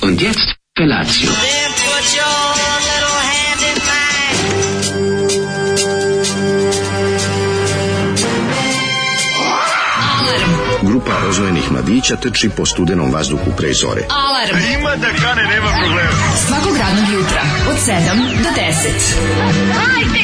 Und jetzt Felatio. Then put your little hand in mine. Grupa rozvojenih mladića trči po studenom vazduhu pre zore. Alarm. Ima da kane, nema problema. Svakog radnog jutra, od 7 do 10.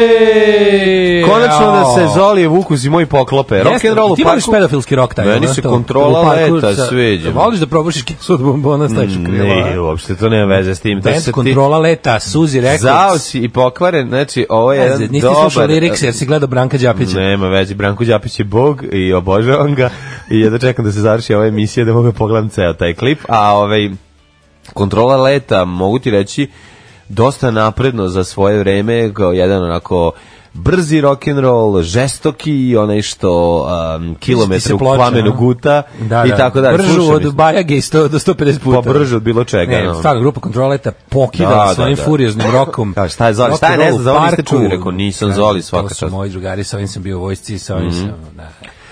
Je! Konačno da se Zolijev ukus i moj poklope. Rock and roll u Ti voliš parku. pedofilski rok taj. Meni ono, se to, kontrola u parku leta sa- sviđa. Mm, Voliš da probušiš kesu od bombona, staviš u krila. Ne, uopšte to nema veze s tim. To Band se ti kontrola leta, Suzi Records. zao si i pokvaren, znači ovo je Veze, jedan Nisi slušao dobar... Mm, liriks jer si gledao Branka Đapića. Nema veze, Branko Đapić je bog i obožavam ga i jedno čekam da se završi ova emisija da mogu da pogledam ceo taj klip, a ovaj kontrola leta, mogu ti reći, dosta napredno za svoje vreme, kao jedan onako brzi rock and roll, žestoki i onaj što um, Ti se kilometra u ploče, plamenu a? guta i tako dalje. Bržu Slušam od isto. Bajage i 100 do 150 puta. Pa brže od bilo čega, Ne, no. stvarno, grupa kontroleta pokidala Da, da, svojim da. furioznim rokom. Kao, šta je Zoli? Rock Šta je, and ne roll znam, za ovo niste parku. čuli, rekao, nisam Kažem, Zoli, svaka To su čast. Mhm. moji drugari, sa ovim sam bio u vojsci, sa ovim sam... Da.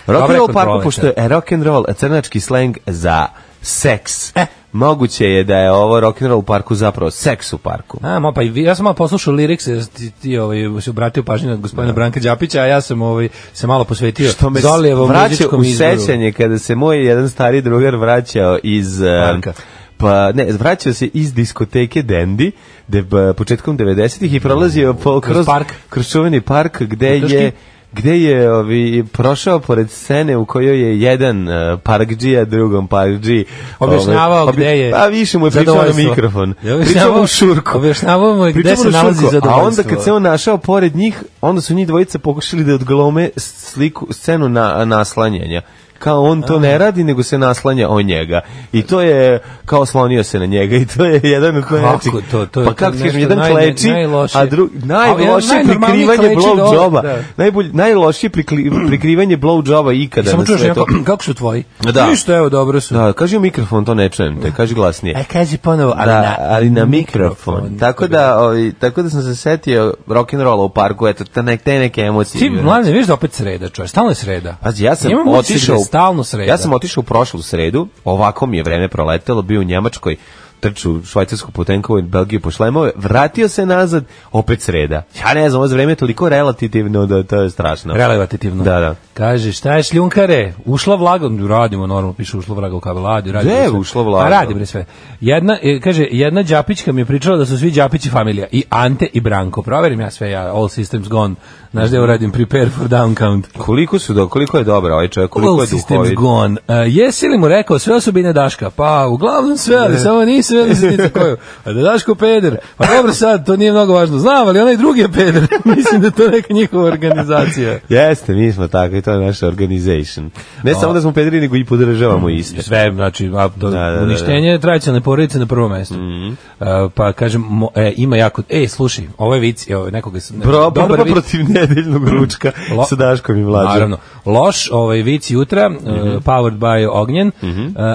Rock Dobra and je roll kontrola parku, leta. pošto je rock and roll crnački sleng za seks. E. Moguće je da je ovo rock and roll u parku zapravo seks u parku. A, ma, pa i vi- ja sam malo poslušao liriks, jer ti, ti ovaj, si obratio pažnju na gospodina Branka Đapića, a ja sam ovaj, se malo posvetio Što me Zolijevom vraća muzičkom u izboru. sećanje kada se moj jedan stari drugar vraćao iz... eh, Parka. Pa, ne, vraćao se iz diskoteke Dendi, de, b- početkom 90-ih i prolazio po, Kroz kroz, park. kroz čuveni park gde Krški? je gde je ovi, prošao pored scene u kojoj je jedan uh, parkdžija drugom parkdži Objašnjavao ovaj, obja- gde je a više mu je pričao na zadovoljstvo. mikrofon Je objašnjavao- pričao mu u šurku objašnjavao mu je gde Pričao se u šurku, nalazi a zadovoljstvo. onda kad se on našao pored njih onda su njih dvojica pokušali da odglome sliku scenu na naslanjanja kao on to ne radi nego se naslanja o njega i to je kao slonio se na njega i to je jedan od najjačih Kako to? To je- pa to kako ti nešto kažem jedan naj- kleči najlošije. a drugi Ali jedan najlošije najnormalniji prikrivanje kleči da ovo- blow joba da. najbolje najlošije prikli- prikrivanje blow joba I ikada Samo na čuješ svetu. neko, kako su tvoji? Da. Ništa, evo, dobro su. Da, kaži u mikrofon, to ne čujem te, kaži glasnije. E, kaži ponovo, ali da, na- ali na mikrofon. mikrofon. Tako da, ovi, tako da sam se setio rock and rolla u parku, eto, te, nek, te neke emocije. Ti, mladen, vidiš da opet sreda, čovjek, stalno je sreda. Pazi, ja sam Imam utisak da otišao, je stalno sreda. ja sam otišao u prošlu sredu, ovako mi je vreme proletelo, bio u Njemačkoj, trču u Švajcarsku Potenkovu i Belgiju po šlemove, vratio se nazad, opet sreda. Ja ne znam, ovo vreme je toliko relativno da to je strašno. Relativativno. Da, da. Kaže, šta je šljunkare? Ušla vlaga, radimo normalno, piše ušla vlaga u kabeladi. Radi Gde bre je sve. ušla vlaga? A radi bre sve. Jedna, e, kaže, jedna Đapićka mi je pričala da su svi Đapići familija. I Ante i Branko. Proverim ja sve, ja, all systems gone. Znaš da uradim, prepare for down count. Koliko su do, koliko je dobra ovaj čovjek, koliko All je systems duhovit. gone. E, jesi li mu rekao sve osobine Daška? Pa, uglavnom sve, ali samo nisam ja nisam ni za koju. A da je Daško peder. Pa dobro sad, to nije mnogo važno. Znam, ali onaj drugi je peder. Mislim da je to neka njihova organizacija. Jeste, mi smo tako i to je naša organization. Ne samo da smo pederi, nego i Mm. podržavamo iste. sve znači a, do, Da, da, Mhm. da, uništenje tradicionalne porodice na prvom mestu. E, pa kažem mo- e, ima jako e slušaj, ovo je vic, evo nekoga sam ne, Bro, borba vic. protiv nedeljnog ručka Lo- sa Daškom i Mlađom. Mhm. Naravno. Loš ovaj vic jutra, e, powered by Ognjen, e,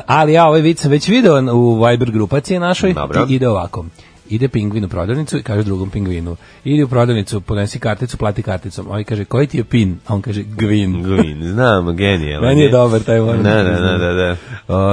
ali ja ovaj vic sam već video u Viber grupaciji našoj Dobro. i ide ovako. Ide pingvin u prodavnicu i kaže drugom pingvinu. Idi u prodavnicu, ponesi karticu, plati karticom. Ovaj kaže, koji ti je pin? A on kaže, gvin. Glin, znam, genijalno. Meni je dobar taj moment. Da, da, da, da, da.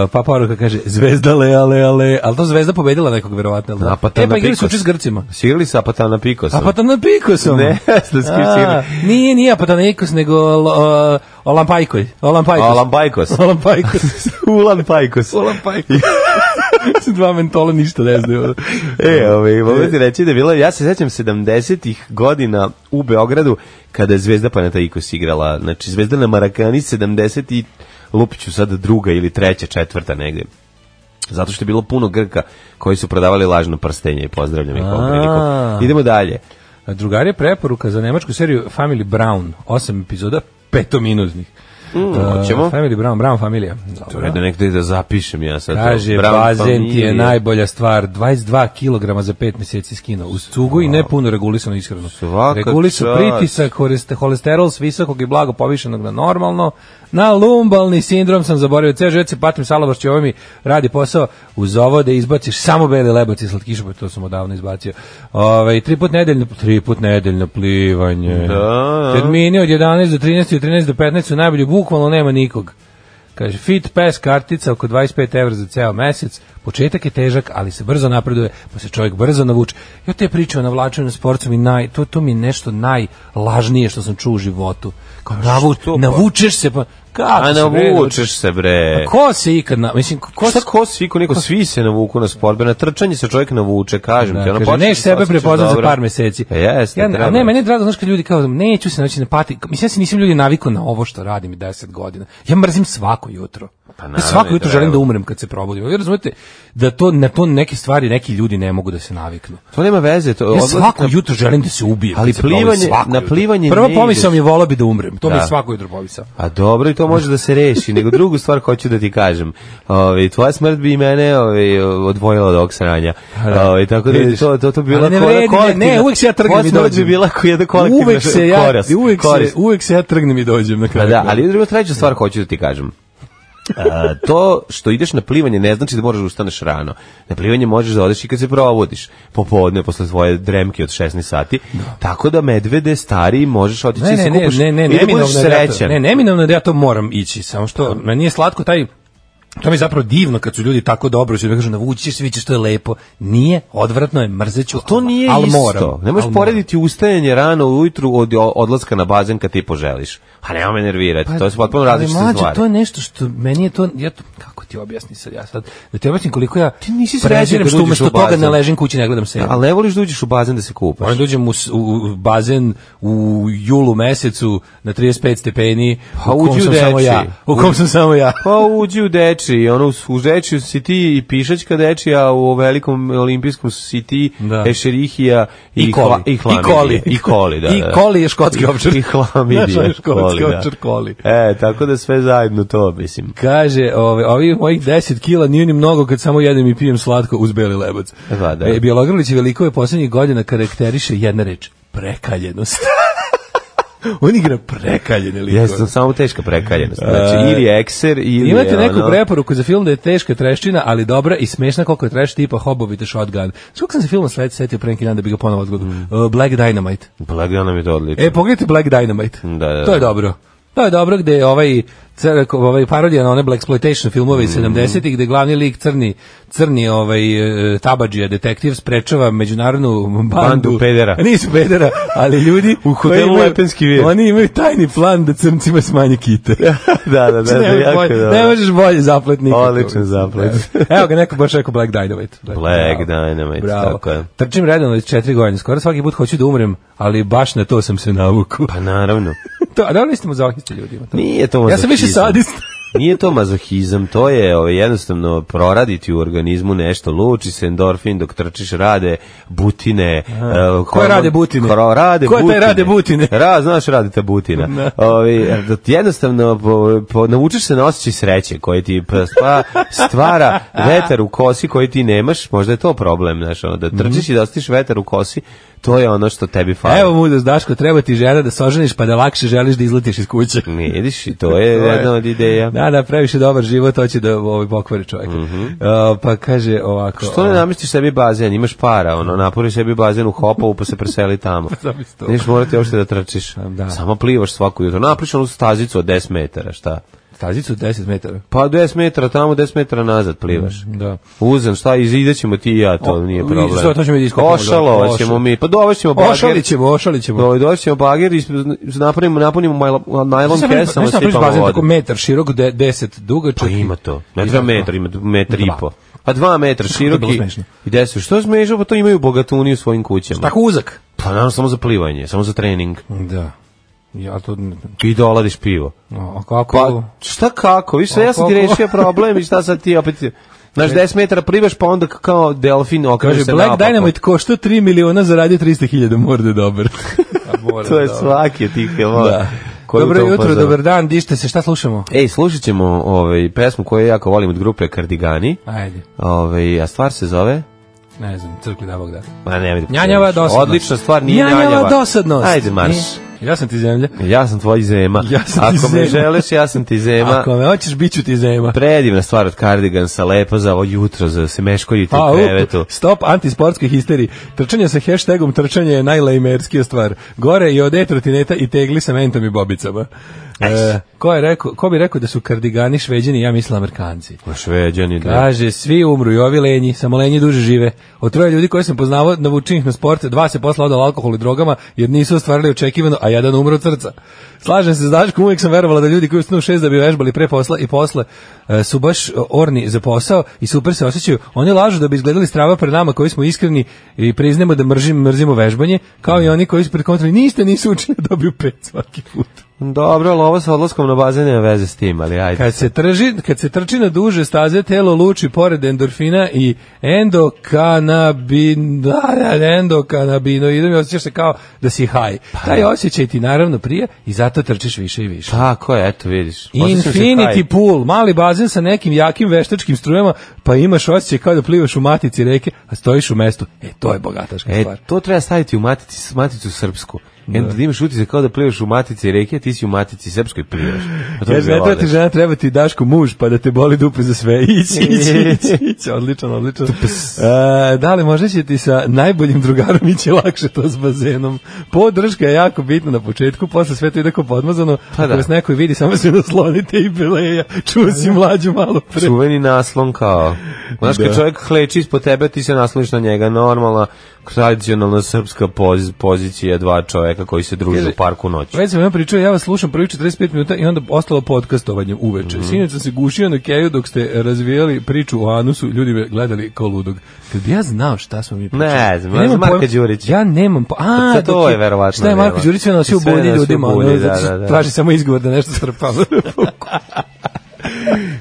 Uh, pa poruka kaže Zvezda le ale ale, al to Zvezda pobedila nekog verovatno. Da, e pa igrali su učin s Grcima. Sigurali sa Apatana Pikosom. Apatana Pikosom. Ne, s kim si igrali? Nije, nije pa Apatana Pikos, nego uh, Olan Pajkoj. Olan Pajkos. Olan Pajkos. Olan Pajkos. Ulan Pajkos. Olan Pajkos. Dva mentola ništa ne znaju. E, ovaj, mogu ti reći da je bilo, ja se sećam 70-ih godina u Beogradu kada je Zvezda Panathinaikos igrala, znači Zvezda na Marakani 70 i lupiću sad druga ili treća, četvrta negde. Zato što je bilo puno Grka koji su prodavali lažno prstenje i pozdravljam ih ovom A. prilikom. Idemo dalje. Drugar je preporuka za nemačku seriju Family Brown, osam epizoda, petominutnih. Mm, hoćemo. Uh, Family Brown, Brown familija. Ajde nekde da zapišem ja sad. to. Kaže, Brown bazen ti je familija. najbolja stvar. 22 kg za 5 meseci skino. Uz cugu i nepuno regulisano ishranu. Svaka Regulisao čast. pritisak, horest- holesterol s visokog i blago povišenog na normalno. Na lumbalni sindrom sam zaboravio. Ceo život se patim salabašću, ovo mi radi posao. Uz ovo da izbaciš samo beli lebac i slatkišu, pa to sam odavno izbacio. Ove, tri put nedeljno, tri put nedeljno plivanje. da. Termini od 11 do 13 i od 13 do 15 su najbolji, bukvalno nema nikog. Kaže, fit pass kartica oko 25 evra za ceo mesec, početak je težak, ali se brzo napreduje, pa se čovjek brzo navuče. Ja te priče o navlačenju na sportu, mi naj, to, to mi je nešto najlažnije što sam čuo u životu. Kao, navu, što pa? navučeš se, pa kako A se bre navučeš se bre. Pa A Ko se ikad, na, mislim, ko Šta se... ko svi, ko neko, svi se navuku na sport, bre, na trčanje se čovjek navuče, kažem ti. Da, ono, kaže, počneš neš se sebe osjećaš prepoznat za dobro. par meseci. E, jeste, ja, treba. a ne, meni je drago, znaš kad ljudi kao, neću se naći na pati, mislim, ja se nisam ljudi navikao na ovo što radim i 10 godina. Ja mrzim svako jutro. Pa Ja naravno, svako jutro i želim da treba. umrem kad se probudim. Vi razumete da to, na to neke stvari, neki ljudi ne mogu da se naviknu. To nema veze. To, Ja odlazak svako na- jutro želim da se ubijem. Ali kad se probudim, plivanje- svako na jutro. plivanje Prvo ne pomisao ideš. mi je volao bi da umrem. To mi Da. je svako jutro pomisao. A Pa dobro, i to može da se reši, nego drugu stvar hoću da ti kažem. Ove, tvoja smrt bi i mene ove, odvojila od ovog sranja. Ove, tako da Vidiš. to, to, to bi bila Ali ne ko- vredi, kolektivna- ne, ne, uvek se ja trgnem Tvoja i smrt dođem. bi bila ko jedna kolektivna uvek se ja, koris. uvek, se, koris. uvek se ja trgnem i dođem na Pa kraju. da, ali jedna druga treća stvar hoću da ti kažem. A, to što ideš na plivanje ne znači da moraš da ustaneš rano. Na plivanje možeš da odeš i kad se probudiš popodne posle svoje dremke od 16 sati. Tako da medvede stari možeš otići Ne, i se ne, ne, kupaš. ne, ne, I da budeš neminovno je da ja to, srećan. ne, neminovno je da ja to moram ići, samo što meni je slatko taj To mi je zapravo divno kad su ljudi tako dobro, što mi kažu navući ćeš, vidjet ćeš, to je lepo. Nije, odvratno je, mrzeću, Pa To nije ali isto. moram. ne možeš ali moram. porediti ustajanje rano ujutru od odlaska na bazen kad ti poželiš. A nema me nervirati, to su potpuno Pa Ali različite mlađe, stvari. to je nešto što meni je to, ja to kako ti objasni sad ja sad, da ti objasnim koliko ja ti nisi srećan kad što uđeš umesto u toga bazen. ne ležim kući, ne gledam se. Ali ne voliš da uđeš u bazen da se kupaš. Moram da uđem u, s- u bazen u julu mesecu na 35 stepeni Pa u kom uđi u sam samo dečiji. ja. U kom sam samo ja. Pa uđi u deči, ono, u deči si ti i pišačka dečija, u velikom olimpijskom si ti Da. Ešerihija i, I koli. hla- I, hlamidije. I koli. I koli, da. I da. koli je škotski ovčar. I hlamidije. Znaš, on je škotski Koli, da. ovčar koli. E, tako da sve zajedno to, mislim. Kaže, ove, ovi mojih 10 kila nije ni mnogo kad samo jedem i pijem slatko uz beli lebac. Da, Pa, da. E, Bjelogrlić je velikove poslednjih godina karakteriše jedna reč, prekaljenost. On igra prekaljene likove. Ja sam samo teška prekaljenost. Znači, ili je ekser, ili E, Imate je neku ono- preporuku za film da je teška treščina, ali dobra i smešna koliko je treš tipa Hobovi the Shotgun. Znaš koliko sam se filma sled setio pre neki dan da bi ga ponovo odgledao? Mm. Uh, Black Dynamite. Blagdana pa mi je to odlično. E, pogledajte Black Dynamite. Da, da, da. To je dobro. To je dobro gde je ovaj, crk, ovaj parodija na one Black Exploitation Mhm. filmove iz 70-ih, gde glavni lik crni, crni ovaj, e, tabađija detektiv sprečava međunarodnu bandu. Bandu pedera. Nisu pedera, ali ljudi... U hotelu koji imaju- Lepenski vir. Oni imaju tajni plan da crncima smanje kite. Znači, da, da, da, da, ne, jako bolje, dobro. ne možeš bolje zaplet nikako. Odličan zaplet. Evo, Evo ga neko baš rekao Black Dynamite. Black Dynamite, tako je. Trčim redom već četiri godine, skoro svaki put hoću da umrem, ali baš na to sam se navuku. Pa naravno. to, a da li ste mazohisti ljudima? To? Nije to mazohizam. Ja sam više sadist. Nije to mazohizam, to je ovaj, jednostavno proraditi u organizmu nešto, luči se endorfin dok trčiš, rade butine. Uh, Koje rade butine? Ko, rade Ko je taj butine. rade butine? Ra, znaš, rade ta butina. Ovi, eh, da ti jednostavno po, po, naučiš se na osjećaj sreće koji ti pa- spa, stvara vetar u kosi koji ti nemaš, možda je to problem, znaš, ono, da Mhm. trčiš i da ostiš vetar u kosi, to je ono što tebi fali. Evo mudrost, Daško, treba ti žena da se oženiš pa da lakše želiš da izletiš iz kuće. Ne, vidiš, i to je To je- jedna od ideja. Da, da, previše dobar život, hoće da ovaj, pokvari čovjeka. Uh, pa kaže ovako... Mhm. Što ne namestiš sebi bazen, imaš para, ono, napuniš sebi bazen u hopovu pa se preseli tamo. zamisli to. Pa Neš morati uopšte da trčiš. Da. Samo plivaš svako jutro. Napriš onu stazicu od 10 metara, šta? Stazicu 10 metara. Pa 10 metara tamo, 10 metara nazad plivaš. Da. Uzem, šta, izidećemo ti i ja, to Mm. O, nije i problem. što, to ćemo i da iskopamo Ošalovat ćemo dole. mi, pa dovešćemo bager. Ošalit ćemo, ošalit ćemo. Do, doćemo bager i napunimo, napunimo majlo- najlon Znaš, kesama, znaš, napraviš sipamo bazen vodu. tako metar širok, de, deset dugačak. Pa ima to. Ne I dva tako. metra, ima metar i Dva. po. Pa dva metra To je široki bilo smešno. i desu. Što smešno? Pa to imaju bogatuni u svojim kućama. Tako uzak. Pa naravno samo za plivanje, samo za trening. Da. Ja to... I doladiš pivo. No, a kako... Pa šta kako? Više ja sam ti Koliko? rešio problem i šta sad ti opet... Znaš, 10 metara plivaš, pa onda kao delfin okreće Kaže, se Black naopako. Dynamite košta 3 miliona, zaradio 300 hiljada, mora da je dobar. To je svaki od tih filmova. Da. koji je u Dobro tom jutro, fazonu. dobar dan, dište se, šta slušamo? Ej, slušat ćemo ovaj, pesmu koju jako volim od grupe Kardigani. Ajde, Ovaj, a stvar se zove... ne znam, crkli da Bog da. Ma ne, vidim. Njanjava dosadnost. Odlična stvar, nije njanjava. njanjava. dosadnost. Ajde, marš. Nije. Ja sam ti zemlja. Ja sam tvoj zema. Ja sam ti Ako me zema. želiš, ja sam ti zema. Ako me hoćeš, bit ću ti zema. Predivna stvar od Cardigansa, lepo za ovo jutro, za se meškoljite u Pa, u, krevetu. Stop antisportskoj histeriji. Trčanje sa hashtagom trčanje je najlejmerskija stvar. Gore i od e-trotineta i tegli sa mentom i bobicama. E, ko, je rekao, ko bi rekao da su kardigani šveđani, ja mislim amerikanci. Šveđani, da. Kaže, svi umru i ovi lenji, samo lenji duže žive. Od troje ljudi koje sam poznavao, navučenih na sport, dva se posla odala alkoholu i drogama, jer nisu ostvarili očekivano, a jedan umro od srca. Slažem se s Daškom, uvijek sam verovala da ljudi koji ustanu u šest da bi vežbali pre posla i posle e, su baš e, orni za posao i super se osjećaju. Oni lažu da bi izgledali strava pred nama koji smo iskreni i priznemo da mržim, mrzimo vežbanje, kao i oni koji su pred kontrolom, niste, nisu učili, dobiju pet svaki put. Dobro, ali ovo sa odlaskom na bazen nema veze s tim, ali ajde. Kad se, trži, kad se trči na duže staze, telo luči pored endorfina i endokanabin, da, da, endokanabinoidom i osjećaš se kao da si haj. Pa Taj osjećaj ti naravno prije i zato trčiš više i više. Tako je, eto vidiš. Pa, Osjećam se Infinity haj. pool, mali bazen sa nekim jakim veštačkim strujama, pa imaš osjećaj kao da plivaš u matici reke, a stojiš u mestu. E, to je bogataška E, stvar. to treba staviti u matici, maticu srpsku. Da. Enda da imaš utisak kao da plivaš u matici reke, a ti si u matici srpskoj plivaš. A Pa to Kaže, bi ne bilo treba ti odlično. žena, treba ti Daško muž, pa da te boli dupe za sve. Ići, ići, ići, ići. Odličan, odličan. E, da li možda će ti sa najboljim drugarom ići lakše to s bazenom? Podrška je jako bitna na početku, posle sve to ide ko podmazano. Pa Ako da. Pa vas neko i vidi, samo se naslonite i beleja. Čuo si mlađu malo pre. Čuveni naslon kao. Znaš, kad Da. čovjek hleči ispod tebe, ti se nasloniš na njega. Normalna, tradicionalna srpska poz, pozicija dva čovjeka koji se druže u parku noću. Već sam vam pričao, ja vas slušam prvi 45 minuta i onda ostalo podcastovanje uveče. Mhm. Sinoć sam se gušio na keju dok ste razvijali priču o anusu, ljudi me gledali kao ludog. Kad bi ja znao šta smo mi pričali. Ne znam, Ja nemam Marka pojma. Đurića. Ja nemam po... A, Pa to dok je verovatno Šta je Marko nema. Đurić sve nosio u Sve bulji nosio u ljudima? bulji, ono, da, zato što da, da. Traži samo izgovor da nešto strpava.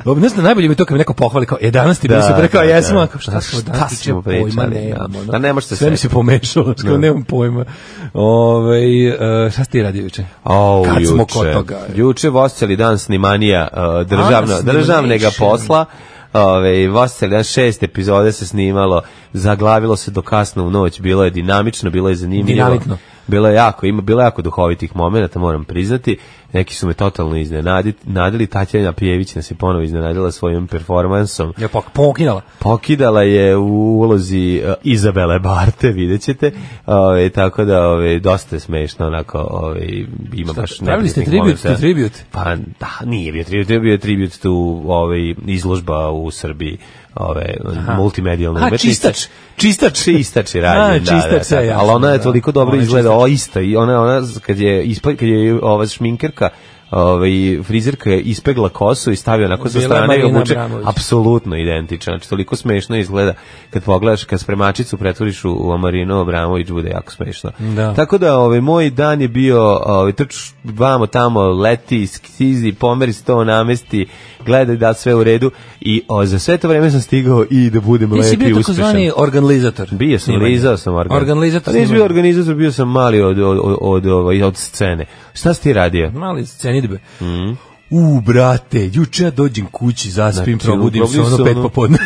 Dobro, nešto najbolje mi je to kad me neko pohvali kao, e, danas ti Da, bili super, kao, da, da. jesmo, a kao, šta, Da, smo šta danas smo pričali, pojma pričali, da. nemam, ono. Da, ne možeš se Sve mi se setiti. pomešalo, kao, Da. nemam pojma. Ovaj, e, šta si ti radio juče? Au, Kad smo juče. kod toga. Juče vas cijeli dan snimanija uh, državno, A, snimation. državnega posla. Ove, vas cijeli dan šest epizode se snimalo, zaglavilo se do kasno u noć, bilo je dinamično, bilo je zanimljivo. Dinamitno. Bilo je jako, ima bilo je jako duhovitih momenata, moram priznati. Neki su me totalno iznenadili. Nadili Tatjana Pijević nas je ponovo iznenadila svojim performansom. Ja pok pokinala. Pokidala je u ulozi uh, Izabele Barte, vidjet ćete. Ove, tako da ove, dosta je smešno, onako, ove, ima Pa baš Pravili ste neprijatnih tribute to momenta. tribute. Pa da, nije bio tribute, bio je tribute tu ovaj, izložba u Srbiji ove, multimedijalne A, umetnice. čistač, čistač. Čistač je rađen, A, Znači, da, da, čistač, da, sve jasno, ali ona je da. toliko dobro Ona je izgleda, o ista, i ona, ona kad je, ispa, kad je ova šminkerka, ovaj frizerka je ispegla kosu i stavio onako sa Bila je strane i Marina obuče Abramović. apsolutno identičan. Znači, toliko smešno izgleda kad pogledaš, kad spremačicu pretvoriš u, u Marinu Abramović, bude jako smešno. Da. Tako da, ovaj, moj dan je bio, ovaj, trč vamo tamo, leti, skizi, pomeri se to namesti, gledaj da li sve u redu i o, za sve to vreme sam stigao i da budem Ti si lep i bio uspešan. takozvani organizator. Bio sam, snimanja. lizao sam organ. Nisam Organizator. bio snimanja. organizator, bio sam mali od, od, od, od, ovaj, od scene. Šta si ti radio? Mali scenidbe. Mm. U, brate, juče ja dođem kući, zaspim, Znači, probudim se probudi se ono pet ono- popodne.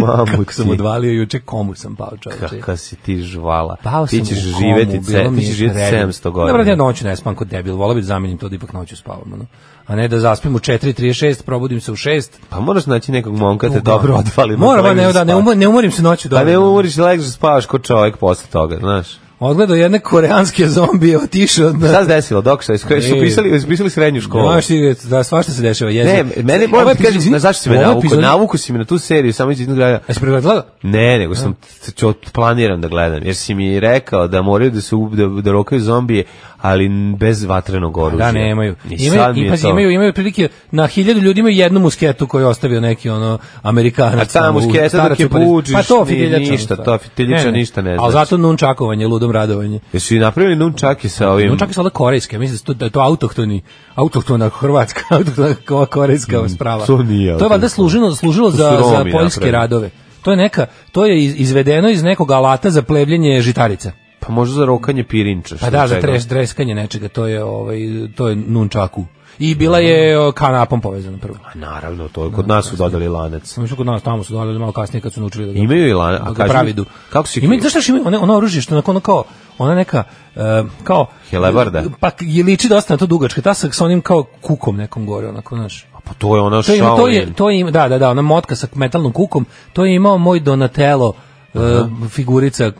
Mamu Mhm. Kako sam ti. odvalio juče, komu sam pao čovječe. Kaka si ti žvala. Pao ti sam ćeš u komu, živeti, bilo ce, mi ti je ćeš živeti predivno. 700 godina. Ne, brate, ja noću ne spam kod debil, volao bih da zamenim to da ipak noću spavam. Ono. A ne da zaspim u 4.36, probudim se u 6. Pa moraš naći nekog momka te dobro odvali. Moram, a legneš ne, da, ne, spavati. umo- ne umorim se noću Pa dobro. ne umoriš, legneš da spavaš ko čovjek posle toga, znaš. Odgledao jedne koreanske zombije, otišao na... Šta se desilo, dok šta, isko- su Ne. pisali, su pisali srednju školu. Znaš Ovaj ti, da, svašta se dešava. Jezi. Ne, mene moram ti kažem, na zašto si me navuku, Navuku? navuku si me na tu seriju, samo iz jednog razloga. ovaj Jesi pregledala? Ne, nego sam čo, planiram da gledam, jer si mi rekao da moraju da se ub- da, da rokaju zombije, ali n- bez vatrenog oružja. Da, nemaju. I Imaju, sad mi i, je pazi, to- imaju, imaju prilike, na hiljadu ljudi imaju jednu musketu koju je ostavio neki ono Amerikanac. A ta tamo u- musketa starac dok je u Parizu. buđiš, Pa to ni- fitiljača. ništa, to fitiljača ništa ne znači. Ali zato nunčakovanje, ludom radovanje. Jesu i napravili nunčaki sa ovim... Nunčaki su ali korejske, mislim da su to- da je to autohtoni, autohtona hrvatska, autohtona ko- korejska sprava. Mm, to nije To je valjda autohtono. služilo, služilo To su za, za Romi poljske napravili. radove. To je neka, to je iz- izvedeno iz nekog alata za plevljenje žitarica. Pa možda za rokanje pirinča. Pa da, za tres, treskanje nečega, to je, ovaj, to je nunčaku. I bila je Mhm. o, kanapom povezana prvo. A naravno, to je kod nas su dodali lanac. Samo što kod nas tamo su dodali malo kasnije kad su naučili da ga, Imaju i lanac. da ga pravidu. Kako si... Imaju, znaš šta još imaju? One, ono oružje što je ono kao, ona neka, e, kao... Helebarda. Pa je liči dosta na to dugačka, ta sa, sa onim kao kukom nekom gore, onako, znaš. Pa to je ona To je, ima- to je, Shaolin. to je, ima- da, da, da, ona motka sa metalnom kukom, to je imao moj Donatello e, figurica,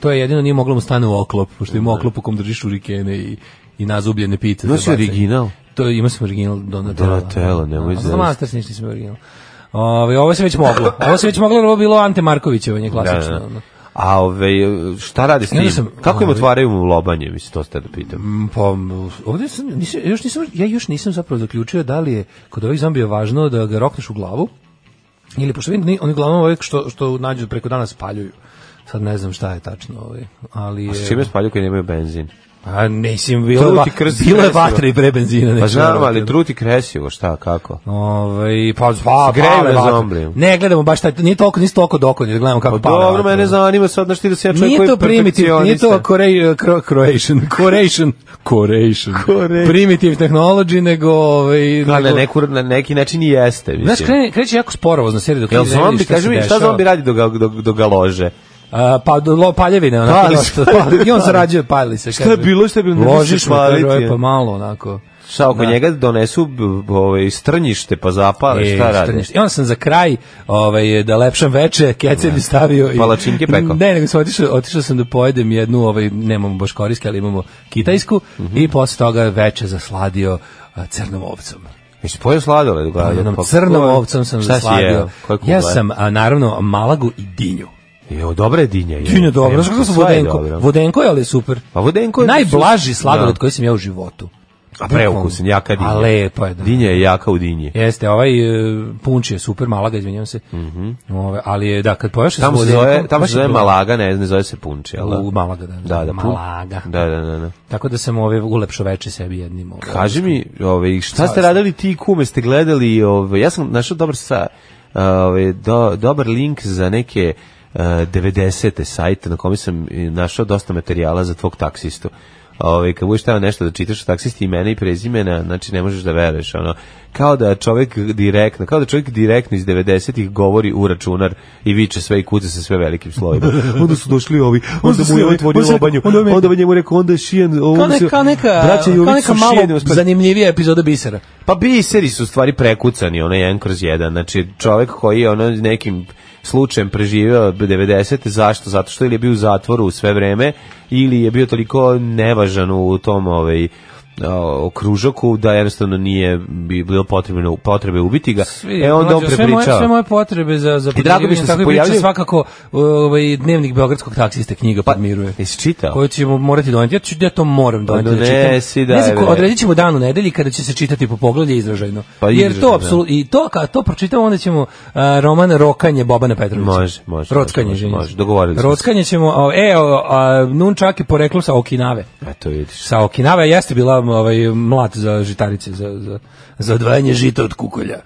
to je jedino nije moglo mu stane u oklop, pošto ima oklop u kom držiš urikene i, i nazubljene pite. Ima za si bacanje. original? To je, ima sam original Donatello. Donatello, nemoj zezati. zezati. Masters ništa nisam imao original. Ove, ovo se već moglo. Ovo se već moglo, jer ovo je bilo Ante Markovićevanje, klasično. Da, da. ono. A ove, šta radi s I onda njim? sam- Kako im ovaj- otvaraju mu lobanje, mislim, to ste da pitam. Mm, Pa, m, ovdje sam, nisam, još nisam, ja još nisam zapravo zaključio da li je kod ovih zombija važno da ga rokneš u glavu, ili pošto vidim, da ni- oni uglavnom uvek što, što nađu preko dana spaljuju. Sad ne znam šta je tačno, ovaj, ali je... S čime spalju koji nemaju benzin? A mislim, bilo, je Truti va, krst i bilo je kresivo. vatre i pre benzina. Pa neću znam, ali verovati. truti kresivo, šta, kako? Ovaj, pa, pa, Grejaju pale na vatre. zombiju. Ne, gledamo baš taj, nije toliko, nisu toliko dokonje, gledamo kako Pa pale dobro, vatre. mene zanima sad, znaš ti da se ja čovjek Nije koji to je primitiv, nije to perfekcionista. Korej, kro, Croatian, Croatian, Croatian, Croatian. primitiv technology, nego... Ovaj, Ali na, nego- neku, na neki način i jeste, mislim. Znaš, krene, kreće jako sporovozno serija dok Jel ti ne vidiš zombi, šta se kaži mi, šta dešava. zombi radi dok ga, dok, dok ga lože? A, pa do- lo, paljevine, onako, Pali dosta, se. pa- i on zarađuje, pali se. Šta je bilo, šta je bilo, ne možeš Ložiš se mu paliti, to, je. pa malo, onako. Šta, oko njega donesu b- b- ovaj, strnjište pa zapale, E, šta radi? strnište. I onda sam za kraj, ovaj, da lepšam veče, kecelj stavio. I, Palačinke pekao. Ne, nego sam otišao, otišao sam da pojedem jednu, ovaj, nemamo baš korijske, ali imamo kitajsku, Mhm. i posle toga veče zasladio a, crnom ovcom. Jesi pojeo sladoled? Pa, Onom crnom ovcom sam šta si zasladio. jeo? Koje kugle? Ja sam, a, naravno, malagu i dinju. Jo, dobra je dinja. je. Dinja je dobro, Nema znaš šta, kako sam sva je vodenko. dobra. Vodenko je ali super. Pa vodenko je- Najblaži sladoled Da. koji sam ja u životu. A preukusan, jaka dinja. A lepo je, da. Dinja je jaka u dinji. Jeste, ovaj e, punč je super, Malaga, izvinjavam se. Ove, ali je, da, kad pojaš Mhm. Tamo se zove, tamo se zove Malaga, ne, ne zove se Punči, ali... U Malaga, da. Da, da, pun- Malaga. Da, da, da, da. Tako da sam ove ulepšo veče sebi jednim. Ovaj. Kaži mi, ovaj, šta ste radili ti kume, ste gledali, ovaj, ja sam našao dobar, sa, ovaj, do, dobar link za neke eh, 90. sajte na kome sam eh, našao dosta materijala za tvog taksistu. Ovaj, kad budeš teo nešto da čitaš o taksisti imena i prezimena, znači ne možeš da veruješ. Ono, kao da čovjek direktno, kao da čovjek direktno iz 90-ih govori u računar i viče sve i kuca se sve velikim slovima. onda su došli ovi, onda su mu je ovi, ovaj tvorio onda su- lobanju, onda mi- onda je njemu rekao, onda je šijan, ovo Kao mu se- neka, kao neka, braća kao Jović neka su malo šijeni, uspeli- zanimljivija epizoda bisera. pa biseri su u stvari prekucani, ono jedan kroz jedan. Znači, čovjek koji je ono nekim slučajem preživio 90. Zašto? Zato što ili je bio u zatvoru u sve vreme, ili je bio toliko nevažan u tom ovaj, o, okružoku da jednostavno nije bi- bilo potrebno potrebe ubiti ga. Svi, e onda on mlađo, sve moje, sve prepričava. moje potrebe za, za I drago mi je što se podmirivanje, tako i pojavljaju- priča svakako ovaj, dnevnik beogradskog taksiste knjiga Pa, podmiruje. Jesi čitao? koju ćemo morati doneti. Ja, ću, ja to moram doneti. da Pa donesi, čitam. daj, ne znam, ko- bre. odredit ćemo dan u nedelji kada će se čitati po poglavlje izražajno. Pa Jer izražajno, to apsolutno i to kad to pročitamo onda ćemo a, roman Rokanje Bobana Petrovića. Može, može, Rockanje, može, izvinjam se. može, dogovorili smo se. Rockanje ćemo, a, e, a, a, nunčak je poreklom sa Okinave. Eto vidiš. Sa Okinave jeste bila m, ovaj mlat za žitarice za za za odvajanje žita od kukolja.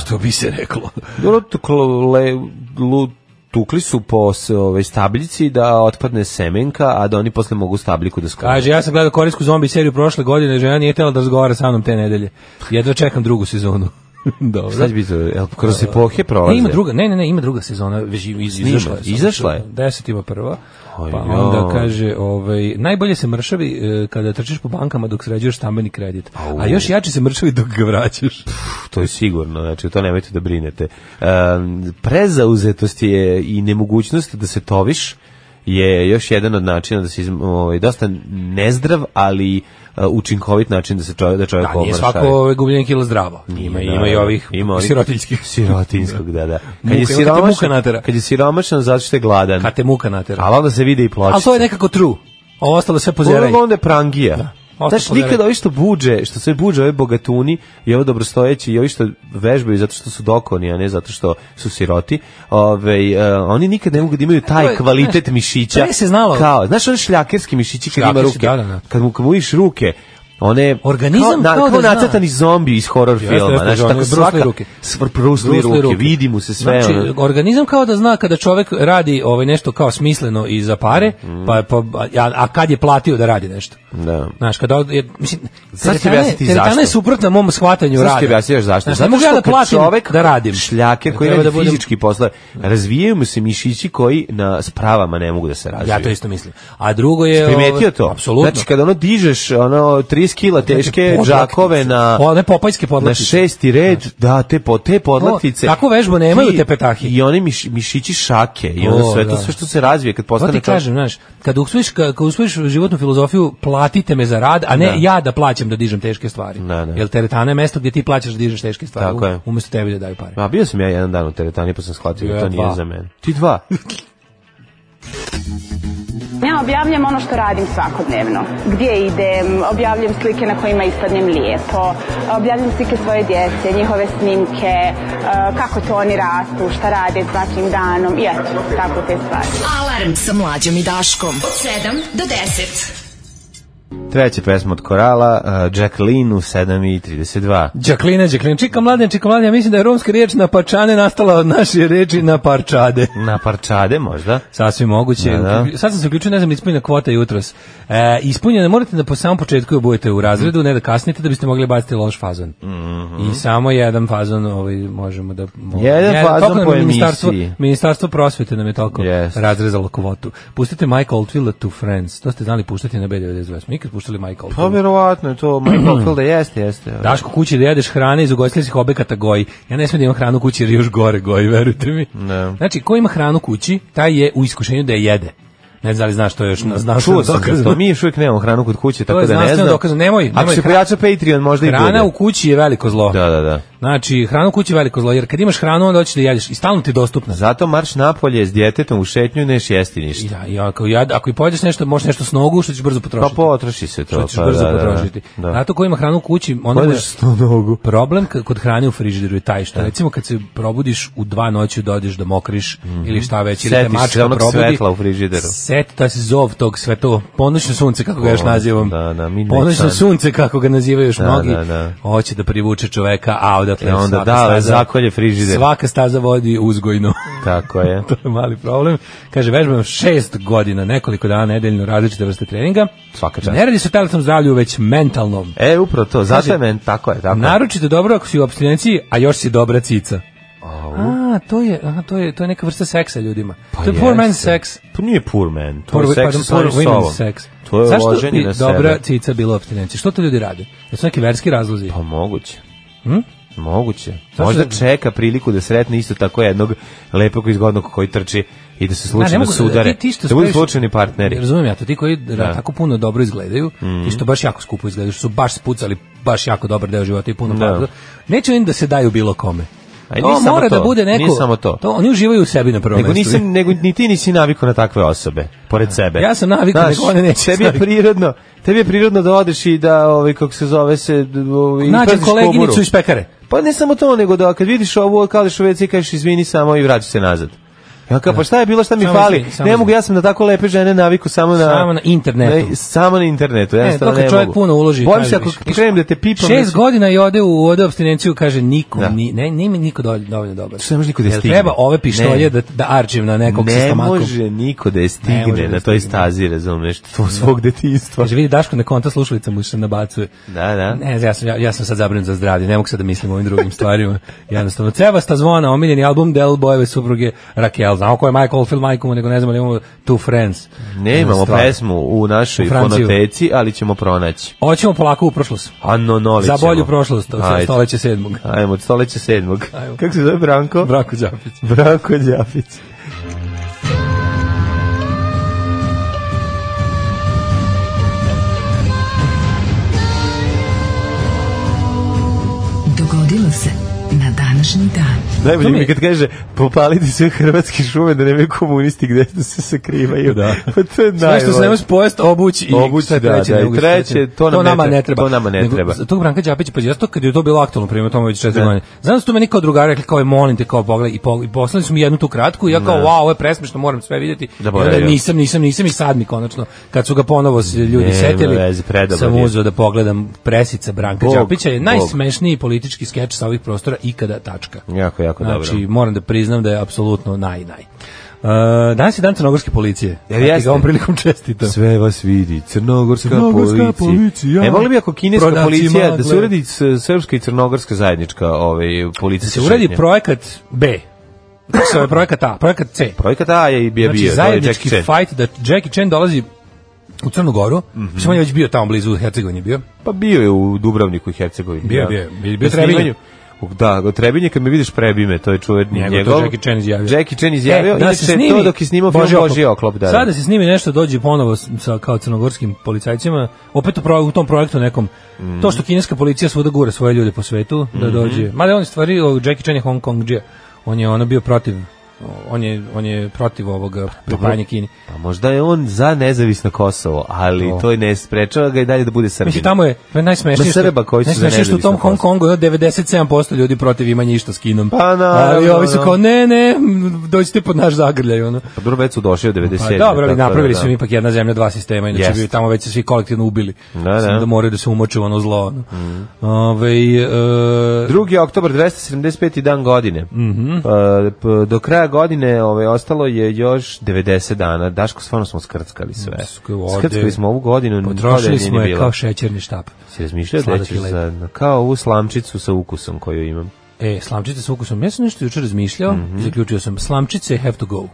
Što bi se reklo. Dobro, tuklo- le- lu- tukli su po s- ove, stabljici da otpadne semenka, a da oni posle mogu stabljiku da sklone. Kaže, ja sam gledao korijsku zombi seriju prošle godine, žena nije htjela da razgovara sa mnom te nedelje. Jedva čekam drugu sezonu. Dobro. Sad bi to, jel, kroz epohe prolaze. Ne, ima druga, ne, ne, ne, ima druga sezona, već i- iz, izašla je. izašla je. Deset ima prva. Aj, pa ja. onda kaže, ovaj, najbolje se mršavi e, kada trčiš po bankama dok sređuješ stambeni kredit. A još jače se mršavi dok ga vraćaš. Pff, To je sigurno, znači, to nemojte da brinete. Um, prezauzetost je i nemogućnost da se toviš je još jedan od načina da se iz, ovaj, dosta nezdrav, ali uh, učinkovit način da se čovjek, da čovjek Da, nije obnaša. svako ovaj, gubljenje kila zdravo. Ima, Nije, ima i da, ovih ima onih- sirotiljskih. Sirotinskog, da, da. Muka, Kad je kad te muka siromašan, natera. kad je siromašan zato što je gladan. Kad te muka natera. Ali onda se vide i pločice. Ali to je nekako true. Ovo ostalo je sve poziranje. Ono onda je prangija. Ostao Znaš, pozeraj. nikada ovi što buđe, što se buđe ovi bogatuni i ovi dobrostojeći i ovi što vežbaju zato što su dokoni, a ne zato što su siroti, ove, e, oni nikad ne mogu da imaju taj E, To je, kvalitet znaš, mišića. to je se znalo. Kao, znaš, oni šljakerski mišići kad ima Šljakerski, ruke. da, da, da. Kad mu, kad mu vidiš ruke, One Organizam kao, kao da zna. nacrtani zombi iz horor Jeste, filma, jeste, znači ono, tako Bruce svaka Lee ruke. svr Bruce Lee Bruce Lee ruke, ruke. vidi mu se sve. Znači, ono. organizam kao da zna kada čovek radi ovaj nešto kao smisleno i za pare, Mhm. pa, pa, a, a kad je platio da radi nešto. Da. Znaš, kada, od- jer, mislim, Sad ću ti teretana je- objasniti teretana je zašto. suprotna mom shvatanju Znaš rada. ti objasnjaš zašto? Znaš, ne mogu ja da kad platim čovek da radim. Šljaker koji Treba radi da budem- fizički poslove, razvijaju mu se mišići koji na spravama ne mogu da se razviju. Ja to isto mislim. A drugo je... ovaj, Primetio to? Apsolutno. Znači, Znači, kada ono dižeš ono 30 kila teške Podlaktice. džakove na... O, ne, popajske Na podlatice. šesti red, da, te, po, te podlatice. O, takvu vežbu nemaju Ti- te petahi. I oni miš, mišići šake, i ono O, sve, to da. sve što se razvije kad To postane ti čovjek. kažem, znaš, kad usvojiš, kad usvojiš životnu filozofiju, platite me za rad, a ne Da. ja da plaćam da dižem teške stvari. Da, da. Jer teretana je mesto gdje ti plaćaš da dižeš teške stvari, Tako je. umjesto tebi da daju pare. Ma, bio sam ja jedan dan u teretani, pa sam shvatio da Ja to nije dva. za mene. Ti dva? Ja objavljam ono što radim svakodnevno. Gdje idem, objavljam slike na kojima ispadnem lijepo, objavljam slike svoje djece, njihove snimke, eh, kako to oni rastu, šta rade svakim danom i eto, tako te stvari. Alarm sa mlađom i Daškom. Od 7 do 10. Treća pesma od Korala, uh, Jacqueline u 7.32. Đaklina, Đaklina, čika mladen, čika mladen, ja mislim da je romska riječ na parčane nastala od naše riječi na parčade. Na parčade možda? Sasvim moguće. Da, da. Sad sam se uključio, ne znam, ispunjena kvota jutros. E, ispunjena, morate da po samom početku je budete u razredu, ne da kasnite, da biste mogli baciti loš fazon. I samo jedan fazon ovaj, možemo da... Mhm. Jedan fazon toliko nam je po ministarstvo, emisiji. ministarstvo prosvete nam je toliko Jest. razrezalo kvotu. Pustite Michael Oldfielda to Friends. To ste znali puštati na B92. Smo ikad puštali Michael Pa Oldfielda. verovatno je to, Michael da jeste, jeste. Pa Daško kući da jedeš hrane iz ugostiteljskih objekata goji. Ja ne smijem da imam hranu kući jer je još gore goji, verujte mi. Ne. Znači, ko ima hranu kući, taj je u iskušenju da je jede. Ne znam da li znaš to još, na- znaš Čuo sam da to, mi još uvijek nemamo hranu kod kuće, tako je da ne znanstveno znam. dokazano, nemoj, Ako nemoj se hra- pojača Patreon, možda i bude. Hrana u kući je veliko zlo. Da, da, da. Znači, hrana u kući je veliko zlo, jer kad imaš hranu, onda hoćeš da jedeš i stalno ti je dostupna. Zato marš napolje s djetetom u šetnju, neš jesti I ništa. da, i ako, jad- ako i pojedeš nešto, možeš nešto s nogu, što ćeš brzo Pa potrošiti. potroši se to. što ćeš pa brzo da, da, da. potrošiti. Da. Zato ko ima hranu u kući, onda Pojedeš sto nogu. Problem k- kod hrane u frižideru je taj što recimo kad se probudiš u dva noći dodeš da mokriš ili šta već ili te Mhm. Setiš se mačka onog probudi. svetla u frižideru. Set taj se zov tog sveto ponoćno sunce kako ga još O, nazivam. da, da, midnight sun. ponoćno sunce kako ga nazivaju još Da, mnogi. da, da. Hoće da privuče čoveka, a odatle E, onda svaka da, staza- zakolje frižider. Svaka staza vodi uzgojno. Tako je. to je mali problem. Kaže, vežbam šest godina, nekoliko dana nedeljno različite vrste treninga. Svaka čast. Ne radi se o telesnom zdravlju, već mentalnom. E, upravo to, zato je men, tako je, tako je. Naročito dobro ako si u abstinenciji, a još si dobra cica. A, to je, aha, to je, to je neka vrsta seksa ljudima. to je poor Pa jeste. man's sex. To Pa nije poor man, to Poor, je seks pardon, sa poor samim women's sobom. sex. To je Zašto loženje bi na sebe. dobra cica bila u abstinenciji? Što to ljudi rade? Jesu neki verski razlozi? Pa moguće. Hm? Moguće. Zašto Možda da- čeka priliku da sretne isto tako jednog lepog i zgodnog koji trči i da se Da, ne slučajno mogu- sudare. ti- ti što da budu stojiš- slučajni partneri. Razumijem ja to, ti koji ra- tako puno dobro izgledaju, i što baš jako skupo izgledaju, što su baš spucali baš jako dobar deo života i puno Da. para. Neće oni da se daju bilo kome. A i To nije samo mora to, da bude nije neko... samo to. Oni uživaju u sebi na prvom Nego, mestu. nisam, nego ni ti nisi navikao na takve osobe, pored sebe. Ja sam navikao, nego one neće Tebi je navikao. prirodno, tebi je prirodno da odeš i da, ovaj, kako se zove se, d- ovaj, Nađem paziš koleginicu koburu. iz pekare. Pa ne samo to, nego da kad vidiš ovu, kao odeš u WC i kažeš izvini samo i vraćaš se nazad. Ja kao, pa šta je bilo, šta mi Samo fali? izvini, samo ne mogu, izvini. ja sam na tako lepe žene naviku samo na... Samo na internetu. Ne, samo na internetu, ja ne, to kad ne čovjek mogu. puno uloži. Bojim kaže se ako više. krenem da te pipam... Šest da- godina i ode u ode u abstinenciju, kaže niko, pa Da. ni, ne, nije mi niko dovoljno, dovoljno dobar. Što ne može niko da Jel stigne? Treba ove pištolje Ne. da, da arčim na nekog sa Ne stomakom. može niko da je Ne može stigne da na toj stazi, razumeš, tvoj svog detinjstva. Kaže, vidi Daško na konta slušalica mu se nabacuje. Da, da. Ne, ja sam, ja, ja sam sad zabrinut za zdravlje, ne mogu sad da mislim o ovim drugim stvarima. Jednostavno, Cevasta zvona, omiljeni album Del Bojeve supruge Raquel. Znamo ko je Michael Oldfield majku mu, nego ne znamo ali imamo Two Friends. Ne imamo Stvar. pesmu u našoj U Franciju. fonoteci, ali ćemo pronaći. Hoćemo polako u prošlost. Anno Nolić. Za bolju prošlost, od Ajde. stoleće sedmog. Ajmo, od stoleća sedmog. Ajmo. Kako se zove Branko? Branko Đapić. Branko Đapić. Dogodilo se na današnji današnji dan. Najbolje To mi mi je je- kad kaže popaliti sve hrvatske šume da ne bi komunisti gde se sakrivaju. Da. Pa to je Sve što se ne najbolje. može pojest, obući i Obući, šta je da, treće, da, ne mogu i treće, sjetiti. to nam ne nama treba, ne treba. to nama ne Nego, treba. za Tog Branka Đapića, pa ja to kad je to bilo aktualno primjer, tamo već četiri godine. Znam da su to meni kao drugari rekli, kao je molim te, kao pogledaj, i, po, i poslali su mi jednu tu kratku i ja kao, wow, ovo je presmešno, moram sve vidjeti. I onda Zaboravio. nisam, nisam, nisam i sad mi konačno, kad su ga ponovo se ljudi Nema setili, veze, predobar sam je. uzeo da pogledam presica Branka Bog, Đapića, je Bog. najsmešniji politički skeč sa ovih prostora ikada tačka. Jako, jako dobro. Znači, moram da priznam da je apsolutno naj, naj. Uh, danas je dan crnogorske policije. Jel Ja ti E, jeste? ga ovom prilikom čestitam. Sve vas vidi, crnogorska, Crnogorska policija. policija. E, volim bi ako kineska Prodavci policija, da magle. se uredi s- srpska i crnogorska zajednička ovaj, policija. Da se uradi projekat B. Kako se zove projekat A? Projekat C. Projekat A je i bio Znači, bio, to je zajednički Jackie Chan. Mhm. fight da Jackie Chan dolazi u Crnu Goru. Mm -hmm. on je već bio tamo blizu u Hercegovini bio. Pa bio je u Dubrovniku i Hercegovini. Bio, da. bio je. Bio- bio Na snimanju- Trebinje. U- Da, u Trebinje kad me vidiš prebime, to je čuveni Njegov, njegov. to Jackie Chan izjavio. Jackie Chan izjavio, E, inače to dok je snimao film Boži oklop. da. Sada da. da se snimi nešto dođe ponovo s- sa kao crnogorskim policajcima, opet u, pro- u tom projektu nekom. Mm. To što kineska policija svuda gura svoje ljude po svetu da Mm-hmm. dođe. Mada on stvari o Jackie Chan je Hong Kong On je ono bio protiv on je, on je protiv ovog pripajanja Kini. Pa možda je on za nezavisno Kosovo, ali to, je ne sprečava ga i dalje da bude Srbin. Mislim, tamo je to je najsmešnije. Na što- Srba pa koji su za najsmešnije što u tom nezavisno Hong Kongu je 97% ljudi protiv imanja išta s Kinom. Pa, naravno, Ali ovi su da. kao, ne, ne, m, dođite pod naš zagrljaj, ono. Pa dobro, već su došli od 97. Pa dobro, tako ali da, napravili da. su im ipak jedna zemlja, dva sistema, inače Jeste. bi tamo već se svi kolektivno ubili. Da, Samo da. Mm. moraju da se umoče u ono zlo. Ono. Ovaj, e, 2. oktobar 275. dan godine. Mhm. E, p- do kraja godine ovaj, ostalo je još 90 dana. Daško, stvarno smo skrckali sve. Mm, Sk- ovde- Skrckali smo ovu godinu. Potrošili nikada smo nije je bilo. kao šećerni štap. Si razmišljao da Sladak ćeš i lep. za, kao ovu slamčicu sa ukusom koju imam. E, slamčice sa ukusom. Ja sam nešto jučer razmišljao, Mhm. zaključio sam, slamčice have to go.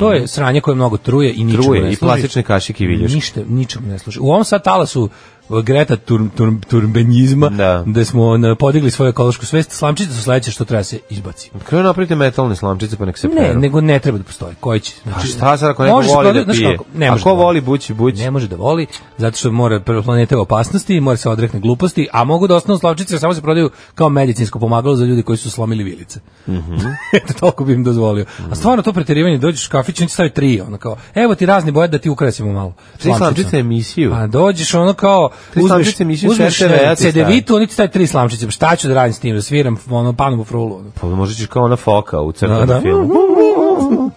To je sranje koje mnogo truje i ničemu Truje ne i služi. plastične kašike i viljuške. Ništa, ničemu ne služi. U ovom sad talasu e, Greta tur, tur, turbenjizma, Da. da. smo na- podigli svoju ekološku svest, slamčice su sledeće što treba se izbaci. Kako napravite metalne slamčice pa nek se Ne, peru? nego ne treba da postoji. Koji će? A Znači, šta sad ako neko može voli da prodati- znaš pije? kako, ne može Ako da voli bući, bući. Ne može da voli, zato što mora prvo planete u opasnosti, mora se odrekne gluposti, a mogu da osnovno slavčice samo se prodaju kao medicinsko pomagalo za ljudi koji su slomili vilice. Eto, toliko bi im dozvolio. A stvarno to preterivanje, dođeš u kafić, oni ti stavi tri, ono kao, evo ti razni boje da ti ukrasimo malo. Tri slamčice slamčicom. emisiju. Pa dođeš ono kao Tri uzmeš slamčice mišića uzmeš RTV, eh, ja ti CD-vitu, oni ti stavi tri slamčice. Pa Šta ću da radim s tim? Da sviram ono panu u frulu. ono. Pa možda ćeš kao ona foka u crtanom Da, da. filmu.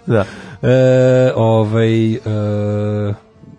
da. E, ovaj e,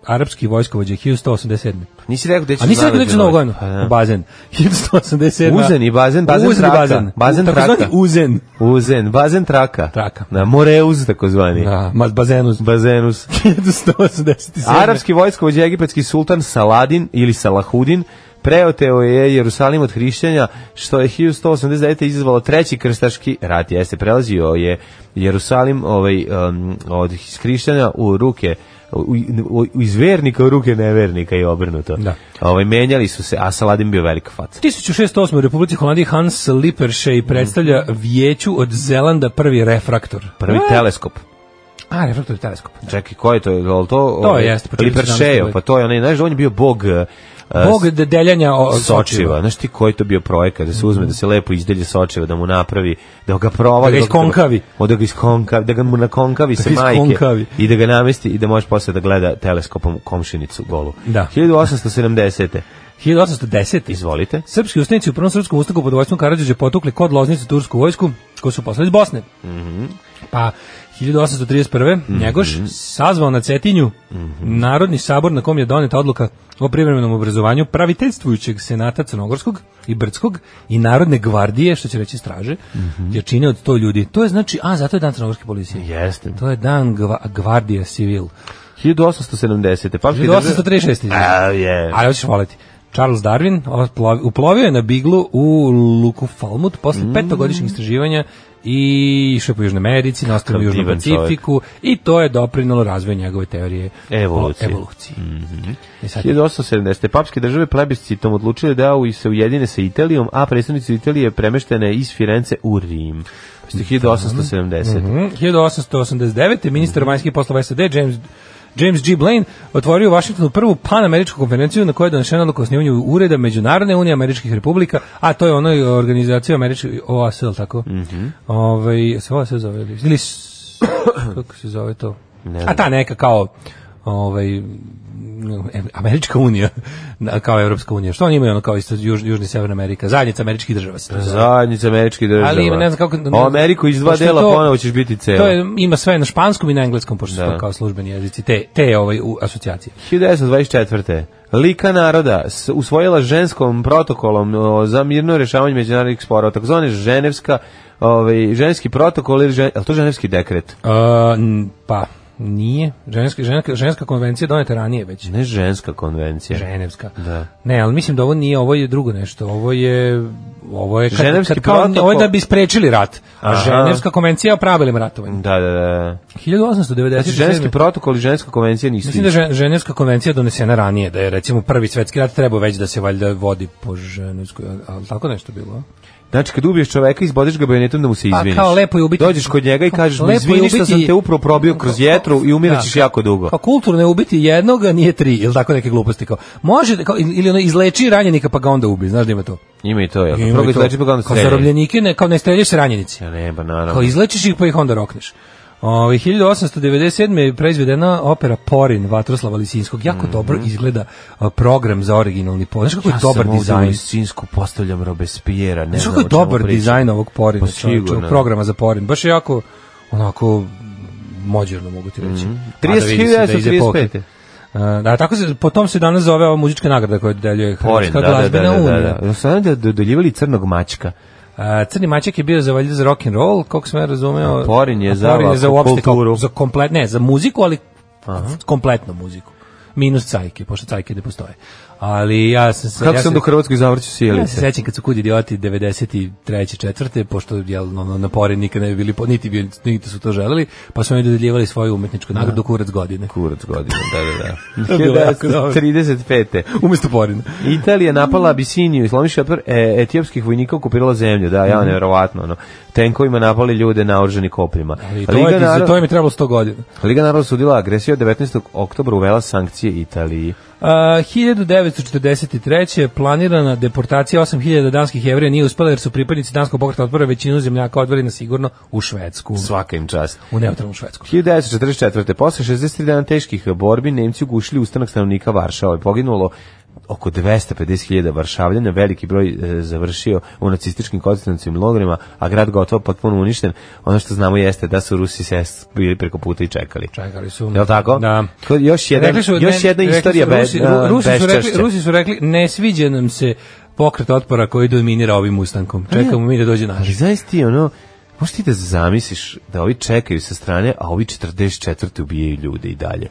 arapski vojskovođa 1187. Nisi rekao da ćeš A nisi rekao da nalazi će Novu godinu? Pa da. U bazen. 1187. Uzen i bazen, bazen Uzen i traka. bazen. Bazen U- takozvani traka. uzen. Uzen, bazen traka. Traka. Na moreuz takozvani. Da, ma bazenus. Bazenus. 1187. Arapski vojskovođa egipatski sultan Saladin ili Salahudin preoteo je Jerusalim od hrišćanja, što je 1189. izazvalo treći krstaški rat. Jeste, prelazio je Jerusalim ovaj, um, od hrišćanja u ruke u, u, u iz vernika u ruke nevernika i obrnuto. Da. Ovaj, menjali su se, a Saladin bio velika faca. 1608. u Republici Holandiji Hans Lippershey predstavlja vijeću od Zelanda prvi refraktor. Prvi teleskop. A, refraktor je teleskop. Čekaj, ko je to? Je li to To ovaj, jeste, početak 17. Liperšejo, veka. pa to je onaj, znaš, on je bio bog eh, Bog de- deljanja o- Sočiva. Znaš ti koji je to bio projekat da se uzme, da se lepo izdelje Sočiva, da mu napravi, da ga provali. Mhm. Da ga dok- iskonkavi. O, da ga iskonkavi, da ga mu nakonkavi se ga majke iskonkavi. i da ga namesti i da može posle da gleda teleskopom komšinicu golu. Da. 1870. 1810. Izvolite. Srpski ustanici u Prvom srpskom ustaku pod vojstvom Karadžića potukli kod Loznice tursku vojsku koju su poslali iz Bosne. Mhm. Pa 1831. Njegoš sazvao na Cetinju Mhm. Narodni sabor na kom je doneta odluka o privremenom obrazovanju praviteljstvujućeg senata Crnogorskog i Brdskog i Narodne gvardije, što će reći straže, Mhm. jačine od 100 ljudi. To je znači, a zato je dan Crnogorske policije. Jeste. To je dan gva- gvardija civil. 1870. Pamti 1836. A, je. Ali hoćeš voleti. Charles Darwin otplovi- uplovio je na biglu u Luku Falmut posle Mm. petogodišnjih istraživanja i išao je po Južnoj Americi, nastao u Južnom divan čovjek. Pacifiku i to je doprinalo razvoju njegove teorije Evolucije. o evoluciji. Mhm. I sad, 1870. Papske države plebiscitom odlučile da u- se ujedine sa Italijom, a predstavnici Italije premeštene iz Firence u Rim. Pazite, 1870. Mm-hmm. Mhm. 1889. ministar vanjskih poslova SAD James James G. Blaine otvorio u Vašingtonu prvu panameričku konferenciju na kojoj je donešena odluka o snimanju ureda Međunarodne unije američkih republika, a to je ono organizacija američkih OAS, jel tako? Mm -hmm. Ove, se OAS zove, ili- ili s- kako se zove to? a ta neka kao ovaj Američka unija, na- kao Evropska unija. Što oni imaju ono kao isto Južni, Južni i Severna Amerika, zajednica američkih država se to zove. Zajednica Mhm. američkih država. Ali ne znam kako... ne O znam- Ameriku iz dva pošto je dela to- ponovo ćeš biti ceo. To je, ima sve na španskom i na engleskom, pošto su Da. to kao službeni jezici, te, te ovaj, u, asocijacije. 1924. Lika naroda s- usvojila ženskom protokolom o, za mirno rešavanje međunarodnih sporova, takozvani ženevska ovaj ženski protokol ili žen, je li to ženevski dekret? A, n- pa, nije. Ženska, ženska, ženska konvencija je doneta ranije već. Ne ženska konvencija. Ženevska. Da. Ne, ali mislim da ovo nije, ovo je drugo nešto. Ovo je ovo je kad, Ženevski kad kao- protokol- ovo je da bi sprečili rat. A Aha. Ženevska konvencija je o pravilima ratovanja. Da, da, da. 1897. Znači, ženski protokol i ženska konvencija nisu Mislim da je Žen- Ženevska konvencija donesena ranije, da je recimo prvi svetski rat trebao već da se valjda vodi po Ženevskoj, ali tako nešto bilo. Znači, kad ubiješ čoveka, izbodeš ga bajonetom da mu se izviniš. Pa, kao lepo je ubiti- Dođeš kod njega i kažeš mu, Lepo je izvini što sam ubiti- te upravo probio kroz jetru i umirat ćeš Da. jako dugo. Kao kulturno je ubiti jednog, a nije tri, ili tako neke gluposti. Kao, može, kao, ili ono, izleči ranjenika pa ga onda ubi, znaš da ima to. Ima i to, jel? Ima Prvo ga i to. izleči pa ga onda Kao strelja. zarobljenike, ne, kao ne streljaš s ranjenici. Ja ne, ba, naravno. Kao izlečiš ih pa ih onda rokneš. Ove, 1897. je proizvedena opera Porin Vatroslava Lisinskog. Jako dobro izgleda a, program za originalni po. Znaš kako je Mhm. ja dobar sam ovdje u dizajn? Lisinsku postavljam Robespierre, ne Znaš znam kako je o čemu dobar pričam. dizajn ovog Porina, Pa čovječe, sigurno. ovog programa za Porin. Baš je jako, onako, mođerno mogu ti reći. Mhm. A da vidi se da je iz epohe. 1935. Uh, da, tako se, potom se danas zove ova muzička nagrada koju dodeljuje Porin, da, Hrvatska da, da, glazbena da, unija. da, da. Sada da dodeljivali crnog mačka. A, Crni mačak je bio za valjda za rock and roll, koliko sam ja razumeo. A Porin je A za uopšte kao- kulturu. za komplet, ne, za muziku, ali kompletnu muziku. Minus cajke, pošto cajke ne postoje. Ali ja sam se... Kako ja sam se- do Hrvatskog zavrću Ja se sjelice? sećam kad su kud idioti 93. četvrte, pošto jel, ono, na pori nikad ne bi bili, po- niti, bi, niti su to želeli, pa su oni dodeljivali svoju umetničku nagradu kurac godine. Kurac godine, da, je bilo jako da, da. dobro. 35. Umesto porina. Italija napala Abisiniju, slomiši napor e, etiopskih vojnika okupirala zemlju, da, Mhm. ja, nevjerovatno, ono. Tenkovima napali ljude naoružani kopljima. I to, je, narod- za to je mi trebalo 100 godina. Liga naroda sudila agresiju 19. oktobra uvela sankcije Italiji. Uh, 1943. planirana deportacija 8000 danskih jevrija nije uspela jer su pripadnici danskog pokreta otpora većinu zemljaka odveli na sigurno u Švedsku. Svaka im čast. U neutralnu Švedsku. 1944. Posle 63 dana teških borbi Nemci ugušili ustanak stanovnika Varšava i poginulo oko 250.000 varšavljana, veliki broj e, završio u nacističkim koncentracijnim logorima, a grad gotovo potpuno uništen. Ono što znamo jeste da su Rusi se bili preko puta i čekali. Čekali su. Jel tako? Da. To je još jedan- Rekli još jedna rekli istorija su, be- Rusi, a, Ru- Rusi su rekli, beščašća. Rusi su rekli, ne sviđa nam se pokret otpora koji dominira ovim ustankom. Čekamo mi da dođe naš. Ali znaš ti, ono, možeš ti da zamisliš da ovi čekaju sa strane, a ovi 44. ubijaju ljude i dalje.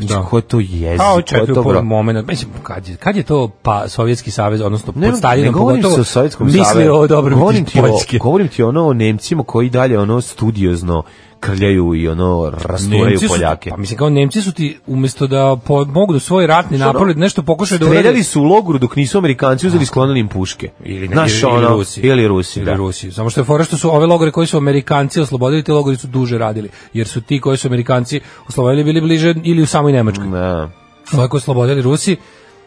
Znači, Da. ko je to jezi, Pa ko ovo je četiri to bro? moment. Mislim, kad je, kad je to pa Sovjetski savez, odnosno Ne, pod Stalinom ne govorim pogotovo, se o Sovjetskom mislio savezu. o dobrom govorim ti Poljske. o, govorim ti ono o Nemcima koji dalje ono studiozno krljaju i ono rasturaju Nemci su- Poljake. pa mislim kao Nemci su ti umjesto da po, mogu da svoj ratni napor nešto pokušaju da Streljali su u logoru dok nisu Amerikanci uzeli i sklonili im puške. ili, ne, Znaš, ili, ono, ili Rusi. Ili Rusi, Ili da. Rusi. Samo što je fora što su ove logore koji su Amerikanci oslobodili, te logori su duže radili, jer su ti koji su Amerikanci oslobodili bili bliže ili u samoj Nemačkoj. Da. Ove koji su oslobodili Rusi,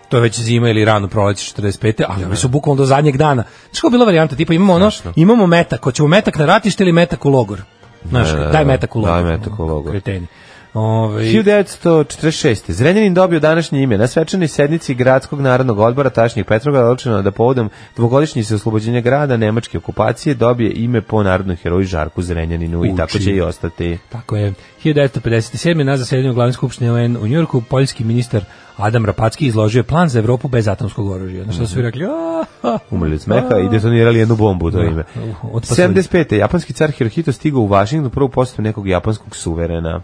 to je već zima ili rano proleće 45. ali oni su bukvalno do zadnjeg dana. Znaš kako je bila varijanta, tipa imamo ono, imamo metak, hoćemo metak na ratište ili metak u logor. Znaš, Da, da, da. daj metak u logor. Daj metak u logor. Kreteni. Ovaj- 1946. Zrenjanin dobio današnje ime. Na svečanoj sednici Gradskog narodnog odbora tašnjeg Petrograda odlučeno da povodom dvogodišnjice oslobođenja grada nemačke okupacije dobije ime po narodnom heroju Žarku Zrenjaninu i Uči. tako će i ostati. Tako je. 1957. na zasedanju glavne skupštine UN u Njurku poljski ministar Adam Rapacki izložio je plan za Evropu bez atomskog oružja. Na što Mhm. su vi rekli? "A, ha, Umrli od Pa, smeha i detonirali jednu bombu u to ime. od pasulja. 75. Japanski car Hirohito stigao u Washington prvu postavu nekog japanskog suverena.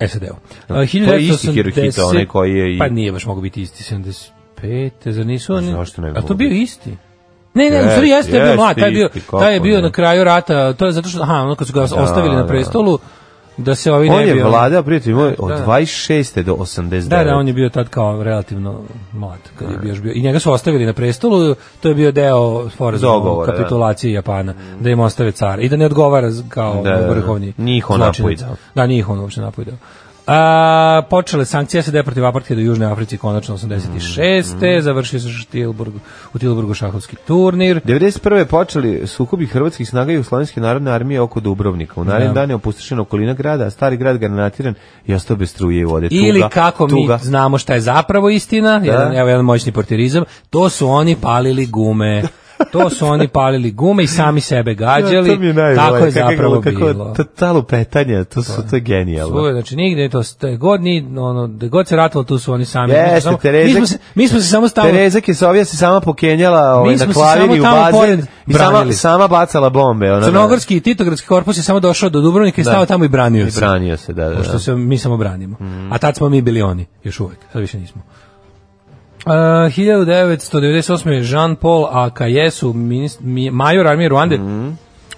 SAD-u. To je isti Hirohito, onaj koji je i- Pa Pa nije baš mogu biti isti. 75. Zar nisu oni... Zašto ne bi A mogao to bio biti? isti? Ne, ne, u Jeste, stvari jeste, je bio jeste mlad, taj je bio, isti, kako taj je bio ne. na kraju rata, to je zato što, aha, ono kad su ga ostavili da. na prestolu, da se ovi ne On bi... je ono- vladao, prijatelj moj, od Da, da. 26. do 89. Da, da, on je bio tad kao relativno mlad kad je bio još bio. I njega su ostavili na prestolu, to je bio deo sporazuma o Dogovora, da. kapitulaciji Japana, da im ostave car i da ne odgovara z- kao Da, da, da. vrhovni Njih on zločinac. napojdao. Da, njih on uopšte napojdao. A, počele sankcije se protiv apartheid u Južnoj Africi konačno 86. Mm. Završio se Štilburg, u Tilburgu šahovski turnir. 91. počeli sukobi hrvatskih snaga i Jugoslovenske narodne armije oko Dubrovnika. U narednim Da. dan je opustošena okolina grada, a stari grad granatiran i ostao bez struje i vode. Tuga, Ili kako tuga. mi znamo šta je zapravo istina, jedan, evo jedan moćni portirizam, to su oni palili gume. To su oni palili gume i sami sebe gađali. Ja, to mi je najbolje. tako je Kako- zapravo kako, bilo. To, ta lupetanja, to, su, to je genijalno. Svoje, znači nigde to ste god ni ono da god se ratalo tu su oni sami. Jeste, mi, smo samo, mi Terezak- smo se mi smo se samo stavili Tereza Kesovija se sama pokenjala ovaj, Mi na smo se klaviri samo u tamo pored bazen i sama, branili. sama bacala bombe. ono Ona, Crnogorski i Titogradski korpus je samo došao do Dubrovnika i stao tamo i branio I se. branio se, da, da. da. Mhm. Pošto se mi samo branimo. A tad smo mi bili oni, još uvek. Sad više nismo. Uh, 1998. je Jean-Paul Akayesu, minis- mi- major armije Ruande, Mhm.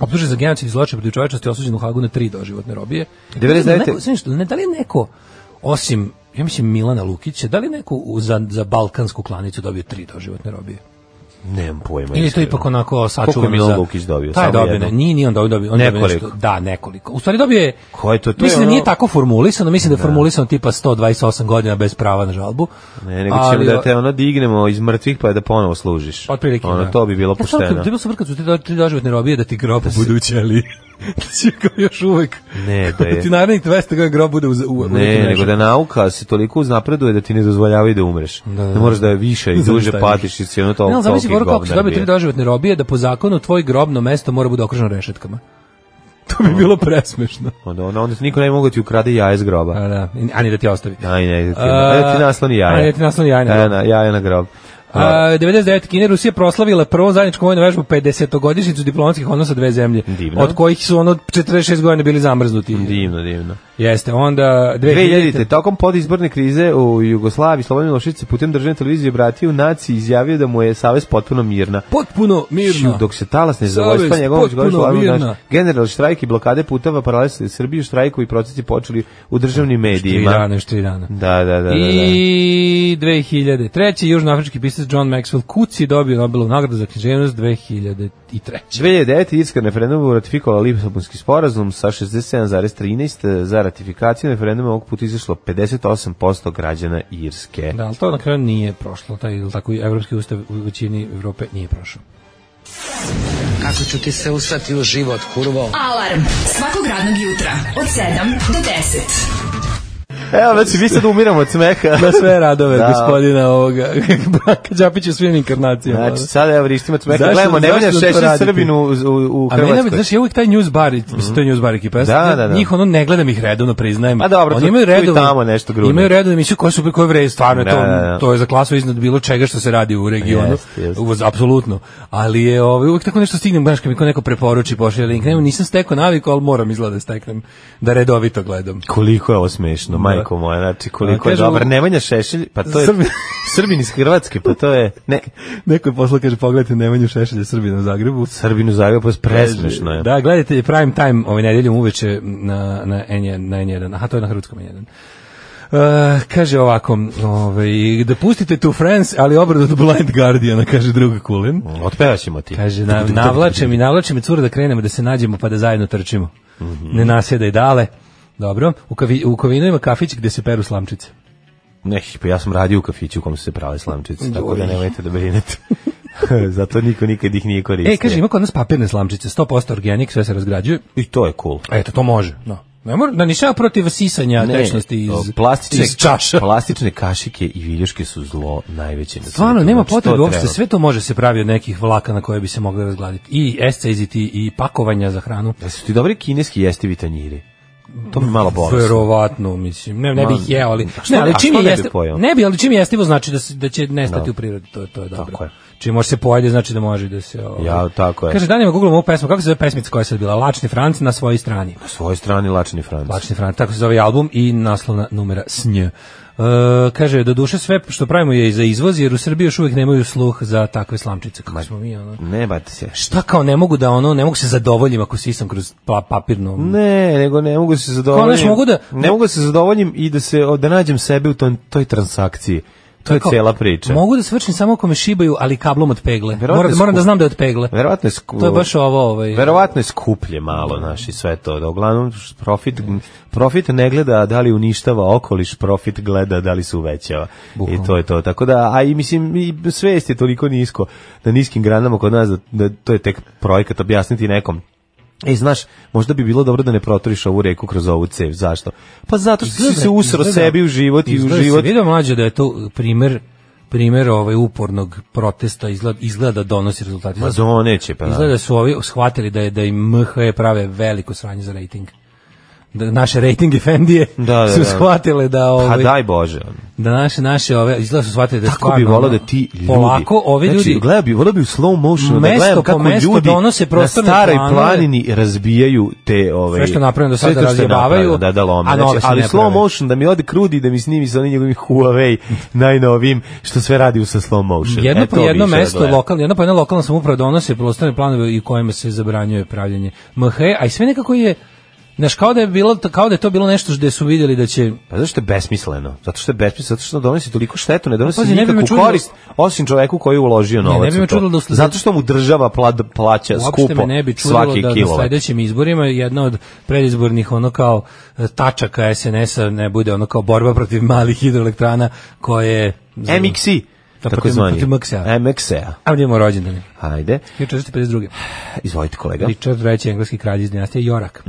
optužen za genocid i zločin protiv čovečnosti, osuđen u Hagu na tri doživotne robije. 99.. Neko- znaš što, ne, da li je neko, osim, ja mislim Milana Lukića, da li je neko u- za, za balkansku klanicu dobio tri doživotne robije? Nemam pojma. Ili je to iskreno. ipak ono- onako sačuvano za... Koliko je Milan Lukić dobio? Taj je Samo dobio, jedno? ne, nije, nije on dobio, dobio. On dobio Nekoliko. nešto- da, nekoliko. U stvari dobio je... Ko je to? To je mislim da ono- nije tako formulisano, mislim da je formulisano tipa 128 godina bez prava na žalbu. Ne, nego ćemo da te ono dignemo iz mrtvih pa da ponovo služiš. Otprilike, ono, da. to bi bilo ja sam pošteno. kad- Bilo sam kad su ti do, tri doživotne robije da ti grob budu u ćeliji. Da će kao još uvek. Ne, da je- ti narednih 200 godina grob bude u, u, u Ne, nego da nauka se toliko uznapreduje da ti ne dozvoljavaju da umreš. Da, da, da. moraš da je više i duže Zavistaješ. patiš i si ono to. Ne, ali zamisli toliki Boro kako se govnar dobije tri bio. doživotne robije da po zakonu tvoj grobno mesto mora bude okruženo rešetkama. To bi bilo presmešno. Onda, ono, onda, onda ti niko ne mogu ti ukrade jaje iz groba. A, da, i- a ni da ti ostavi. Aj, ne, ti, A, aj, da ti nasloni jaje. a, da ti nasloni jaje na Jaja grob. jaje na grob. A, A, 99. Kine i Rusija proslavila prvo zajedničku vojnu vežbu 50-godišnjicu diplomatskih odnosa dve zemlje, Divno. od kojih su ono 46 godina bili zamrznuti. divno, divno. Jeste, onda 2000. Tokom podizborne krize u Jugoslaviji Slobodan Milošević se putem državne televizije obratio u naciji i izjavio da mu je savez potpuno mirna. Potpuno mirno. Ću, Dok se talas nezadovoljstva Savez njegovom potpuno izgodištu armu mirna. naš general štrajk i blokade putava paralel sa Srbiju štrajkovi procesi počeli u državnim Tri medijima. dana, još tri dana. Da, da, da, da. da. I 2003. južnoafrički pisac John Maxwell Kuci dobio Nobelovu nagradu za književnost 2003. 2009. Irska na referendumu ratifikovala Lisabonski sporazum sa 67,13 za ratifikaciju na referendumu ovog puta izašlo 58% građana Irske. Da, ali to na kraju nije prošlo, taj ili tako evropski ustav u većini Evrope nije prošao. Kako ću ti se usrati u život, kurvo? Alarm svakog radnog jutra od 7 do 10. Evo, znači, mi sad umiramo od smeha. Na sve radove Da. gospodina ovoga Branka Đapića u svim inkarnacijama. Znači, sad evo vrištimo od smeha. Zašto- Gledamo, ne zašto valja to šešće radite? Srbinu u, u, u A mene, Hrvatskoj. Mhm. znaš, ja uvijek taj news bar, mislim, to je news bar ekipa. Ja Da, da, da, da. Njih ono ne gledam ih redovno, priznajem. A dobro, tu- Oni imaju tu i redovno, tamo nešto grune. Imaju redovno emisiju koje su koje vre, stvarno je Da, to, da, da. to je za klasu iznad bilo čega što se radi u regionu. Jest, jest. Uvoz, apsolutno. Ali je ovaj, uvijek tako nešto stignem, znaš, kad mi ko neko preporuči, pošalje link. Nemo, nisam stekao naviku, ali moram izgleda da steknem, da redovito gledam. Koliko je ovo smešno, majko moja, znači koliko A, je kažu- dobar. Nemanja Šešelj, pa to je Srbi- Srbin iz Hrvatske, pa to je ne, Neko je poslao, kaže, pogledajte Nemanju Šešelja Srbina u Zagrebu. Srbinu Zagreba, pa presmešno je. Da, gledajte prime time ove nedelje uveče na, na, N1, na N1. Aha, to je na hrvatskom N1. Uh, kaže ovako, ovaj, da pustite tu France, ali obradu od Blind Guardiana, kaže druga Kulin. Otpevaćemo ti. Kaže, na, navlače mi, navlače mi cura da krenemo, da se nađemo pa da zajedno trčimo. Mhm. Ne nasjedaj dale. Dobro, u, kavi, u kovinu ima kafić gde se peru slamčice. E, Ne, pa ja sam radio u kafiću u kom su se prale slamčice, tako da nemojte da brinete. Zato niko nikad ih nije koristio. E, kaže, ima kod nas papirne slamčice, 100% organik, sve se razgrađuje. I to je cool. Eto, to može. No. Ne mora, da nisam ja protiv sisanja tečnosti o, iz, plastične, iz čaša. plastične kašike i viljuške su zlo najveće. na Stvarno, svijetu. nema Znači, to potrebe uopšte, treba. sve to može se pravi od nekih vlakana koje bi se mogli razgladiti. I esceziti, i pakovanja za hranu. Da su ti dobri kineski jestivi tanjiri? To mi je malo bolesno. Verovatno, mislim. Ne, ne Ma, bih jeo, ali... a što- Ne, a ali što čim je ne bi jeste, pojeo? ne bi, ali čim je jestivo znači da, se- da će nestati Da. u prirodi, to, je- to je dobro. Tako je. Čim može se pojede, znači da može da se... ovaj- Ja, tako je. Kaže, danima googlam ovu pesmu, kako se zove pesmica koja je sad bila? Lačni Franc na svojoj strani. Na svojoj strani lačni Franc. Lačni Franc, tako se zove album i naslovna numera Snj. E, kaže, do duše sve što pravimo je i za izvoz, jer u Srbiji još uvijek nemaju sluh za takve slamčice kako smo mi, ono. Ne bate se. Šta kao ne mogu da ono, ne mogu se zadovoljim ako sisam kroz pa, papirno... Ne, nego ne mogu se zadovoljim. Kao, znaš, mogu da- ne mogu se zadovoljim i da se da nađem sebe u tom toj transakciji. To je kao, cela priča. Mogu da se vršim samo ako me šibaju, ali kablom od pegle. Verovatno je Moram, moram da skup. znam da je od pegle. Verovatno je sku- To je baš ovo, ovaj. Verovatno je skuplje malo, znaš, i sve to. Da, uglavnom, profit, profit ne gleda da li uništava okoliš, profit gleda da li se uvećava. I to je to. Tako da, a i mislim, i svest je toliko nisko, na niskim granama kod nas, da, da to je tek projekat objasniti nekom. Ej, znaš, možda bi bilo dobro da ne protoriš ovu reku kroz ovu cev. Zašto? Pa zato što si se usro sebi u život i u izgleda se život. Vidio mlađe da je to primer primer ovaj upornog protesta izgleda, izgleda da donosi rezultate. Ma Izgleda, doneće, pa. da. izgleda da su ovi shvatili da je da im MHE prave veliko sranje za rating. Da naše rating efendije Da, da, da. su shvatile da Pa ovaj daj Bože. da naše naše ove izgleda su shvatili da Tako bi stvarno, volao ono, da ti ljudi... polako ovi ljudi Znači, gledao bi, volao bi u slow motionu da Mesto gledam po kako mesto ljudi donose na prostorne staroj planove. planini razbijaju te... Ove, Sve što je napravljeno do sve sada to što je razjebavaju, napravljeno, Da, da lome. a nove Znači, se ali ne slow prave. motion, da mi ode krudi, da mi snimi sa onim njegovim Huawei najnovim, što sve radi sa slow motion. jedno E, po to jedno više da mesto gledam. lokalno, jedno po jedno lokalna samouprava donose prostorne planove i kojima se zabranjuje pravljenje MH, a i sve nekako je Znaš, kao da je, bilo, kao da je to bilo nešto gde su vidjeli da će Pa zato što je besmisleno. Zato što je besmisleno, zato što donosi toliko štetu, ne donosi Pazi, ne bi me nikakvu čudilo- korist, osim čoveku koji je uložio ne novac. bi u me to. čudilo da usled- Zato što mu država pla- plaća Uopšte skupo me ne bi čudilo svaki da na kilovat. sledećim izborima jedna od predizbornih ono kao e, tačaka SNS-a ne bude ono kao borba protiv malih hidroelektrana koje... MXI, Da, tako protiv- zvani. protiv MXA. MXA. A gdje imamo rođendane? Ajde, 1452. izvolite kolega. Richard III. engleski kralj iz dinastije Jorak.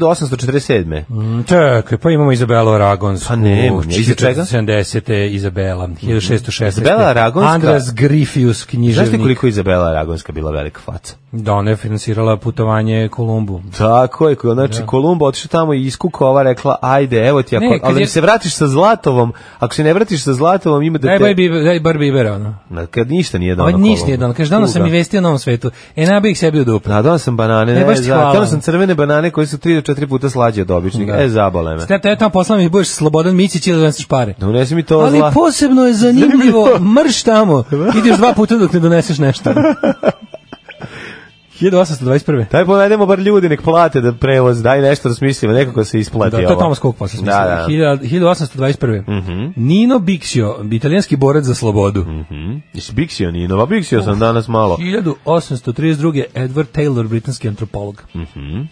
1847. Mm, Čekaj, pa imamo Izabelu Aragonsku. Pa nema, ne, iza čega? 70. Izabela, 1616. Izabela Aragonska? Andras Grifius, Znaš ti književnik. koliko je Izabela Aragonska bila velika faca? Da, ona je finansirala putovanje Kolumbu. Tako je, koja- znači Kolumba otišla tamo i iskukova rekla, ajde, evo ti, ako, Ne, kad ali je- mi se vratiš sa Zlatovom, ako se ne vratiš sa Zlatovom, ima da Daj, te... bar biber- daj bar bibera, ono. Na, kad ništa nije dano Ovo ništa nije dano. Kaže, dano sam i vesti o novom svetu. E, nabih sebi u dupu. Na, dao sam banane, Ne, ne, baš ti za, hvala. dao sam crvene banane koje su 3 do 4 puta slađe od običnih. E, zabole me. Ste tebe tamo poslala mi budeš slobodan Micić ili doneseš pare. Da unesi mi to Ali zla. posebno je zanimljivo, mrš tamo. Ideš dva puta dok ne doneseš nešto. 1821. Daj ponajdemo bar ljudi, nek plate da prevoz, daj nešto da smislimo, nekako se isplati Da, to je ovo. Thomas Cook posle Da, smislio. da. Mm. 1821. Nino Bixio, italijanski borac za slobodu. Mhm. Jesi Bixio Nino? Pa Bixio sam danas malo. 1832. Edward Taylor, britanski antropolog.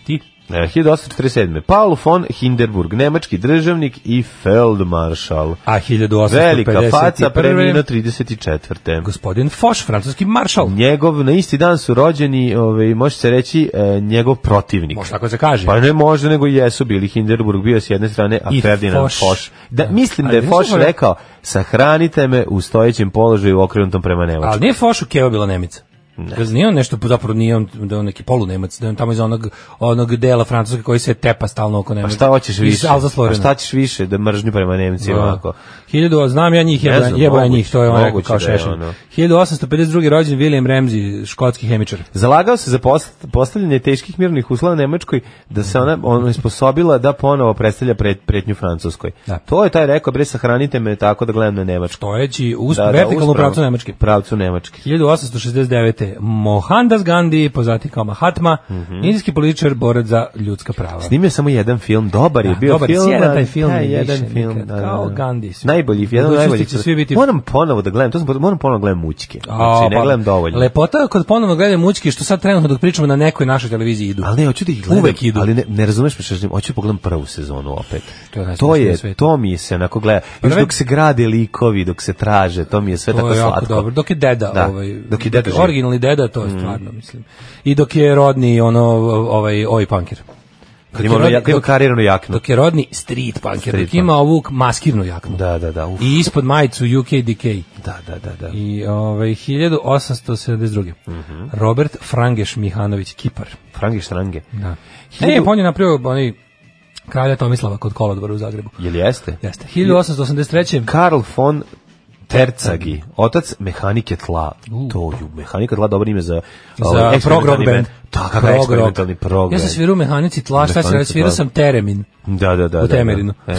Ti? E, 1847. Paul von Hindenburg, nemački državnik i feldmaršal. A 1851. Velika faca, preminuo 34. Gospodin Foch, francuski maršal. Njegov, na isti dan su rođeni, ovaj, može se reći, e, njegov protivnik. Može tako se kaže. Pa ne može, nego jesu bili Hindenburg bio s jedne strane, a I Ferdinand Foch. Foch. Da, Da. Mislim da Ali je nisam Foch gore- rekao, sahranite me u stojećem položaju okrenutom prema Nemačku. Ali nije Fošu Keva bila Nemica. Ne. Nije on nešto, zapravo nije on, da je on neki polunemac, da je on tamo iz onog, onog dela Francuske koji se tepa stalno oko Pa Nemaca. šta hoćeš više? Alza Pa šta ćeš više da mržnju prema Nemcima? Ako? Hiljadu, znam ja njih, jebo, Ne znam, jebo ja moguće, njih, to je on rekao moguće kao da je šešelj. ono. 1852. rođen William Ramsey, škotski hemičar. Zalagao se za post- postavljanje teških mirnih uslova u Nemačkoj da se ona ona sposobila da ponovo predstavlja pret, pretnju Francuskoj. Da. To je taj rekao, bre, sahranite me tako da gledam na Nemačku. Stojeći usp, Da, da, vertikalno u uspravo. pravcu Nemačke. Pravcu Nemačke. 1869. Mohandas Gandhi, poznati kao Mahatma, Mhm. indijski političar, borac za ljudska prava. Snimio samo jedan film, dobar je Da, bio dobar je, film. sjadan taj ali film taj više jedan nikad, film. da, kao da, da. Gandhi. Najbolji, jedan U od budućnosti najboljih. će svi biti- Moram ponovo da gledam, to sam, moram ponovo da gledam mućke. A, Znači, ne pa, gledam dovoljno. Lepota kod ponovno gledanja mučki što sad trenutno dok pričamo na nekoj našoj televiziji idu. Ali ne, hoću da ih gledam, Uvek idu. ali ne, ne razumeš me što želim, hoću da pogledam prvu sezonu opet. To je najsmešnije To na je, svetu. to mi se onako gleda, još Prve- dok se grade likovi, dok se traže, to mi je sve to tako je jako slatko. dobro. Dok je deda, Da, ovaj, dok je deda živ. Mhm. originalni deda, to je stvarno, mislim. I dok je rodni ono ovaj oj punker. Dok Kad ima, je ono, rodni- ja- kad ima dok- kariranu jaknu. Dok je rodni street punker, Street dok ima ovu maskirnu jaknu. Da, da, da, uf, I ispod majicu UKDK. da, da, da, da. I ovaj 1872. Mhm. Robert Frangeš Mihanović Kipar. Frangi Štrange. Da. Hiljadu- E, pa on je napravio onaj kralja Tomislava kod Kolodvora u Zagrebu. Jel jeste? Jeste. 1883. Karl von Tercagi, otac mehanike tla. To je mehanika tla, dobro ime za, za ovaj, prog rock eksperimentalni band. Da, kakav Prog rock. eksperimentalni prog Ja sam band. svirao u mehanici tla, šta sam Mehanici svirao tla. sam teremin. Da, da, da. u da, da. Temerinu. E.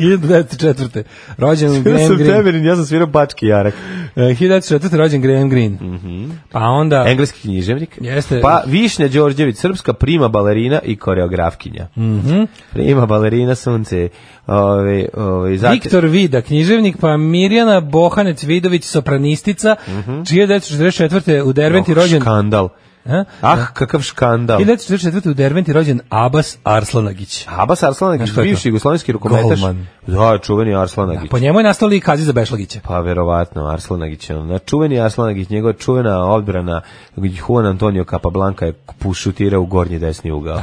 1904. Rođen Ja Graham sam Greene. temerin, ja sam svirao bački jarak. E, 1904. rođen Graham Greene. Mhm. Pa onda... Engleski književnik. Jeste. Pa Višnja Đorđević, srpska prima balerina i koreografkinja. Mhm. Prima balerina, sunce. Ove, ove, zatim- Viktor Vida, književnik, pa Mirjana Bohanec Vidović, sopranistica, Mhm. čije je 1944. u Derventi Oh, rođen... Škandal. A? Ah, kakav škandal. 1944. u Derventi rođen Abas Arslanagić. Abas Arslanagić, Znaš ko je to? bivši jugoslovenski rukometaš. Golman. pa Da, čuveni Arslanagić. Po njemu je nastao lik Kazi za Bešlagića. Pa verovatno Arslanagić, on na čuveni Arslanagić, njegova čuvena odbrana Juan Antonio Capablanca je pušutirao u gornji desni ugao.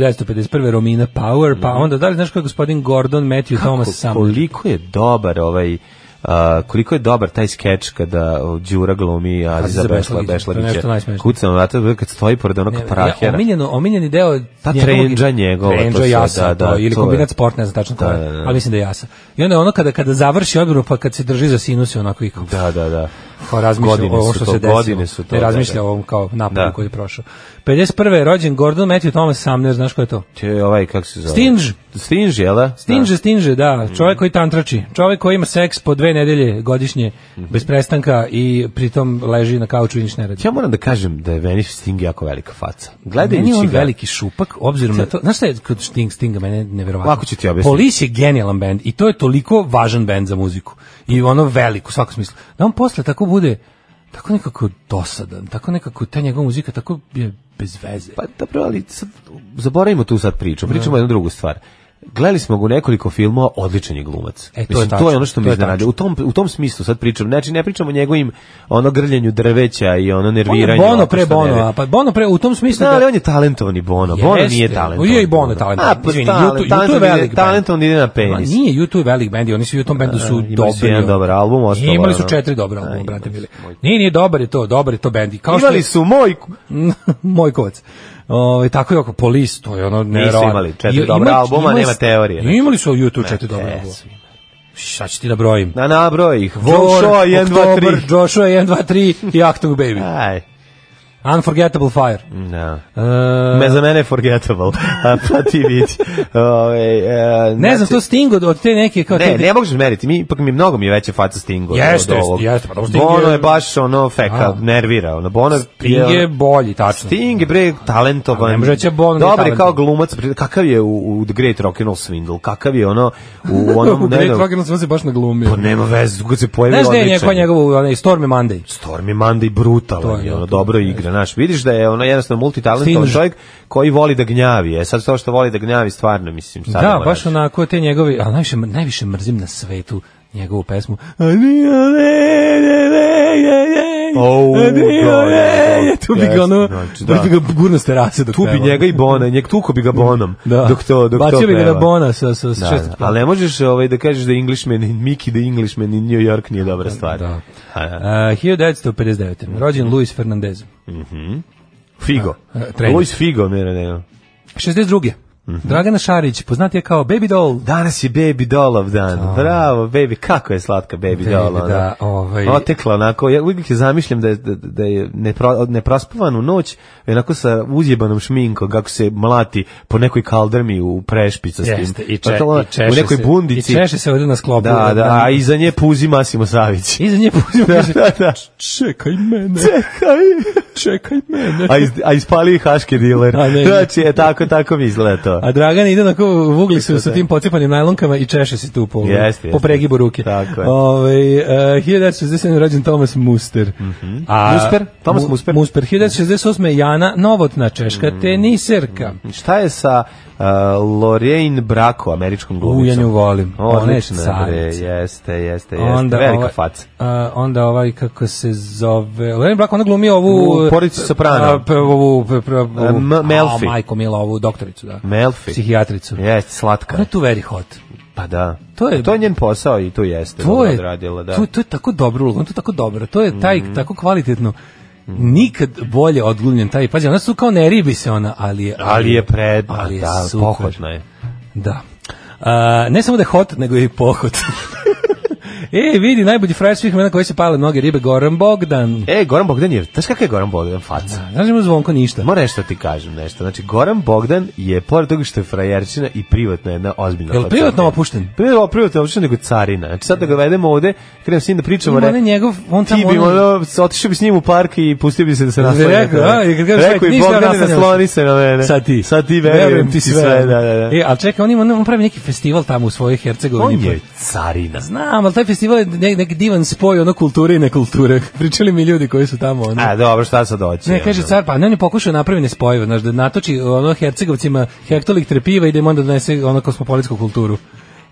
1951. Romina Power, pa onda, da li znaš ko je gospodin Gordon Matthew Thomas sam? koliko je dobar ovaj a, koliko je dobar taj skeč kada o, Đura glumi Aziza Aziza Bešla, Bešlagića, to je nešto Bešlagića. najsmešnije. Kucam vrata kad stoji pored onog Ja, prahera. omiljeno, omiljeni deo Ta njegovog- trendža njegova, to trendža su- jasa, da, da, to, ili to kombinat je. sport, ne znam tačno koja, Da, da, da. ali mislim da je jasa. I onda ono kada, kada završi odbor, pa kad se drži za sinuse, onako i kao, Da, da, da. kao razmišlja Godine o ovom su što to, se desilo. godine su to, ne da, razmišlja da. o ovom kao napadu Da. koji je prošao. 51. je rođen Gordon Matthew Thomas Sumner, znaš ko je to? To je ovaj, kako se zove? Stinge. Stinge, jel da? Stinže, stinže, da, Mhm. čovjek koji tantrači, čovjek koji ima seks po dve nedelje godišnje, bez prestanka i pritom leži na kauču i ništa ne radi. Ja moram da kažem da je meni Sting jako velika faca. Meni Gledajući je on ga, veliki šupak, obzirom na to. Znaš šta je kod Sting, Stinga mene nevjerovatno? Lako ću ti objasniti. Police je genijalan band i to je toliko važan band za muziku. I ono veliko, u svakom smislu. Da on posle tako bude tako nekako dosadan, tako nekako ta njegova muzika tako je bez veze. Pa dobro, ali sad, zaboravimo tu sad priču. Pričamo jednu drugu stvar. Gledali smo ga u nekoliko filmova, odličan je glumac. E, to Mislim, je to, tačno, je ono što to mi je iznenađa. tačno. U tom, u tom smislu sad pričam. Znači, ne pričamo o njegovim ono grljenju drveća i ono On je nerviranju. pa, Bono ono pre što ne Bono, radi. pa Bono pre u tom smislu Da, ali da on je talentovani Bono. Bono Jeste. nije talentovan. Je i Bono talentovan. A, pa, Izvini, talent- U2 U2 je talentovan ide- velik band. talentovan ide na Ma penis. E, nije YouTube velik band, i oni svi u tom bendu su imali su dobri. jedan dobar album, ostalo Imali su ono. četiri dobra A, albuma, imali brate su. bili. Nije, nije dobar je to, dobar je to bend. I Kao što je- Imali su moj... moj kovac. Ovaj tako je oko polis, to je ono nevjerovatno. imali četiri I- dobra ima- albuma, ima- nema teorije, znači. Imali su u YouTube četiri dobra E, albuma. su. Šta ću ti da brojim? Na nabroj ih. Volšo, Joshua 1, 2, 3. Joshua 1, 2, 3 i Actung Baby. Aj, Unforgettable Fire. no. E, Me za mene je forgettable, a pa ti vidi. Ove, e, ne znam, to Sting od, od te neke kao Ne, te, ne možeš meriti, mi, ipak mi mnogo mi je veća faca Stingo. od Jeste, ovog. jeste, jeste, pa dobro, Sting Bono je- je baš ono feka, A. nervira. Ono, Bono je- Sting je bolji, tačno. Sting je bre talentovan. Ne može reći da je Bono nije Dobar je kao talentovan. glumac, bre, kakav je u, u The Great Rock'n'Roll Swindle, kakav je ono u onom... u ne Great znam, Rock and se baš naglumio. Pa nema veze, kad se pojavi Znaš da je odličan njegov, je. njegov, onaj, Stormy Monday. Stormy Monday brutalan To je, je, ono, to je, dobro igra, znaš, vidiš da je ono jednostavno multitalentovan Stinž. čovjek koji voli da gnjavi, e sad to što voli da gnjavi stvarno, mislim, sad da, moraš. baš onako te njegove, ali najviše, najviše mrzim na svetu njegovu pesmu. Oh, tu bi ga ono, Znači, da. da. bi ga gurno s terase dok Tu bi peva. njega i Bona, njeg tuko bi ga Bonom, da. dok to, dok Bacio to bi ga na peva. Bona sa, sa, sa Da, šest- da. Ali ne možeš ovaj, da kažeš da je Englishman in Mickey, da je Englishman in New York nije dobra stvar. Da. A, da. A, 1959. Rođen Luis Fernandez. Figo. A, trener. Luis Figo, ne, ne, ne. 62. Mhm. Dragana Šarić, poznatija kao Baby Doll. Danas je Baby Dollov dan. Bravo, baby, kako je slatka Baby, Baby, Doll. ona. da, ovaj- Otekla onako, ja uvijek je zamišljam da je, da, da je nepro, neprospavanu noć, onako sa uzjebanom šminkom, kako se mlati po nekoj kaldrmi u prešpica s tim. Jeste, i, Pa če, to ona i češe U nekoj se, bundici. I češe se ovdje na sklopu. Da, da, a iza nje puzi Massimo Savić. Iza nje puzio, da, kaže, da, da. čekaj mene, Čekaj. čekaj mene. A, iz, a ispali i haški diler. A ne, ne. Znači, je, tako, tako mi izgleda to. A Dragan ide onako u ugli su sa tim pocipanim najlonkama i češe se tu po, Jeste, po jeste. pregibu ruke. Tako je. Ovaj, e, 1967. je rođen Thomas Muster. Mhm. A- Musper? Thomas Musper? Musper. 1968. je Jana Novotna, češka Mhm. teniserka. Šta je sa uh, Lorraine Bracco, američkom glumicom? U, ja nju volim. Ona je Odlična, bre, carica. jeste, jeste, jeste. Velika ovaj- faca. a, onda ovaj, kako se zove... Lorraine Bracco, ona glumi ovu... U Porodici Soprano. a, p- Ovu... p- p- ovu- E, M- a, Melfi. Majko Mila, ovu doktoricu, da. Melfi. Psihijatricu. Jeste, slatka. Ona je tu very hot. Pa da. To je- to je njen posao i to jeste. to ona je, odradila, da. Mhm. to, to je tako dobro uloga, on to je tako dobro, to je taj tako kvalitetno, nikad bolje odglumljen taj, pazi, ona su kao ne ribi se ona, ali je, ali je pred, ali ali je da, super. pohotna je. da. A, ne samo da je hot, nego je i pohod. E, vidi, najbolji frajer svih vremena koji se pale noge ribe, Goran Bogdan. E, Goran Bogdan je, znaš kakav je Goran Bogdan faca? Znaš da mu zvonko ništa. Moram nešto ti kažem, nešto. Znači, Goran Bogdan je, pored toga što je frajerčina i privatna jedna ozbiljna Jel faca. privatno opušten? Privatno, privatno opušten nego carina. Znači, sad da ga vedemo ovde, krenem s njim da pričamo. Ima ne- onaj njegov, on Ti tamo... bi ono- ono, otišao bi s njim u park i pustio bi se da se nasloni. na Rekao, tebe. a, i kad kažeš, Rekao i ništa, Bogdane, naslanjam se. nasloni se na mene. Sad ti. Sad ti verujem, ti sve. da, da, da. E, ali čekaj, on, ima, on pravi neki festival tamo u svojoj Hercegovini. pa- on je carina. Znam, ali taj festival je ne- neki divan spoj ono kulture i nekulture. Pričali mi ljudi koji su tamo. Ono. A, E, dobro, šta sad hoće? Ne, kaže ono. car, pa ne, on je pokušao napravi nespojivo, znaš, da natoči ono Hercegovcima hektolik trepiva i da im onda donese ono kosmopolitsku kulturu.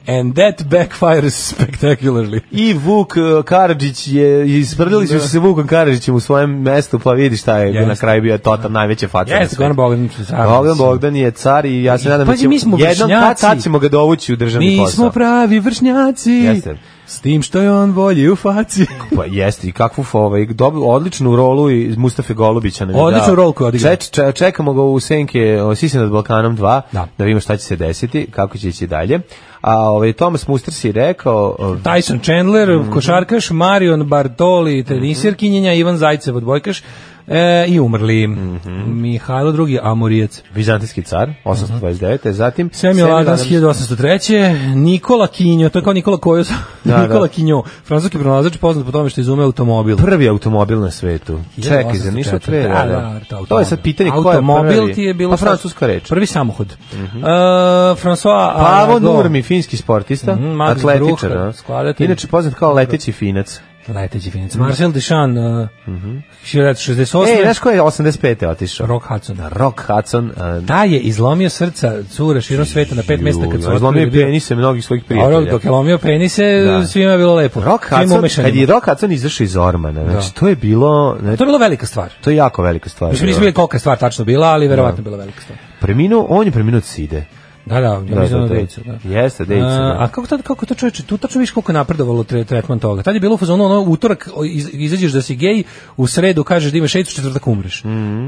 And that backfires spectacularly. I Vuk e, Karadžić je, isprdili su se Vukom Karadžićem u svojem mestu, pa vidi šta je Jeste. na kraju bio total najveće faca. na Jeste, svetu. Goran Bogdan. Bogdan Bogdan je car i ja se nadam da pazi, ćemo mi smo jednom kad vršnjaci. tad ćemo ga dovući u državni Mi posao. smo pravi vršnjaci. Jeste. S tim što je on bolji u faci. Pa jeste, i kakvu f- ovaj, dob, odličnu rolu i Mustafe Golubića nam je Odličnu dao. rolu koju je odigrao. Ček- ček- čekamo ga u senke o, Sisi nad Balkanom 2, da. Da. vidimo šta će se desiti, kako će ići dalje. A ovaj, Thomas Musters je rekao, o, Tyson Chandler, košarkaš, Marion Bartoli, tenisirkinjenja, Ivan Zajcev, odbojkaš e, i umrli. Mihajlo drugi, Amorijec. Bizantijski car, 829. Zatim Samuel Adams 1803. Nikola Kinjo, to je kao Nikola Kojos. Da, da. Nikola Kinjo, francuski pronalazač poznat po tome što izume automobil. prvi automobil na svetu. Čekaj, za ništa 1804. tre, da, Da, da. da, To je sad pitanje ko je prvi. Automobil ti je bilo... pa šta- francuska reč. Mhm. Prvi samohod. E, François Pavo Arago. Nurmi, finski sportista, Pa, Mhm, Max atletičar, Brucher, a? skladatelj. inače poznat kao leteći finac. E, Leteći finac. Marcel Duchamp, uh, 1968. Mhm. E, znaš ko je 85. otišao? Rock Hudson. Rock Hudson. eh, a, Da je izlomio srca cura širom sveta na pet mesta kad su ju, Izlomio je penise mnogih svojih A prijatelja. dok je lomio penise, Da. svima je bilo lepo. Rock Svim Hudson, umešanima. kad je Rock Hudson izašao iz Ormana, znači to je bilo... Znači, To je bila velika stvar. to je jako velika stvar. Mislim, nismo bila. bili kolika je stvar tačno bila, ali verovatno je bila velika stvar. Preminuo, on je preminuo od side. Da, da, ja mislim na Dejicu, da. Jeste, Dejica, A, da. a kako tad kako to čoveče, tu tačno vidiš koliko je napredovalo tre, tretman toga. Tad je bilo u fazonu ono utorak o, iz, izađeš da si gej, u sredu kažeš da imaš AIDS, u četvrtak umreš.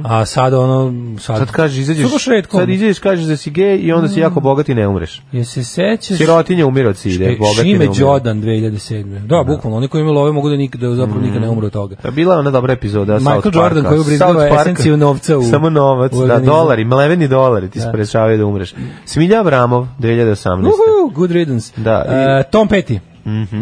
A sad ono sad, Mhm. Sad kažeš, izađeš, Slušaš retko. Mm. sad izađeš, kažeš da si gej i onda si jako bogat i ne umreš. Jesi se sećaš? Sirotinja umire od side, E, bogati ne Šime umire. Đodan 2007. Da, bukvalno, oni koji imaju love mogu da nikada, zapravo nikad ne umru od toga. Pa Bila je ona dobra epizoda Michael South Jordan Parka. koji je ubrizgao South Parka. esenciju novca u- Samo novac, u da, organizam. dolari, maleveni dolari ti sprečavaju da umreš. Smilja Abramov, 2018. Uhu, good riddance. Da, i- Mhm. E, Tom Petty,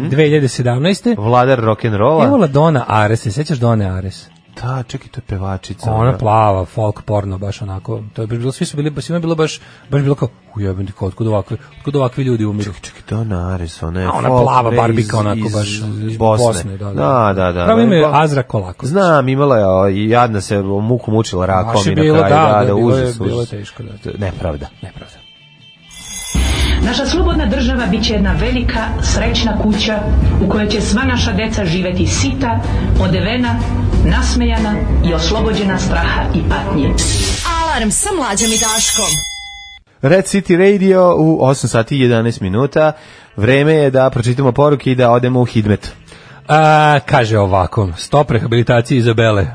2017. Vladar rock'n'rolla. Evo Dona Ares, se sećaš Done Ares? Da, čekaj, to je pevačica. Ona plava, folk porno, baš onako. To je bilo, svi su bili, svima je bilo baš, baš bilo kao, ujebim ti, kao, otkud ovakvi, otkud ovakvi ljudi umiru. Čekaj, Dona Ares, ona je... A ona folk plava iz- barbika, onako iz- baš, ono, iz Bosne, da, da. da, da. da. Pravo ime je Ba- Azra Kolako. Znam, imala je, o, i jadna se muku mučila rakom Baš je i na bilo, kraju, da, da, da, da, bilo je- užas, bilo je užas. teško, da. To je Nepravda. Nepravda. Naša slobodna država bit će jedna velika, srećna kuća u kojoj će sva naša deca živeti sita, odevena, nasmejana i oslobođena straha i patnje. Alarm sa mlađom i Daškom. Red City Radio u 8 sati i 11 minuta. Vreme je da pročitamo poruke i da odemo u Hidmet. A, kaže ovako, stop rehabilitacije Izabele.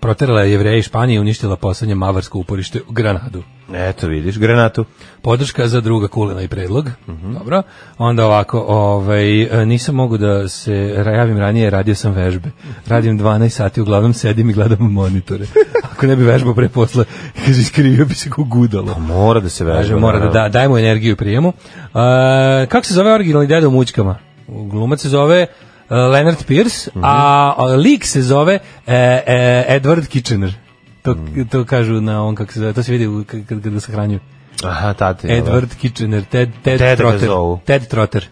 Proterala je jevreje iz Španije i uništila poslednje mavarsko uporište u Granadu. Eto vidiš, granatu. Podrška za druga kulena i predlog. Dobro. Onda ovako, ovaj, e, nisam mogu da se ra- javim ranije, radio sam vežbe. Radim 12 sati, uglavnom sedim i gledam u monitore. Ako ne bi vežbao pre posla, kaže, iskrivio bi se ko gudalo. Mora da se veže. Kaže, mora da, da daj mu energiju i prijemu. E, kako se zove originalni deda u mućkama? Glumac se zove e, Leonard Pierce, a, a lik se zove e, e, Edward Kitchener. To, to kažu na on kako se zove, to se vidi u- kad, kad, kad ga sahranjuju. Aha, tate. Edward Kitchener, Ted, Ted, Ted ga Trotter. zovu. Mhm. Ted Trotter.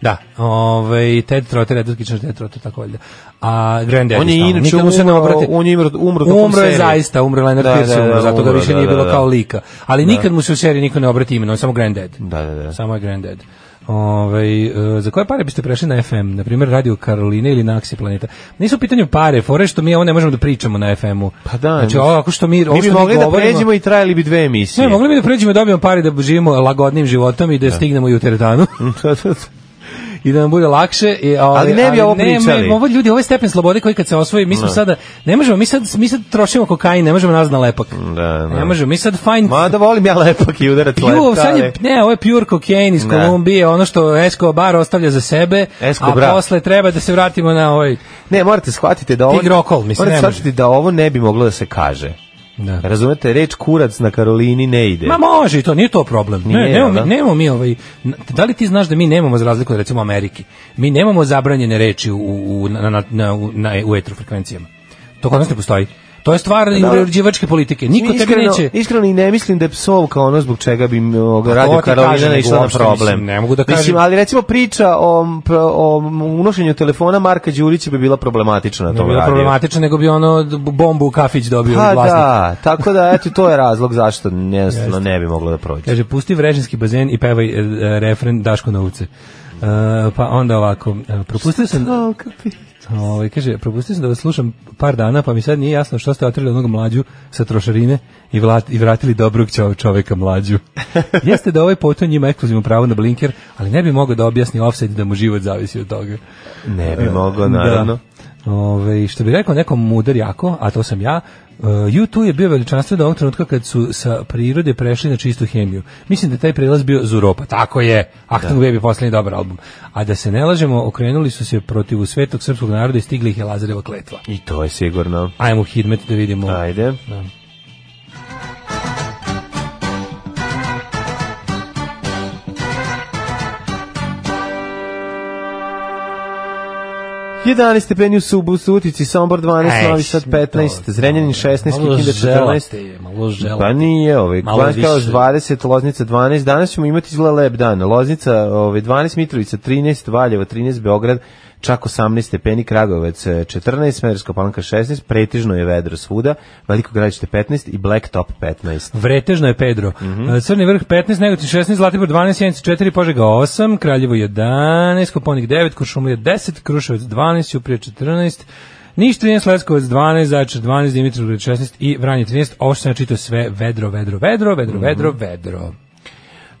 Da. Ovaj Ted Trotter, Edward Kitchener, Ted Trotter, tako valjda. A Grand Daddy On je stalno. inače Nikad mu se ne umro- obrati. on je umro- umro tokom Umro je serije. zaista, umro je Leonard Da, Pierce, da, da, umro, zato ga umro, više da, nije da, bilo da. kao lika. Ali nikad mu se u seriji niko ne obrati imenom, on je samo Grand Dad. Da, da, da. Samo je Grand Dad. Ovaj, e, za koje pare biste prešli na FM? Na primjer, Radio Karoline ili na Aksi Planeta? Nisu u pitanju pare, fore što mi ovo ne možemo da pričamo na FM-u. Pa da, znači, ovo, ako što mi, ovo Mi bi što mi mogli da govorimo- pređemo i trajali bi dve emisije. ne, mogli bi da pređemo i dobijemo pare da živimo lagodnim životom i da stignemo i u teretanu. i da nam bude lakše. I, ovaj, ali, Ali ne bi ovo pričali. me- Ovo ljudi, ovo je stepen slobode koji kad se osvoji, mi smo sada, ne možemo, mi sad, mi sad trošimo kokain, ne možemo nas na lepak. Mm, Da, da. Ne možemo, mi sad fajn Ma da volim ja lepak i udarac Pure, lepak, sad je- ali- ne, ovo je pure kokain iz Ne. Kolumbije, ono što Escobar ostavlja za sebe, Escobra. a posle treba da se vratimo na ovaj... Ne, morate shvatiti da ovo... Tigrokol, mislim, morate ne može. shvatiti da ovo ne bi moglo da se kaže. Da. Razumete, reč kurac na Karolini ne ide. Ma može, i to nije to problem. Ne, Nije, nemamo, da. mi, nemamo mi ovaj... Da li ti znaš da mi nemamo, za razliku od recimo Amerike, mi nemamo zabranjene reči u, u, na, na, na, u, na, e, u etru frekvencijama. To kod nas ne postoji. To je stvar uređivačke politike. Niko tebe neće... Pa Iskreno i ne mislim da je psovka ono zbog čega bi m, to radio ti Karolina kažem, nego naišla na uopšte, problem. mislim, ne mogu da Mislim, kažem. ali recimo priča o, m, pro- o m, unošenju telefona Marka Đurića bi bila problematična na Ne bi tom bilo radiju. problematično, nego bi ono d- bombu u kafić dobio Pa od vlasnika. da, tako da, eto, to je razlog zašto jednostavno ne bi moglo da prođe. Kaže, pusti vrežinski bazen i pevaj e, e, refren Daško na ulici. E, pa onda ovako, e, propustio sam... Ovaj, kaže, propustio sam da vas slušam par dana, pa mi sad nije jasno što ste otrili onog mlađu sa trošarine i, vlat, i vratili dobrog čov, čoveka mlađu. Jeste da ovaj poton ima ekskluzivno pravo na blinker, ali ne bi mogao da objasni offset da mu život zavisi od toga. Ne bi moglo, Da. naravno. Ove, što bi rekao nekom mudar jako, a to sam ja, e, U2 je bio veličanstven do ovog trenutka kad su sa prirode prešli na čistu hemiju. Mislim da je taj prelaz bio Zuropa. Tako je. Achtung Baby, poslednji dobar album. A da se ne lažemo, okrenuli su se protiv svetog srpskog naroda i stigli ih je Lazareva kletva. I to je sigurno. Ajmo u Hidmet da vidimo. Ajde. Da. stepeni u Subu, u Sutici, Sombor 12, Ej, Novi Sad 15, to- Zrenjanin 16, Malo Kikinda želate 14. je, malo želate. Pa nije, ovaj, Malo Banjska Kralovac više. 20, Loznica 12, danas ćemo imati izgleda lep dan. Loznica ovaj, 12, Mitrovica 13, Valjevo 13, Beograd čak 18 stepeni, Kragovec eh, 14, Smederska palanka 16, pretižno je vedro svuda, Veliko gradište 15 i Blacktop 15. Vretežno je Pedro. Mhm. E, Crni vrh 15, Negotin 16, Zlatibor 12, Sjenica 4, Požega 8, Kraljevo 11, Koponik 9, Kuršumlija 10, Kruševac 12, Ćuprije 14, Niš 13, Leskovac 12, Zaječar 12, Dimitrovgrad 16 i Vranje 13. Ovo što sam ja čitao sve vedro, vedro, vedro, Mhm. vedro, vedro, vedro.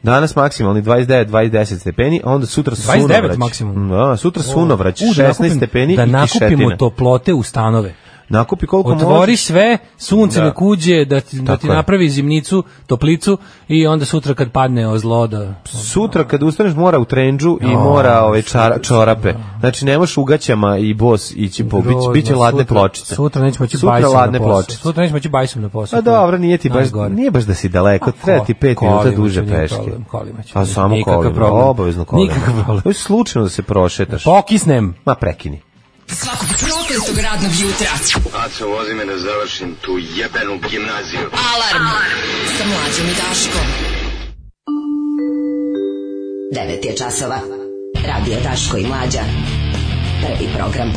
Danas maksimalni 29, 20 stepeni, a onda sutra 29 sunovrać. maksimum. Da, sutra sunovrać, U, da 16 nakupim- Ono, stepeni Da i nakupimo kišetina. toplote u stanove. Nakupi koliko Otvori možeš. sve, sunce Da. da. kuđe, da ti, da Tako ti je. napravi zimnicu, toplicu i onda sutra kad padne o zlo da... Sutra kad ustaneš mora u trendžu i mora ove čara, čorape. Znači ne možeš ugaćama i bos ići po bić, Grozno, biće ladne sutra- pločice. Sutra nećemo moći Sutra bajsom ladne na posao. pločice. Sutra nećemo moći bajsom na posao. Pa dobro, nije ti baš Najgore. Pa nije baš da si daleko, ko- treba ti 5 kolima minuta će, duže nije peške. problem, kolima će, Pa nije samo nikakav kolima, problem. obavezno kolima. Nikakav problem. Hoćeš slučajno da se prošetaš. Pokisnem. Ma prekini. Svakog prokletog radnog jutra. Aco, vozi me da završim tu jebenu gimnaziju. Alarm. Sa mlađom i Daškom. 9 je časova. Radio Daško i Mlađa. Prvi program.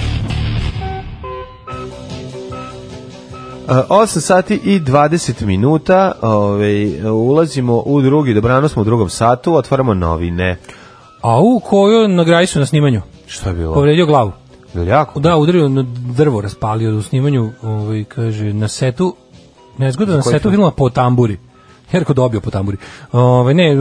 A, 8 Eh, sati i 20 minuta, ovaj, ulazimo u drugi, dobrano smo u drugom satu, otvaramo novine. A u koju nagraji su na snimanju? Šta je bilo? Povredio glavu. Jel Jako. Da, udario na drvo, raspalio u snimanju, ovaj, kaže, na setu, nezgoda na koji setu film? filma po tamburi. Jerko dobio po tamburi. Ovaj, ne,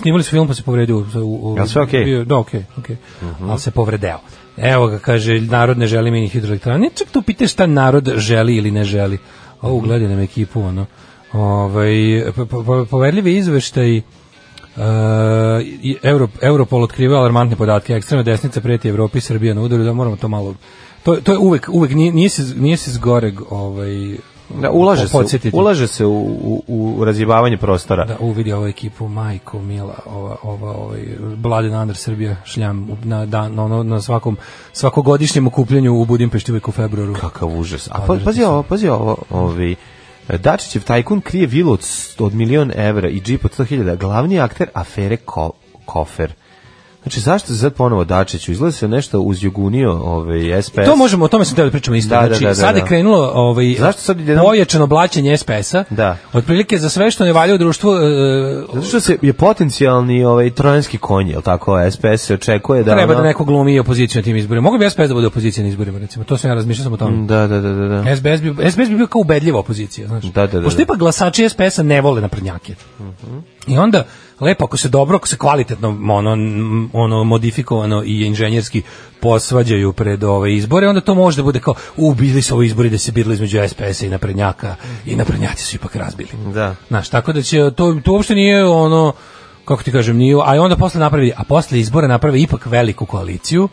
snimali su film pa se povredio. U, u, Jel sve okej? bio- Da, okej, okej. Mhm. Ali se povredeo. Evo ga, kaže, narod ne želi mini hidroelektrane. Čak tu pitaš šta narod želi ili ne želi. O, Mhm. gledaj nam ekipu, ono. Ovaj, po- po- po- poverljivi izveštaj Uh, i Euro, Europol otkriva alarmantne podatke, ekstremna desnica preti Evropi i Srbija na udaru, da moramo to malo... To, to je uvek, uvek nije, nije, se, nije se zgoreg ovaj, Da, ulaže se, podsjetiti. ulaže se u, u, u razjebavanje prostora. Da, uvidi ovu ekipu, majko mila, ova, ova, ovaj, Bladen Andar Srbija, šljam u- na, dan, na ono, na svakom, svakogodišnjem okupljanju u Budimpešti uvek u februaru. Kakav užas. A pa, pazi ovo, pazi ovo, ovi, e, Dačićev tajkun krije vilu od, st- od milion evra i džip od 100.000, glavni akter afere ko, kofer. Znači, zašto se sad ponovo Dačiću? Izgleda se nešto uzjogunio ovaj, SPS. To možemo, o tome sam teo da pričamo isto. Da, da, znači, da, da, sad je da. krenulo ovaj, Zašto sad odjednom- pojačano blaćenje SPS-a. Da. Otprilike za sve što ne valja u društvu, e, Zato što se je potencijalni ovaj, trojanski konj, je tako? SPS se očekuje da... treba da ono- neko glumi opoziciju na tim izborima. Mogu bi SPS da bude opozicija na izborima, recimo. To sam ja razmišljao sam o tome. Da, da, da, da. da. SBS bi, SBS bi bio kao ubedljiva opozicija, znaš. Da, Mhm. da, da, Pošto da. ipak glasači SPS-a ne vole naprednjake. I onda lepo ako se dobro, ako se kvalitetno ono, m, ono modifikovano i inženjerski posvađaju pred ove izbore, onda to može da bude kao u bili su ovi izbori da se biralo između SPS-a i naprednjaka i naprednjaci su ipak razbili. Da. Znaš, tako da će to to uopšte nije ono kako ti kažem, nije, a onda posle napravili, a posle izbora naprave ipak veliku koaliciju,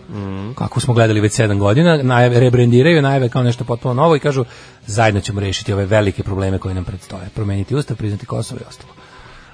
kako smo gledali već 7 godina, najave, rebrendiraju najave kao nešto potpuno novo i kažu zajedno ćemo rešiti ove velike probleme koje nam predstoje, promeniti ustav, priznati Kosovo i ostalo.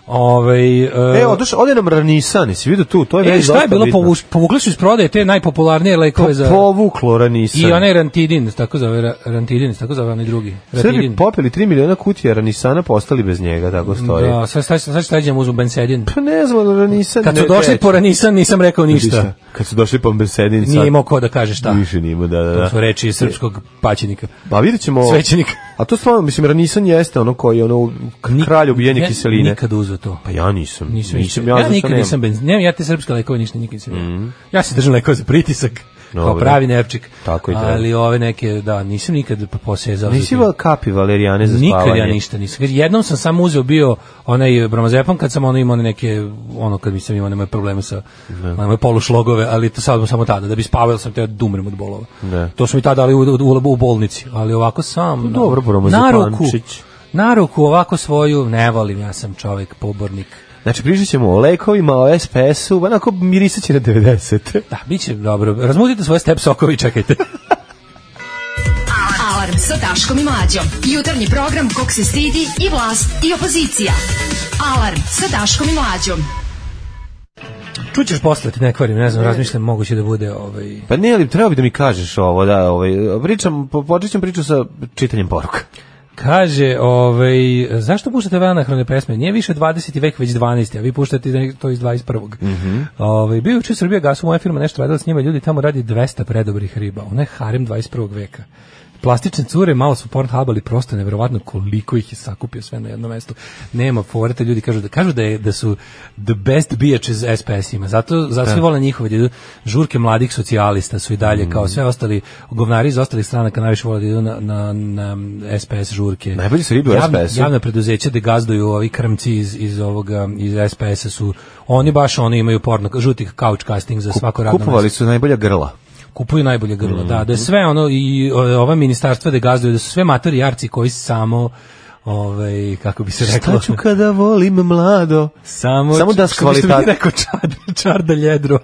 Ovaj e, E, odoš, ode nam Ranisan, jesi vidio tu, to je e, meni šta je dosta bilo bitno. povuš, povukli su iz prodaje te najpopularnije lekove za Povuklo Ranisan. i onaj Rantidin, tako zove Ra- Rantidin, tako zove onaj drugi. Srbi Rantidin. popili 3 miliona kutija Ranisana, postali bez njega, tako stoji. Da, sad sad sad sad ćemo uzmu Bensedin. Pa ne znam, Ranisan... Kad ne su došli teče. po Ranisan nisam rekao ništa. Kad su došli po Mersedin, sad... Nije imao ko da kaže šta. Više nije imao, da, da, E. To da. su reči srpskog paćenika. Pa vidjet ćemo... Svećenika. A to stvarno, mislim, Ranisan jeste ono koji je ono k- kralj ubijenja Ja kiseline. Nikad uzeo to. Pa ja nisam. Nisam, nisam ja, ja, zato nikad nemam. nisam benz. Ne, ja te srpske lekove ništa nikad nisam. Mm. Ja se držim lekova za pritisak. Kao Mhm. Dobro. pravi nerčik. Tako i treba. Ali ove neke, da, nisam nikad posezao. za Nisi tim. imao kapi Valerijane za spavanje? Nikad ja ništa nisam. Kaže, Jednom sam samo uzeo bio onaj bromazepam kad sam ono imao one neke, ono kad mi sam imao one moje probleme sa one moje polušlogove, ali to sad samo tada, da bi spavao jer sam teo da umrem od bolova. Da. Pa To su mi tada dali u, u, u, u bolnici, ali ovako sam. na- dobro, na bromazepamčić. ruku, na ruku ovako svoju ne volim, ja sam čovjek pobornik. Znači, pričat ćemo o lekovima, o SPS-u, onako mirisat će na 90. Da, bit će dobro. Razmuzite svoje step sokovi i čekajte. Alarm sa Daškom i Mlađom. Jutarnji program kog se stidi i vlast i opozicija. Alarm sa Daškom i Mlađom. Čućeš posle, ti ne kvarim, ne znam, razmišljam, moguće da bude ovaj... Pa ne, ali treba bi da mi kažeš ovo, da, ovaj, pričam, po- počet ćemo priču sa čitanjem poruka. Kaže, ovaj, zašto puštate vanahrone pesme? Nije više 20. vek, već 12. A vi puštate ne- to iz 21. Mm ovaj, bio je učin Srbija gasu, moja firma nešto radila s njima, ljudi tamo radi 200 predobrih riba. Ona je harem 21. veka. Plastične cure, malo su Pornhub, ali prosto je nevjerovatno koliko ih je sakupio sve na jedno mesto. Nema forete, ljudi kažu da kažu da, je, da su the best bijač iz SPS-ima. Zato, zato svi vole njihove, da idu- žurke mladih socijalista su i dalje, Mm. kao sve ostali govnari iz ostalih stranaka najviše vole da idu na, na, na SPS žurke. Najbolji su ribe u Javna- SPS-u. Javna preduzeća da gazduju ovi krmci iz, iz, ovoga, iz SPS-a su, oni baš oni imaju porno, žutih couch casting za svako radno mesto Kupovali su najbolja grla. kupuju najbolje grlo, da, da je sve ono i o, ova ministarstva da gazduju, da su sve matori i jarci koji samo ovaj kako bi se reklo kada volim mlado? samo Samo da što biste mi kvalitat- rekao čard, čarda ljedro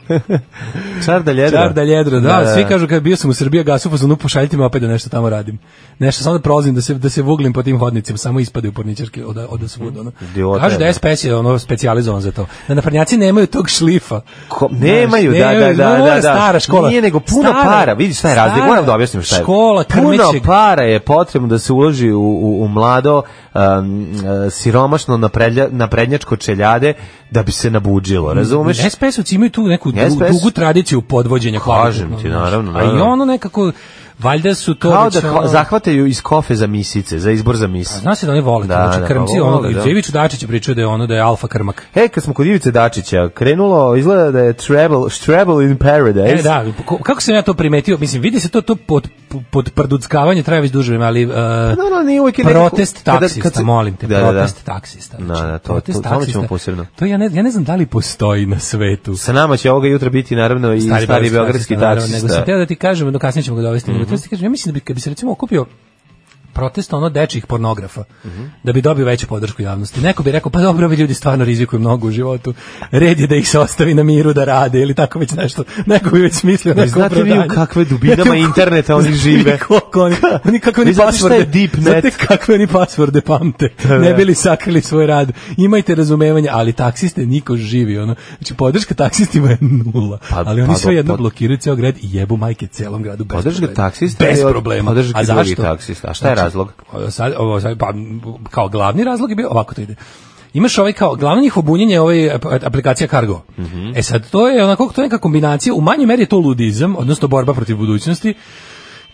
Čarda ljedra. čarda ljedro da, svi kažu kad bio sam u Srbiji gasu pa zonu pošaljite me opet da nešto tamo radim nešto samo da prolazim da se da se vuglim po tim hodnicima samo ispadaju porničarke od od svuda ono Idiota, kažu da da. SPS je ono specijalizovan za to da naprednjaci nemaju tog šlifa Ko- nemaju, da, da, nemaju, da, ovo je da, da. stara škola. Nije nego puno Stara- para, vidi šta je razlika, stara moram da objasnim šta je. škola puno krmećeg. para je potrebno da se uloži u, u, u mlado um, uh, siromašno napredlja, naprednjačko čeljade da bi se nabuđilo, razumeš? SPS-ovci imaju tu neku du- SPS? dugu tradiciju podvođenja. Kažem kvalitetno, ti, znaš. naravno, A i naravno. ono nekako, valjda su to... Kao već da hva- ono- zahvataju iz kofe za misice, za izbor za misice. Zna se da oni vole, Da, da, znači da, krmci, pa ono, vole, i da. Đević Dačić je pričao da je ono, da je alfa krmak. E, kad smo kod Ivice Dačića, krenulo, izgleda da je Travel, travel in Paradise. E, da, ko- kako sam ja to primetio, mislim, vidi se to, to pod, pod prduckavanje traje već duže vrijeme, ali... e, da, ono, nije uvijek i nekako- protest kada- kad taksista, se- molim te, Da, da, da. protest taksista. znači, Da, da, to- protest to- o tome ćemo taksista. posebno. To ja ne, ja ne znam da li postoji na svetu. Sa nama će ovoga jutra biti naravno i stari, beogradski naravno, Nego taksista. Mhm. sam teo da ti kažem, no kasnije ćemo ga dovesti, nego teo da ti kažem, ja mislim da bi, kad bi se recimo okupio protest ono dečijih pornografa, Mhm. da bi dobio veću podršku javnosti. Neko bi rekao, pa dobro, ovi ljudi stvarno rizikuju mnogo u životu, red je da ih se ostavi na miru da rade ili tako već nešto. Neko bi već mislio Ne neko znate vi u opravdanje. kakve dubinama Znate u ko- interneta oni Znate žive. vi koliko oni, oni kako Vi oni znate šta je pasvorde- deep net? znate kakve oni pasvorde pamte. Ne bili sakrili svoj rad. Imajte razumevanje, ali taksiste niko živi. Ono. Znači, podrška taksistima je nula. Pa- ali oni pa- sve jedno pa- blokiraju ceo grad i jebu majke celom gradu bez Podrška problema. taksista bez je e, od problema. podrške A drugih zašto? Znači, taksista. A šta je razlog? o, Sad, ovo, sad, pa, m, kao glavni razlog je bio, ovako to ide. Imaš ovaj kao, glavno njihov bunjenje je ovaj ap- aplikacija Cargo. E sad, to je onako, to je neka kombinacija, u manjoj meri je to ludizam, odnosno borba protiv budućnosti,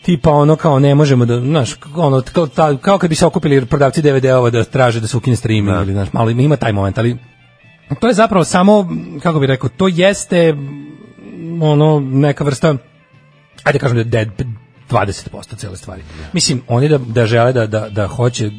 tipa ono kao ne možemo da znaš ono kao, ta, kao kad bi se okupili prodavci DVD-ova da traže da se ukine streaming ili znaš malo ima taj moment ali to je zapravo samo kako bi rekao to jeste mm, ono neka vrsta ajde kažem da je dead 20% cele stvari. Mislim, oni da, da žele da, da, da hoće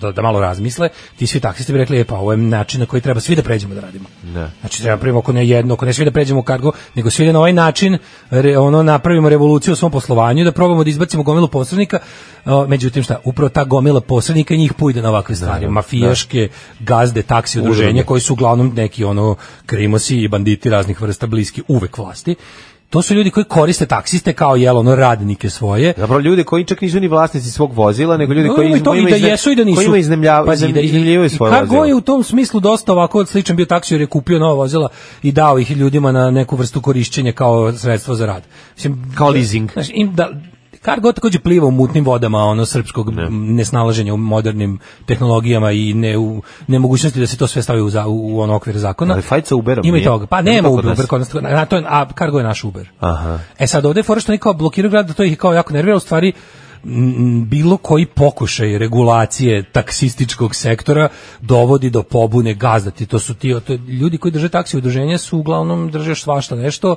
da, da malo razmisle, ti svi taksisti bi rekli, e pa ovo je način na koji treba svi da pređemo da radimo. Da. Znači treba prvo ako ne jedno, ako ne svi da pređemo u kargo, nego svi da na ovaj način re, ono napravimo revoluciju u svom poslovanju, da probamo da izbacimo gomilu posrednika. a, međutim šta, upravo ta gomila posrednika njih pujde na ovakve stvari, mafijaške gazde, taksi udruženja Udruge. koji su uglavnom neki ono krimosi i banditi raznih vrsta bliski uvek vlasti. To su ljudi koji koriste taksiste kao jel ono radnike svoje. Zapravo ljudi koji čak nisu ni vlasnici svog vozila, nego ljudi No, koji ima i to, kojima i da izne- jesu i da nisu. kojima iznemljavaju, Pazi, i da- i- iznemljivaju i svoje Kargo vozila. je u tom sličnom smislu dosta ovako sličan bio taksi jer je kupio nova vozila i dao ih ljudima na neku vrstu korišćenja kao sredstvo za rad. Mislim, Kao leasing. Znaš, im da, Kargo takođe pliva u mutnim vodama ono srpskog m, nesnalaženja u modernim tehnologijama i ne u nemogućnosti da se to sve stavi u, za, u ono okvir zakona. Ali fajt sa Uberom Ima i nije. toga. Pa Nema nema to kod Uber, nas. Uber kod nas. Na, to je, a Kargo je naš Uber. Aha. E sad ovde je fora što oni kao blokiraju grad, da to ih je kao jako nervira, u stvari m, bilo koji pokušaj regulacije taksističkog sektora dovodi do pobune gazdati. To su ti, to, ljudi koji drže taksi udruženja su uglavnom drže još svašta nešto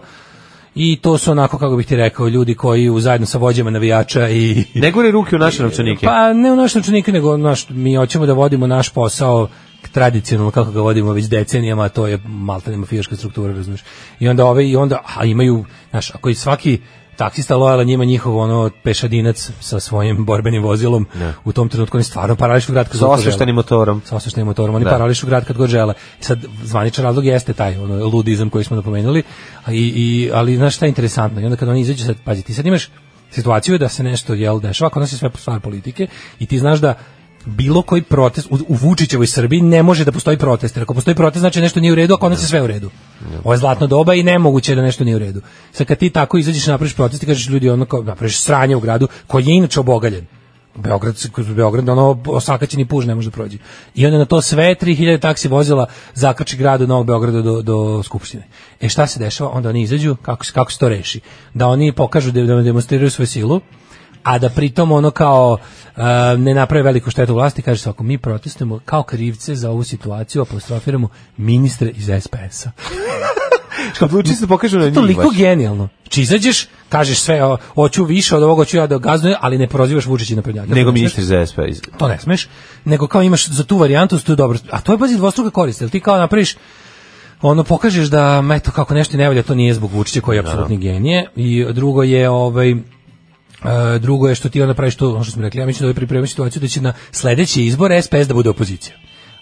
i to su onako, kako bih ti rekao, ljudi koji u- zajedno sa vođama navijača i Ne gori ruke u naše novčanike. pa ne u naš novčanik, nego naš, mi hoćemo da vodimo naš posao tradicionalno kako ga vodimo već decenijama, a to je maltene mafijaška struktura, razumiješ. I onda ove, i onda, a imaju, znaš, ako i svaki taksista lojala njima njihov ono pešadinac sa svojim borbenim vozilom u tom trenutku oni stvarno parališu grad kad sa god požele osveštenim motorom. sa osveštenim motorom, oni Da. parališu grad kad god žele. I sad zvaničan razlog jeste taj ono ludizam koji smo napomenuli, a i, i ali znaš šta je interesantno? I onda kad oni izađu sad pazi, ti sad imaš situaciju da se nešto jel dešava, kod nas je sve stvar politike i ti znaš da bilo koji protest u, u Vučićevoj Srbiji ne može da postoji protest. Jer ako postoji protest, znači nešto nije u redu, a kod nas je sve u redu. Ovo je zlatno doba i nemoguće je da nešto nije u redu. Sad kad ti tako izađeš i napraviš protest i kažeš ljudi ono kao napraviš sranje u gradu koji je inače obogaljen. Beograd, kroz Beograd, ono osakaćeni puž ne može da prođe. I onda na to sve 3000 taksi vozila zakrči grad od Novog Beograda do, do Skupštine. E šta se dešava? Onda oni izađu, kako, se- kako se to reši? Da oni pokažu da, da demonstriraju svoju silu, a da pritom ono kao e, ne naprave veliku štetu vlasti, kaže se ako mi protestujemo kao krivce za ovu situaciju, apostrofiramo ministre iz SPS-a. Kad luči se pokažu na njih. Toliko baš. genijalno. Či izađeš, kažeš sve, o, hoću više od ovoga, hoću ja da gazdujem, ali ne prozivaš Vučića Znači, na prednjaka. Nego ministri za SP. to ne smeš, nego kao imaš za tu varijantu su tu dobro. A to je bazi dvostruka korist, jel ti kao napraviš ono pokažeš da eto kako nešto ne valja, to nije zbog Vučića koji je apsolutni genije i drugo je ovaj e, drugo je što ti onda praviš to, ono što smo rekli, ja mislim da ovaj pripremio situaciju da će na sledeći izbor SPS da bude opozicija.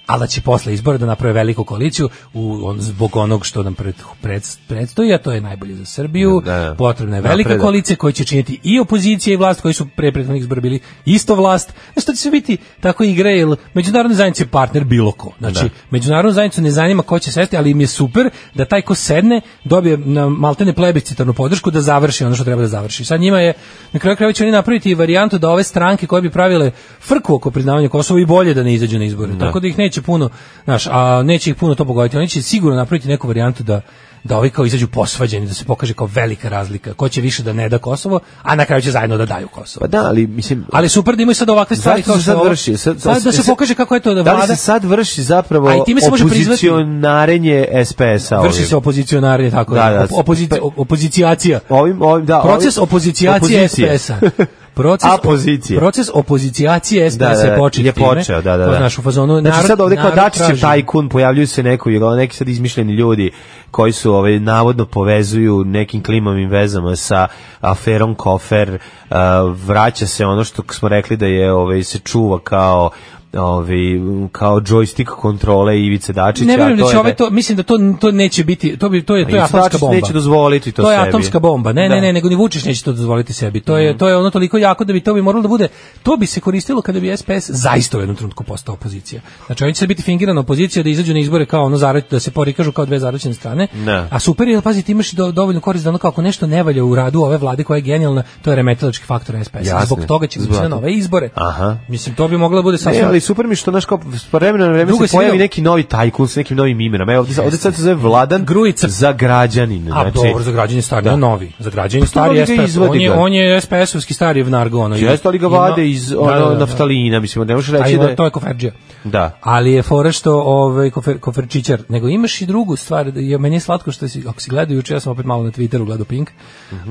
Ali da će posle izbora da naprave veliku koaliciju u, on, zbog onog što nam pred, pred, predstoji, a to je najbolje za Srbiju. Da, da. Potrebna je velika Napredak. koalicija koalicije koje će činiti i opozicija i vlast koji su pre prethodnih izbora bili isto vlast. Znači to će sve biti tako igre jer međunarodna zajednica je partner bilo ko. Znači međunarodnu zajednicu ne zanima ko će sesti, ali im je super da taj ko sedne dobije na maltene plebiscitarnu podršku da završi ono što treba da završi. Sad njima je na kraju krajeva će oni napraviti i varijantu da ove stranke koje bi pravile frku oko priznavanja Kosova i bolje da ne izađu na izbore. Tako da ih neće puno, znaš, a neće ih puno to pogoditi. Oni će sigurno napraviti neku varijantu da da ovi kao izađu posvađeni, da se pokaže kao velika razlika. Ko će više da ne da Kosovo, a na kraju će zajedno da daju Kosovo. Pa da, ali mislim... Ali super da imaju sad ovakve stvari Zašto kao se što je sad ovo. vrši? Sad, Pa da se pokaže kako je to da Da li vlada se sad vrši zapravo A i time se može prizvati. opozicionarenje SPS-a ovim? vrši se opozicionarnje tako. Da, da. Op- opozici- op- opozicijacija. Ovim, ovim, da, Proces ovim- opozicijacije opozicije. SPS-a. Proces, Apozicije. proces opozicijacije SPS-a Da, da, da, je počeo. je time. počeo, da, da, Kao, da. znaš, u fazonu, Znači narod- sad ovde kao narod Dačićev traži. tajkun pojavljuju se neko, jel, ono, neki sad izmišljeni ljudi koji su ovaj, navodno povezuju nekim klimavim vezama sa aferom Kofer, a, vraća se ono što smo rekli da je ovaj, se čuva kao ovi kao joystick kontrole Ivice Dačića. Ne vjerujem a da to će je ovaj to, mislim da to to neće biti, to bi to je to je Ivica atomska Dačić bomba. neće dozvoliti to je sebi. atomska bomba. Ne, Da. Mhm. ne, ne, nego ni Vučić neće to dozvoliti sebi. To je to je ono toliko jako da bi to bi moralo da bude. To bi se koristilo kada bi SPS zaista u jednom trenutku postao opozicija. Znači oni će biti fingirana opozicija da izađu na izbore kao ono zarad, da se porikažu kao dve zaraćene strane. Da. A super je, pazi, ti imaš i do, dovoljno korist da ono kako nešto ne valja u radu ove vlade koja je genijalna, to je remetilački faktor SPS. Jasno. Zbog toga će ići Zbog- na nove izbore. Aha. Mislim to bi moglo da bude Ne, sasvim E, ali super mi je što naš kao s vremena na vreme Drugo se si pojavi vidio- neki novi tajkun sa nekim novim imenom. Evo, ovde, sad- ovde sad se zove Vladan Grujica. za građanin. A dobro, za građanje Znači- stari, Da. Pa da. novi. Za građanje to stari voli ga SPS. izvadi On je, ga. on je SPS-ovski stari Vnargo. Ono, Jeste ali ga Ima- vade iz ono, naftalina, mislim, ne možeš A reći da i da, je... ono, to je koferđija. Da. Ali je fora što ovaj kofer, koferčićar, nego imaš i drugu Mhm. stvar, da je meni je slatko što si, ako si gledao juče, ja sam opet malo na Twitteru gledao Pink,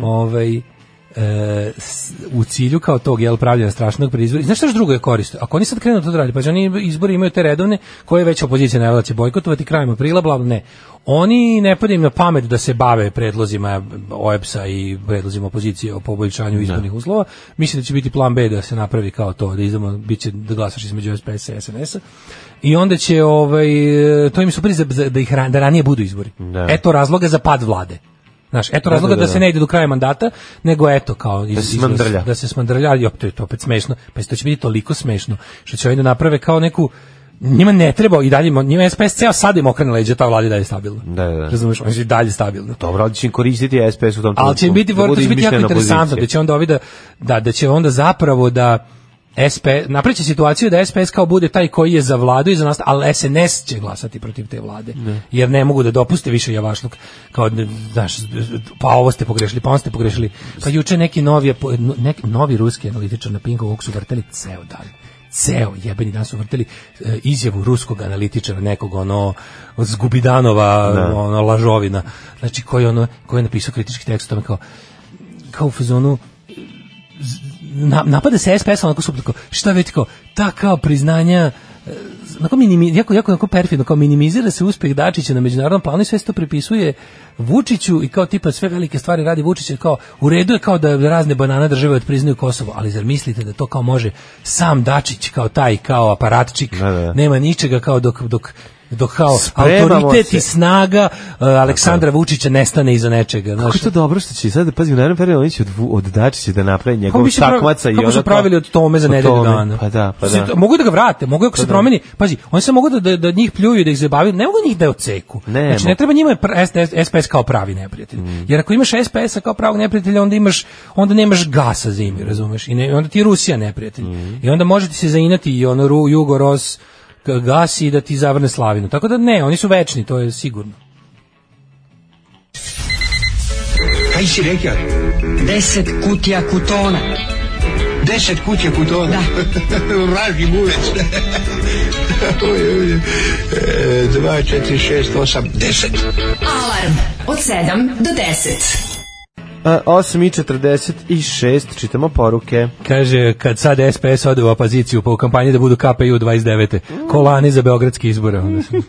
ovaj, e, e, s- u cilju kao tog jel pravljenja strašnog pri izbori. Znaš šta još drugo je koriste? Ako oni sad krenu to da rade, pa znači oni izbori imaju te redovne koje je već opozicija najavila da će bojkotovati krajem aprila, bla, bla, ne. Oni ne pada im na pamet da se bave predlozima OEPS-a i predlozima opozicije o poboljšanju izbornih uslova. Mislim da će biti plan B da se napravi kao to, da idemo, bit će da glasaš između SPS-a i SNS-a. I onda će, ovaj, to im su prize da, ih, ra- da ranije budu izbori. Da. Eto razloga za pad vlade. Znaš, eto razloga da, da, da. se ne ide do kraja mandata, nego eto kao iz, se iz- smandrlja. da se smandrlja, ali opet to je to opet smešno. Pa to će biti toliko smešno što će oni da naprave kao neku njima ne treba i dalje njima SPS ceo sad im okrene leđa ta vlada je i dalje stabilna. Da, da, da. Razumeš, oni su i dalje stabilni. Dobro, ali će im koristiti SPS u tom trenutku. Ali će im biti, Da to bude će biti jako izmišljena interesantno, pozicija. da će onda ovi da, da, da će onda zapravo da SP, napreće situaciju da SPS kao bude taj koji je za vladu i za nas, ali SNS će glasati protiv te vlade, jer ne mogu da dopuste više javašluk, kao, da, znaš, pa ovo ste pogrešili, pa on ste pogrešili, pa juče neki novi, apo- neki novi ruski analitičar na Pingu ovog su vrteli ceo dan ceo jebeni dan su vrteli e, izjavu ruskog analitičara nekog ono od Zgubidanova ono lažovina znači koji ono koji je napisao kritički tekst o tome kao kao u fazonu z- na, napada se SPS onako su tako šta već kao ta kao priznanja e, onako minimi, jako, jako, jako perfidno, kao minimizira se uspeh Dačića na međunarodnom planu i sve se to pripisuje Vučiću i kao tipa sve velike stvari radi Vučić jer kao u redu je kao da razne banana države odpriznaju Kosovo, ali zar mislite da to kao može sam Dačić kao taj kao aparatčik, Da, da, da. nema ničega kao dok, dok dok kao Spremamo autoritet se. i snaga e, Aleksandra Vučića nestane iza nečega. Kako znaš. je to dobro što će sad, pazi, u narednom periodu oni će od, Vu- od Dačića da naprave Kako njegov bi se pravi- šakmaca i kako ono su pravili od tome za od nedelju Tome. dana. Pa da, pa Se- da. Pa Mogu da ga vrate, mogu ako se promeni. Pazi, oni se mogu da, da, da njih pljuju, da ih zabavaju, ne mogu njih da je oceku. Ne znači, ne mogu. Mm. treba njima pr- S- S- SPS kao pravi neprijatelj. Jer ako imaš SPS-a kao pravog neprijatelja, onda imaš onda nemaš gasa zimi, razumeš? I ne, onda ti je Rusija neprijatelj. Mm. I onda možete se zainati i ono Ru, Jugoros, k- gas i da ti zavrne slavinu. Tako da ne, oni su večni, to je sigurno. Kaj si rekao? Deset kutija kutona. Deset kutija kutona? Da. Vraži buvec. Oj, oj, oj. E, Dva, četiri, šest, osam, deset. Alarm od 7 do 10. A, 8.46, čitamo poruke. Kaže, kad sad SPS ode u opoziciju, pa u kampanji da budu KPI u 29. Kolani za beogradski izbore. Onda sam-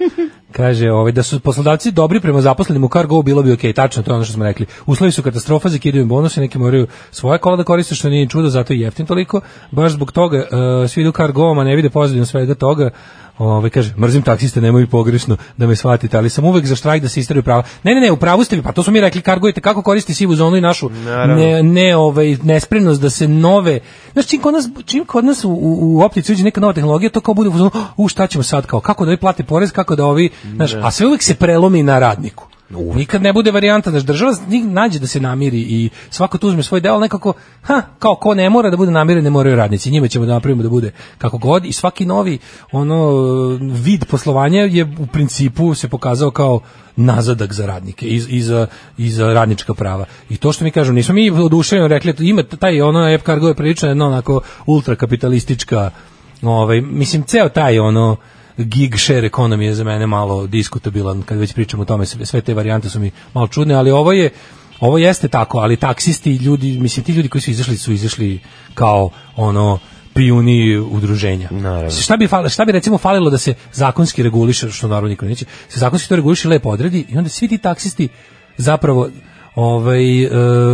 Kaže, ovaj, da su poslodavci dobri prema zaposlenim u Cargo, bilo bi okej, tačno, to je ono što smo rekli. Uslovi su katastrofa, zakidaju im bonuse, neki moraju svoje kola da koriste, što nije ni čudo, zato i jeftin toliko. Baš zbog toga, e, svi idu Cargo, a ne vide pozadinu svega toga. Ovaj kaže mrzim taksiste, nemoj pogrešno da me shvatite, ali sam uvek za štrajk da se isteraju prava. Ne, ne, ne, u pravu ste vi, pa to smo mi rekli, kargujete kako koristi sivu zonu i našu Naravno. ne, ne ovaj nespremnost da se nove znači čim kod nas čim kod nas u, u, u optici uđe neka nova tehnologija to kao bude u fazonu, u šta ćemo sad kao kako da ovi plate porez kako da ovi znaš a sve uvek se prelomi na radniku Nikad ne bude varijanta, znaš, država njih nađe da se namiri i svako tu uzme svoj deo, ali nekako, ha, kao ko ne mora da bude namiren, ne moraju radnici, njima ćemo da napravimo da bude kako god i svaki novi ono vid poslovanja je u principu se pokazao kao nazadak za radnike i, i, za, i za radnička prava. I to što mi kažu, nismo mi oduševljeno rekli, eto, ima taj ono F Cargo je prilično jedna onako ultrakapitalistička, ovaj, mislim, ceo taj ono gig share economy je za mene malo diskutabilan, kad već pričam o tome, sve, sve te varijante su mi malo čudne, ali ovo je ovo jeste tako, ali taksisti i ljudi, mislim ti ljudi koji su izašli su izašli kao ono pijuni udruženja. Naravno. Šta bi, fal- šta bi recimo falilo da se zakonski reguliše, što naravno niko neće, se zakonski to reguliše i lepo odredi i onda svi ti taksisti zapravo ovaj, e,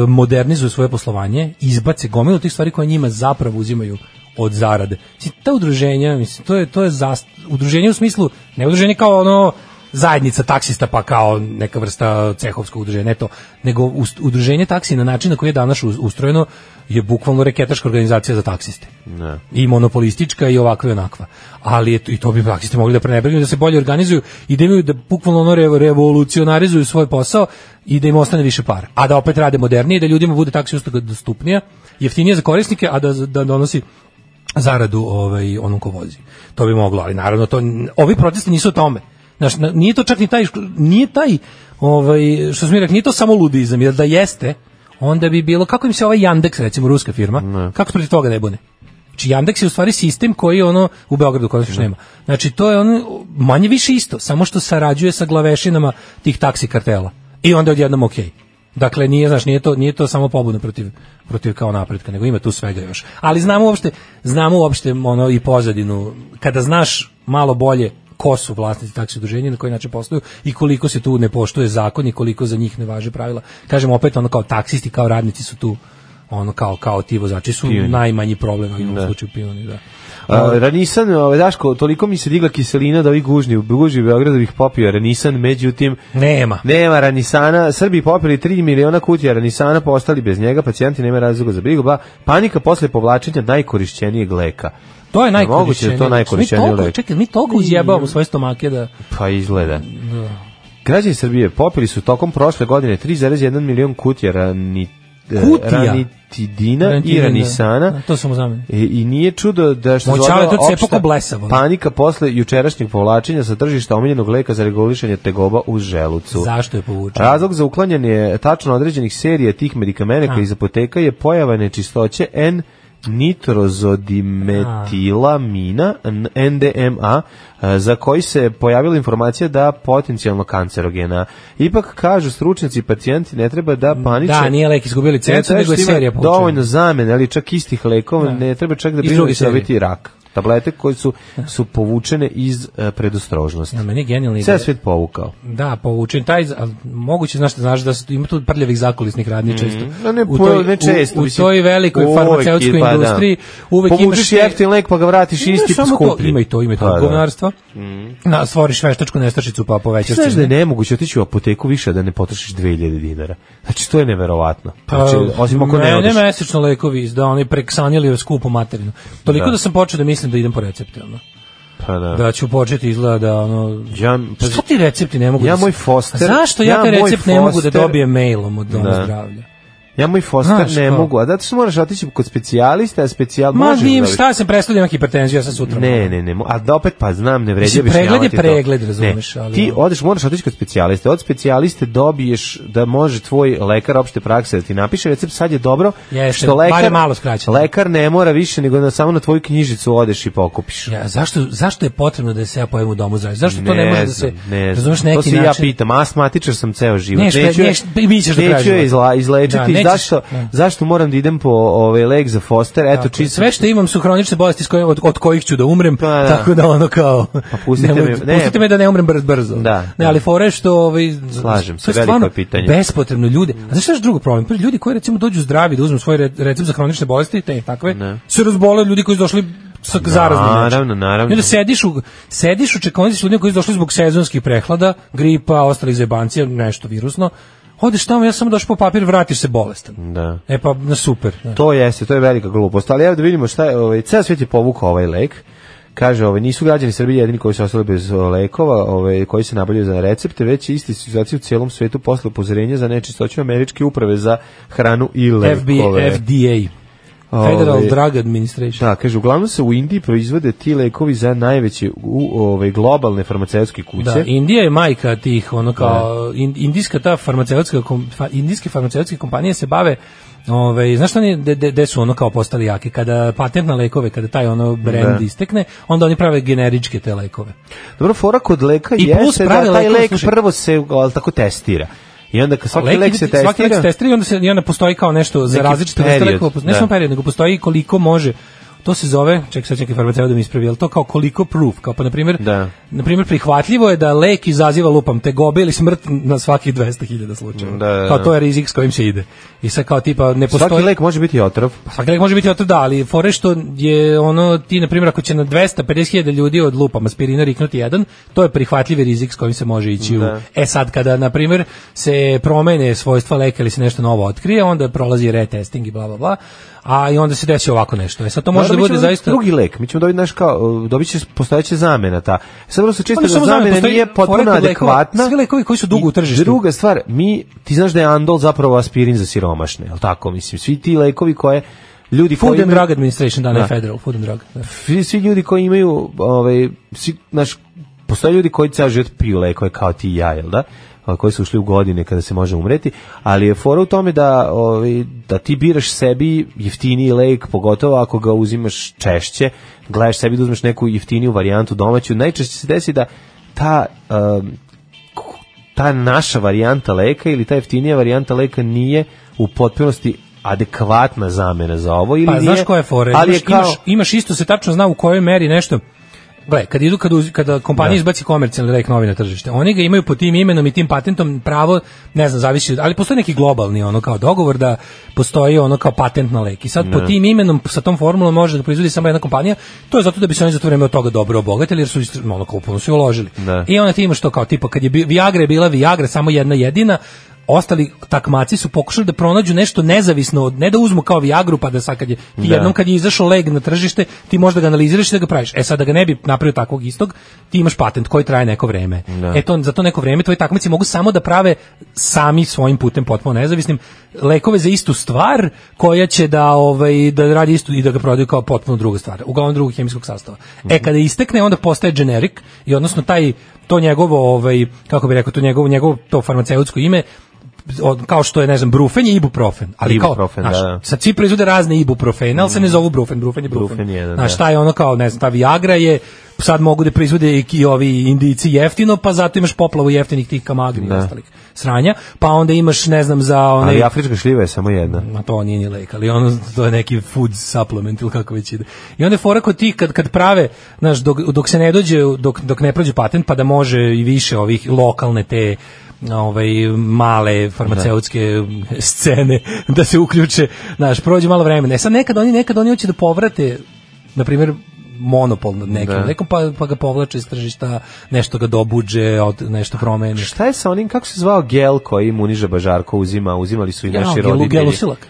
modernizuju svoje poslovanje, izbace gomilu tih stvari koje njima zapravo uzimaju od zarade. Mislim, ta udruženja, mislim, to je, to je zas- udruženje u smislu, ne udruženje kao ono zajednica taksista pa kao neka vrsta cehovskog udruženja, ne to, nego ust- udruženje taksi na način na koji je danas uz- ustrojeno je bukvalno reketaška organizacija za taksiste Ne. i monopolistička i ovakva i onakva. Ali je, i to bi praktično mogli da prenebregnu da se bolje organizuju i da imaju da bukvalno ono revo- revolucionarizuju svoj posao i da im ostane više para. A da opet rade modernije, da ljudima bude taksi usluga dostupnija, jeftinija za korisnike, a da, da donosi zaradu ovaj, onom ko vozi. To bi moglo, ali naravno to, ovi protesti nisu o tome. Znaš, na- nije to čak ni taj, nije taj, ovaj, što smo mi rekli, nije to samo ludizam, jer da jeste, onda bi bilo, kako im se ovaj Yandex, recimo ruska firma, kako se protiv toga ne bune? Znači Yandex je u stvari sistem koji ono u Beogradu kod nas još nema. Znači to je ono manje više isto, samo što sarađuje sa glavešinama tih taksi kartela. I onda je odjednom okej. Dakle, nije, znaš, nije to, nije to samo pobuna protiv, protiv kao napretka, nego ima tu svega još. Ali znamo uopšte, znamo uopšte ono i pozadinu. Kada znaš malo bolje ko su vlasnici taksi udruženja, na koji način posluju i koliko se tu ne poštuje zakon i koliko za njih ne važe pravila. Kažem opet, ono kao taksisti, kao radnici su tu ono kao kao ti vozači su najmanji problem u ovom slučaju pioni, da. A, Ranisan, ovaj, Daško, toliko mi se digla kiselina da ovi gužni, guži Beogradovih popio Ranisan, međutim, Nema. nema Ranisana, Srbi popili 3 miliona kutija Ranisana, pa ostali bez njega, pacijenti nema razloga za brigu, ba, panika posle povlačenja najkorišćenijeg leka. To Moguće je da najkorišćenije. Znači, je to najkorišćeniji Mi toliko- lek. Čekaj, mi toliko uzjebavamo svoje stomake da... Pa izgleda. Građani Srbije popili su tokom prošle godine 3,1 milion kutija rani, e, Kutija? ranitidina i Ranitidina, ranisana. da, Znači, to sam u zameni. E, I, nije čudo da što Moj zvala čale to opšta cepo ko ono. blesavo, ne? Panika posle jučerašnjeg povlačenja sa tržišta omiljenog leka za reguliranje tegoba u želucu. Zašto je povučeno? Razlog za uklanjanje tačno određenih serija tih medikamenata A. iz apoteka je pojava nečistoće N nitrozodimetilamina N- NDMA e, za koji se pojavila informacija da potencijalno kancerogena. Ipak kažu stručnjaci i pacijenti ne treba da paniče. Da, nije lek izgubio licencu, nego je serija povučena. Dovoljno zamene, ali čak istih lekova, ne treba čak da Iz brinu druge i serije. dobiti rak. Tablete koje su, su povučene iz e, predostrožnosti. Ja, meni je genijalna Sve ideja. je svet povukao. Da, povučen taj, ali moguće znaš da znaš da su, ima tu prljavih zakulisnih radnji često. Mhm. A ne, u po- toj, ne često, u, u mislim, toj velikoj uvek farmaceutskoj je, pa da. industriji uvek Povučeš imaš te- jeftin lek pa ga vratiš Ne isti samo to, skuplji. Ima i to, ima i to Pa da. govnarstva. Na, stvoriš veštačku nestašicu pa povećaš Znaš da je cenu. nemoguće otići u apoteku više da ne potrošiš 2000 dinara. Znači, to je neverovatno. Pa, Znači, osim ako ne odeš. Mene mesečno lekovi izda, oni preksanjali skupu materinu. Toliko Da. da. sam počeo da mislim da idem po recepte. Ono. Pa da. Da ću početi izgleda da ono... Ja, pa, Šta ti recepti ne mogu Ja da se- moj Foster- A Zašto ja, ja taj moj recept ne mogu da Foster- dobijem mailom od doma Da. zdravlja? ja moj foster Znaš ne to. mogu, a zato što moraš otići kod specijaliste, a specijal Ma može nim, uraditi. šta sam prestao da imam hipertenziju, ja sam sutra. Ne, ne, ne, mo- a da opet pa znam, ne vredi Mislim, objašnjavati pregled je to. pregled, Ne, razumeš, ali- ono- Ti odeš, moraš otići kod specijaliste, od specijaliste dobiješ da može tvoj lekar opšte prakse da ti napiše recept, sad je dobro, Jeste, što bar je lekar, malo skraćeno. lekar ne mora više nego na, samo na tvoju knjižicu odeš i pokupiš. Ja, zašto, zašto je potrebno da se ja pojavim u domu zdravlja? Zašto to ne, može da se, znam, ne znam. razumeš, to neki se ja način... pitam, astmatičar sam ceo život. Ne, šta- neću, je- ne, šta- i mi ćeš do kraja neću je života. izla, izlečiti, Da, nećeš- zašto, da. zašto moram da idem po ovaj lek za foster, eto, Dakle, čisto sve što imam su hronične bolesti s koje, od, od kojih ću da umrem, Pa, da. Pa tako da ono kao... pustite nemoj- me- ne. pustite me da ne umrem brz, brzo. Da. ne, ali fore što... Ovaj, Slažem se, to je veliko stvarno je pitanje. Bespotrebno ljude. A znaš šta je još drugo problem? Pa Ljudi koji recimo dođu zdravi da uzmu svoj re- recept za hronične bolesti, te takve, se razbole od ljudi koji su došli sa zaraznim. znači. Naravno, naravno. I onda sediš u, sediš u čekonici s ljudima koji su došli zbog sezonskih prehlada, gripa, ostalih zebancija, nešto virusno. Odeš tamo, ja sam došao po papir, vratiš se bolestan. Da. E pa, na super. da. To jeste, to je velika glupost, ali evo da vidimo šta je, ovaj, ceo svijet je povukao ovaj lek, kaže, ovaj, nisu građani Srbije jedini koji su ostali bez o, lekova, ovaj, koji se nabavljaju za recepte, već je isti situacija u cijelom svijetu posle upozorenja za nečistoću američke uprave za hranu i lekove. FB, FDA. Federal Ove- Drug Administration. Da, kaže, uglavnom se u Indiji proizvode ti lekovi za najveće u, ove, globalne farmaceutske kuće. Da, Indija je majka tih, ono kao, in- indijska ta farmaceutska, kom- fa- indijske farmaceutske kompanije se bave Ove, znaš šta oni, de, de- de su ono kao postali jaki, kada patent na lekove, kada taj ono brand Da. istekne, onda oni prave generičke te lekove. Dobro, fora kod leka I plus jeste da prave taj lekove, lek slušaj. prvo se al, tako testira. I onda kad svaki lek, Lek ide- se Svaki lek testira, se testira i onda, se, i onda postoji kao nešto za Neki različite vrste period, lekova, ne da. samo period, nego postoji koliko može to se zove, ček sad čekaj farmaceut da mi ispravi, ali to kao koliko proof, kao pa na primjer, Da. na primjer prihvatljivo je da lek izaziva lupam te gobe ili smrt na svakih 200.000 slučajeva. Da, da, da. Kao to je rizik s kojim se ide. I sad kao tipa ne postoji svaki lek može biti otrov. Pa Svaki lek može biti otrov, da, ali fore što je ono, ti na primjer ako će na 250.000 ljudi od lupama aspirina riknuti jedan, to je prihvatljivi rizik s kojim se može ići u... E sad, kada na primjer se promene svojstva leka ili se nešto novo otkrije, onda prolazi retesting i bla bla bla, a i onda se desi ovako nešto. E sad to može Naravno, da mi bude ćemo zaista... drugi lek. Mi ćemo dobiti naš kao e, dobit će postojeća zamena ta. E Sad prosto čisto Pa da ne samo zamena, zamena postoji nije potpuno pored lekova, adekvatna. svi lekovi koji su dugo I u tržištu. Druga stvar, mi ti znaš da je Andol zapravo aspirin za siromašne, al tako mislim, svi ti lekovi koje ljudi Food koji and imaju- Drug Administration, da, ne Da. Federal, Food and Drug. da. svi, svi ljudi koji imaju ovaj svi naš postoje ljudi koji ceo život piju lekove kao ti i ja, jel da? A, koji su ušli u godine kada se može umreti, ali je fora u tome da, ovaj, da ti biraš sebi jeftiniji lek, pogotovo ako ga uzimaš češće, gledaš sebi da uzmeš neku jeftiniju varijantu domaću, najčešće se desi da ta um, ta naša varijanta leka ili ta jeftinija varijanta leka nije u potpunosti adekvatna zamena za ovo ili Pa nije, znaš koja je fora? ali je imaš, kao, imaš, imaš isto se tačno zna u kojoj meri nešto Gle, kad idu kad, uz- kada kompanija izbaci komercijalni lek novi na tržište, oni ga imaju pod tim imenom i tim patentom pravo, ne znam, zavisi, od- ali postoji neki globalni ono kao dogovor da postoji ono kao patent na lek. I sad pod tim imenom sa tom formulom može da proizvodi samo jedna kompanija. To je zato da bi se oni za to vreme od toga dobro obogatili jer su istr- ono kao puno su uložili. Da. I onda ti imaš to kao tipa kad je bi- Viagra je bila Viagra samo jedna jedina, ostali takmaci su pokušali da pronađu nešto nezavisno od ne da uzmu kao Viagru pa da sad kad je ti Da. jednom kad je izašao leg na tržište ti možda ga analiziraš i da ga praviš e sad da ga ne bi napravio takvog istog ti imaš patent koji traje neko vreme e to za to neko vreme tvoji takmici mogu samo da prave sami svojim putem potpuno nezavisnim lekove za istu stvar koja će da ovaj da radi istu i da ga prodaju kao potpuno druga stvar uglavnom drugog hemijskog sastava Mhm. e kada istekne onda postaje generic i odnosno taj to njegovo ovaj kako bi rekao to njegovo njegovo to farmaceutsko ime od- kao što je ne znam brufen je ibuprofen ali Ibuprofen, kao znaš, da, da. sad svi proizvode razne ibuprofene, ali se ne zovu brufen, brufen je brufen. Mm. Brufen je, da, Znaš, da. šta je ono kao, ne znam, ta Viagra je, sad mogu da proizvode i ki- ovi indici jeftino, pa zato imaš poplavu jeftinih tih kamagni i Da. ostalih sranja, pa onda imaš, ne znam, za onaj... ali afrička šljiva je samo jedna Ma to nije ni lek, ali ono to je neki food supplement ili kako već ide. I onda je fora kod ti kad, kad prave, znaš, dok, dok se ne dođe, dok, dok ne prođe patent, pa da može i više ovih lokalne te ovaj male farmaceutske scene da se uključe, znaš, prođe malo vremena. E sad nekad oni nekad oni hoće da povrate na primjer monopol nad nekim Da. lekom pa, pa ga povlače iz tržišta, nešto ga dobuđe, od, nešto promene. Šta je sa onim, kako se zvao gel koji Muniža Bažarko uzima, uzimali su i Ja, naši gelu- roditelji? gelusilak.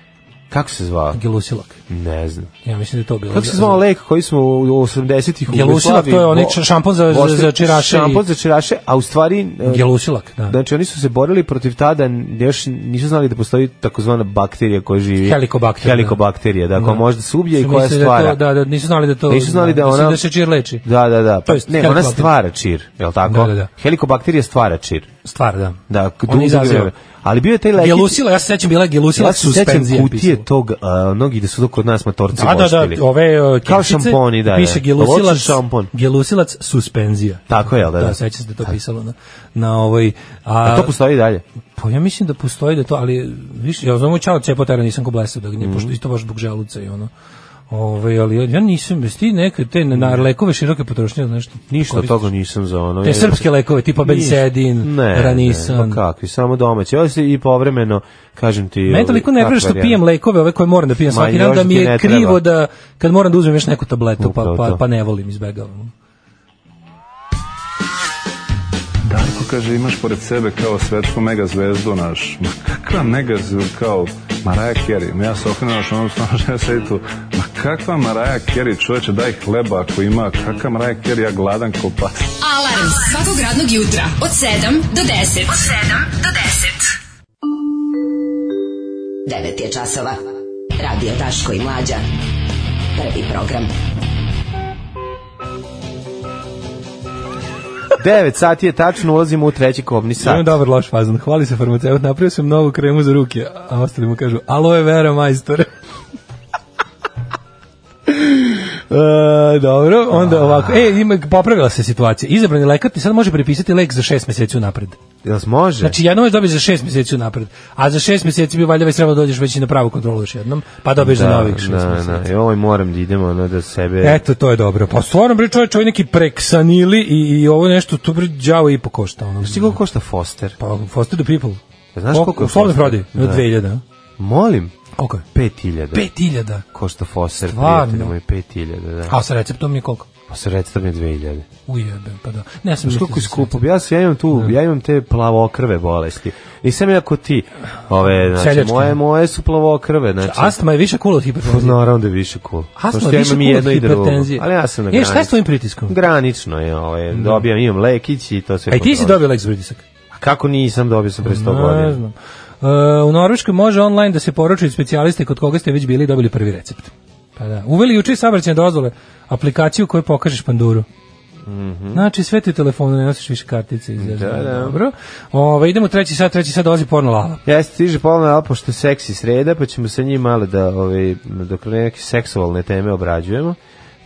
Kako se zvao? Gelusilak. Ne znam. Ja mislim da je to bilo. Kako se za- zvao lek koji smo u 80-ih u Gelusilak, Jugoslaviji to je onaj bo- č- šampon za- za- bošli- za čiraše i- Šampon za čiraše, a u stvari... e, Gelusilak, da. Znači oni su se borili protiv tada, n- još nisu znali da postoji takozvana bakterija koja živi. Helicobacter, da. Helikobakterija, da, koja može da se ubije i Su koja mislili da stvara. to- Da, da, nisu znali da to... Nisu znali da su- ona- se čir leči. Da, da, da. To jest ne, ona helikobakter. stvara čir, je li tako? Da, da, da. Helikobakterija stvara čir. Stvar, da. Da, On dugo izaziva. vreme. Ali bio je taj lek... Gelusila, ja se sećam, bila je gelusila Ja se sećam suspenzija. kutije pisala. tog, a, mnogi da su to kod nas matorci Da, da, voštili. da, ove uh, Kao keksice šamponi, da, da. Piše gelusilac, Ločen šampon. gelusilac suspenzija. Tako je, jel da, Da, da. sećam se da je to pisalo na, na ovoj... A to postoji i dalje. Pa ja mislim da postoji da to, ali viš, ja znam u čao cepotera nisam ko blesao da Mhm. gnje, pošto isto baš zbog želuca i ono. Ove, ali ja, ja nisam, bez ti neke te na, na lekove široke potrošnje ili nešto. Ništa od koristiš? toga nisam za ono. Te ja- srpske lekove, tipa Ništa. Bensedin, ne, Ne, Ranisan. pa kakvi, samo domaći. Ovo se i povremeno, kažem ti... Meni toliko ovaj, nervira što kakva pijem varijanta. lekove, ove koje moram da pijem Ma, svaki dan, još da ti mi je ne treba. krivo da kad moram da uzmem još neku tabletu, pa, Upravo pa, to. pa ne volim, izbegavam. Darko kaže imaš pored sebe kao svetsku megazvezdu naš. Ma kakva megazvezdu kao Mariah Carey. Ma Ja se okrenuo što ono stano žena sedi tu. Ma kakva Mariah Carey čoveče daj hleba ako ima. Kakva Mariah Carey ja gladan kao pas. Alarm svakog radnog jutra od 7 do 10. Od 7 do 10. 9 je časova. Radio Daško i Mlađa. Prvi program. 9 sati je tačno, ulazimo u treći kobni Imam sat. dobar loš fazon. Hvali se farmaceut, napravio sam novu kremu za ruke, a ostali mu kažu, aloe vera majstore. E, dobro, onda ovako. E, ima, popravila se situacija. Izabrani lekar ti sad može prepisati lek za šest meseci unapred. Jel se može? Znači, jednom već dobiješ za šest meseci unapred. A za šest meseci bi valjda već trebalo da dođeš već i na pravu kontrolu još jednom, pa dobiješ za novih šest da, meseci. da, joj, moram da idemo, ono, da sebe... Eto, to je dobro. Pa stvarno, bre, čovječ, ovo je neki preksanili i, i ovo nešto, tu bre, džavo i pokošta. Ono. Znaš ti koliko košta Foster? Pa, foster the people. Pa Znaš koliko je U slobodnoj Foster? prodaji, od Da. 2000. a? Molim, Koliko je? 5000. 5000. Košta Foster, Stvarno? prijatelj moj, 5000, da. A sa receptom je koliko? Pa se recitram je 2000. Ujebe, pa da. Ne, sam Znaš mislio kako je za skupo? Ja, se- ja imam tu, ja imam te plavokrve bolesti. Nisam ja ko ti. Ove, znači, Seljačke. moje, moje su plavokrve, znači. sve. Astma je više cool od hipertenzije. Naravno da je više cool. Pa Astma Pošto je ja više imam i cool od jedno i drugo. hipertenzije. Ali ja sam na E, šta je s granici. tvojim pritiskom? Granično je, ovaj, dobijam, imam lekić i to sve. A i E, ti si kontrolišem. dobio lek za pritisak? A Kako nisam dobio sam pre 100 Ne godina? znam. E, u Norveškoj može online da se poručuju specijaliste kod koga ste već bili i dobili prvi recept. Pa da. Uveli juče sabraćene dozvole, aplikaciju koju pokažeš panduru. Znači, sve ti u telefonu, ne nosiš više kartice. Da, Mhm. da. Dobro. Ove, idemo u treći sat, treći sat dolazi porno lala. Ja stiže polno, ali pošto je seksi sreda, pa ćemo sa njim malo da, ovaj, dok neke seksualne teme obrađujemo.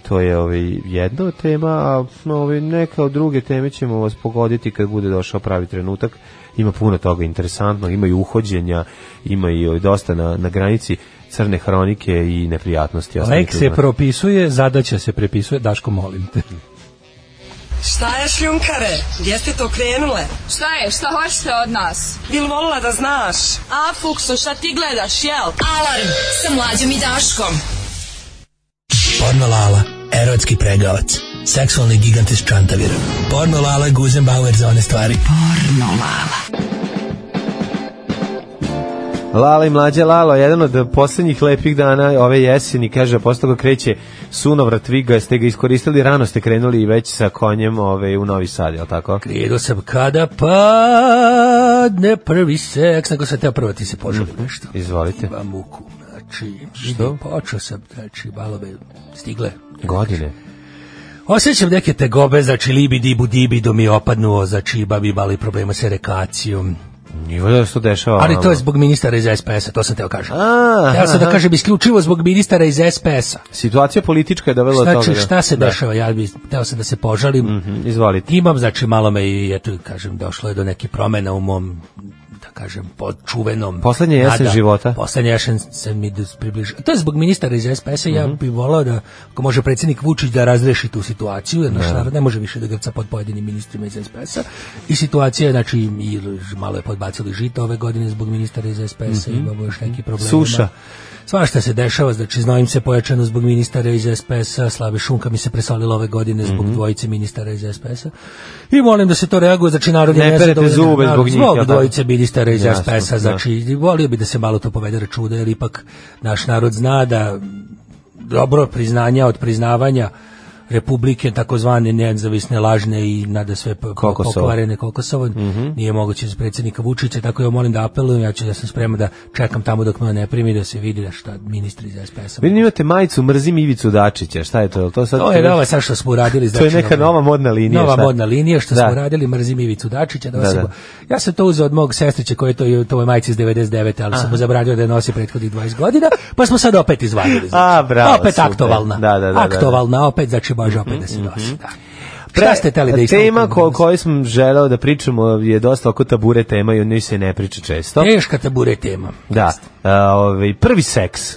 To je ovaj, jedna od tema, a ovaj, neka od druge teme ćemo vas pogoditi kad bude došao pravi trenutak. Ima puno toga interesantno, ima i uhođenja, ima i ovaj, dosta na, na granici crne hronike i neprijatnosti. Lek Ostanite uz se nas. propisuje, zadaća se prepisuje, Daško, molim te. Šta je šljunkare? Gdje ste to krenule? Šta je? Šta hoćete od nas? Bil volila da znaš? A, Fuksu, šta ti gledaš, jel? Alarm sa mlađom i Daškom. Porno Lala, erotski pregavac. Seksualni gigant iz Čantavira. Porno Lala je Guzenbauer za one stvari. Lala i mlađe Lalo, jedan od posljednjih lepih dana ove jeseni, kaže, a posle toga kreće sunovrat, vi ga ste ga iskoristili, rano ste krenuli i već sa konjem ove, u Novi Sad, je li tako? Krenuo sam kada padne prvi seks, nego sam teo prvo ti se poželim nešto. Mm. Izvolite. Ima muku, znači, što? Počeo sam, znači, malo me stigle. Godine. Osjećam neke tegobe, znači libi dibu dibido mi je opadnuo, znači babi bali problema sa rekacijom. Nivo da se to dešava. Ali to ono. je zbog ministara iz SPS-a, to sam teo kažem. A, Teo sam da aha. kažem isključivo zbog ministara iz SPS-a. Situacija politička je dovela do toga. Znači da- šta se da. dešava, ja bi teo sam da se požalim. Mhm, Izvolite. Imam, znači malo me i, eto, kažem, došlo je do nekih promena u mom da kažem, pod čuvenom... Poslednja jesen nada- života. Poslednja jesen se mi dus- približi. To je zbog ministara iz SPS-a, Mhm. ja bih volao da, ako može predsjednik Vučić da razreši tu situaciju, jer naš narod ne može više da grca pod pojedinim ministrima iz SPS-a. I situacija je, znači, i malo je podbacili žito ove godine zbog ministara iz SPS-a, imamo još neki problema. Mhm. Suša. Svašta se dešava, znači znojim se pojačano zbog ministara iz SPS-a, slabe šunka mi se presolila ove godine zbog Mhm. dvojice ministara iz SPS-a. I molim da se to reaguje, znači narod je Ne perete nezadovoljan, zube narod- zbog njih, jel Zbog tako? dvojice ministara iz Jasno, SPS-a, da. znači i volio bi da se malo to povede računa, jer ipak naš narod zna da dobro priznanja od priznavanja republike takozvane nezavisne lažne i nada sve po- po- Kokosovo. pokvarene Kokosovo Mhm. nije moguće za predsjednika Vučića tako ja molim da apelujem ja ću da sam spreman da čekam tamo dok me ne primi da se vidi da šta ministri iz SPS-a Vi imate majicu Mrzim Ivicu Dačića, šta je to? Jel To, sad to je nova sad što smo uradili. To je znači, neka ono, nova modna linija, Nova šta? modna linija što Da. smo uradili, mrzim Ivicu Dačića. Da Da, vas da. je bo- Ja sam to uzeo od mog sestrića koji je to, je- to je majci iz 99. ali sam mu zabranio da je nosi prethodnih 20 godina, pa smo sad opet izvadili. Znači. A, bravo, opet super. aktovalna. Da, da, da, da. aktovalna, opet, znači može opet da se nosi. Da. Šta Pre- ste teli da istaknete Tema ko, danas? koju sam želeo da pričamo je dosta oko tabure tema i o njoj se ne priča često. Teška tabure tema. Da. A, ovaj, prvi seks.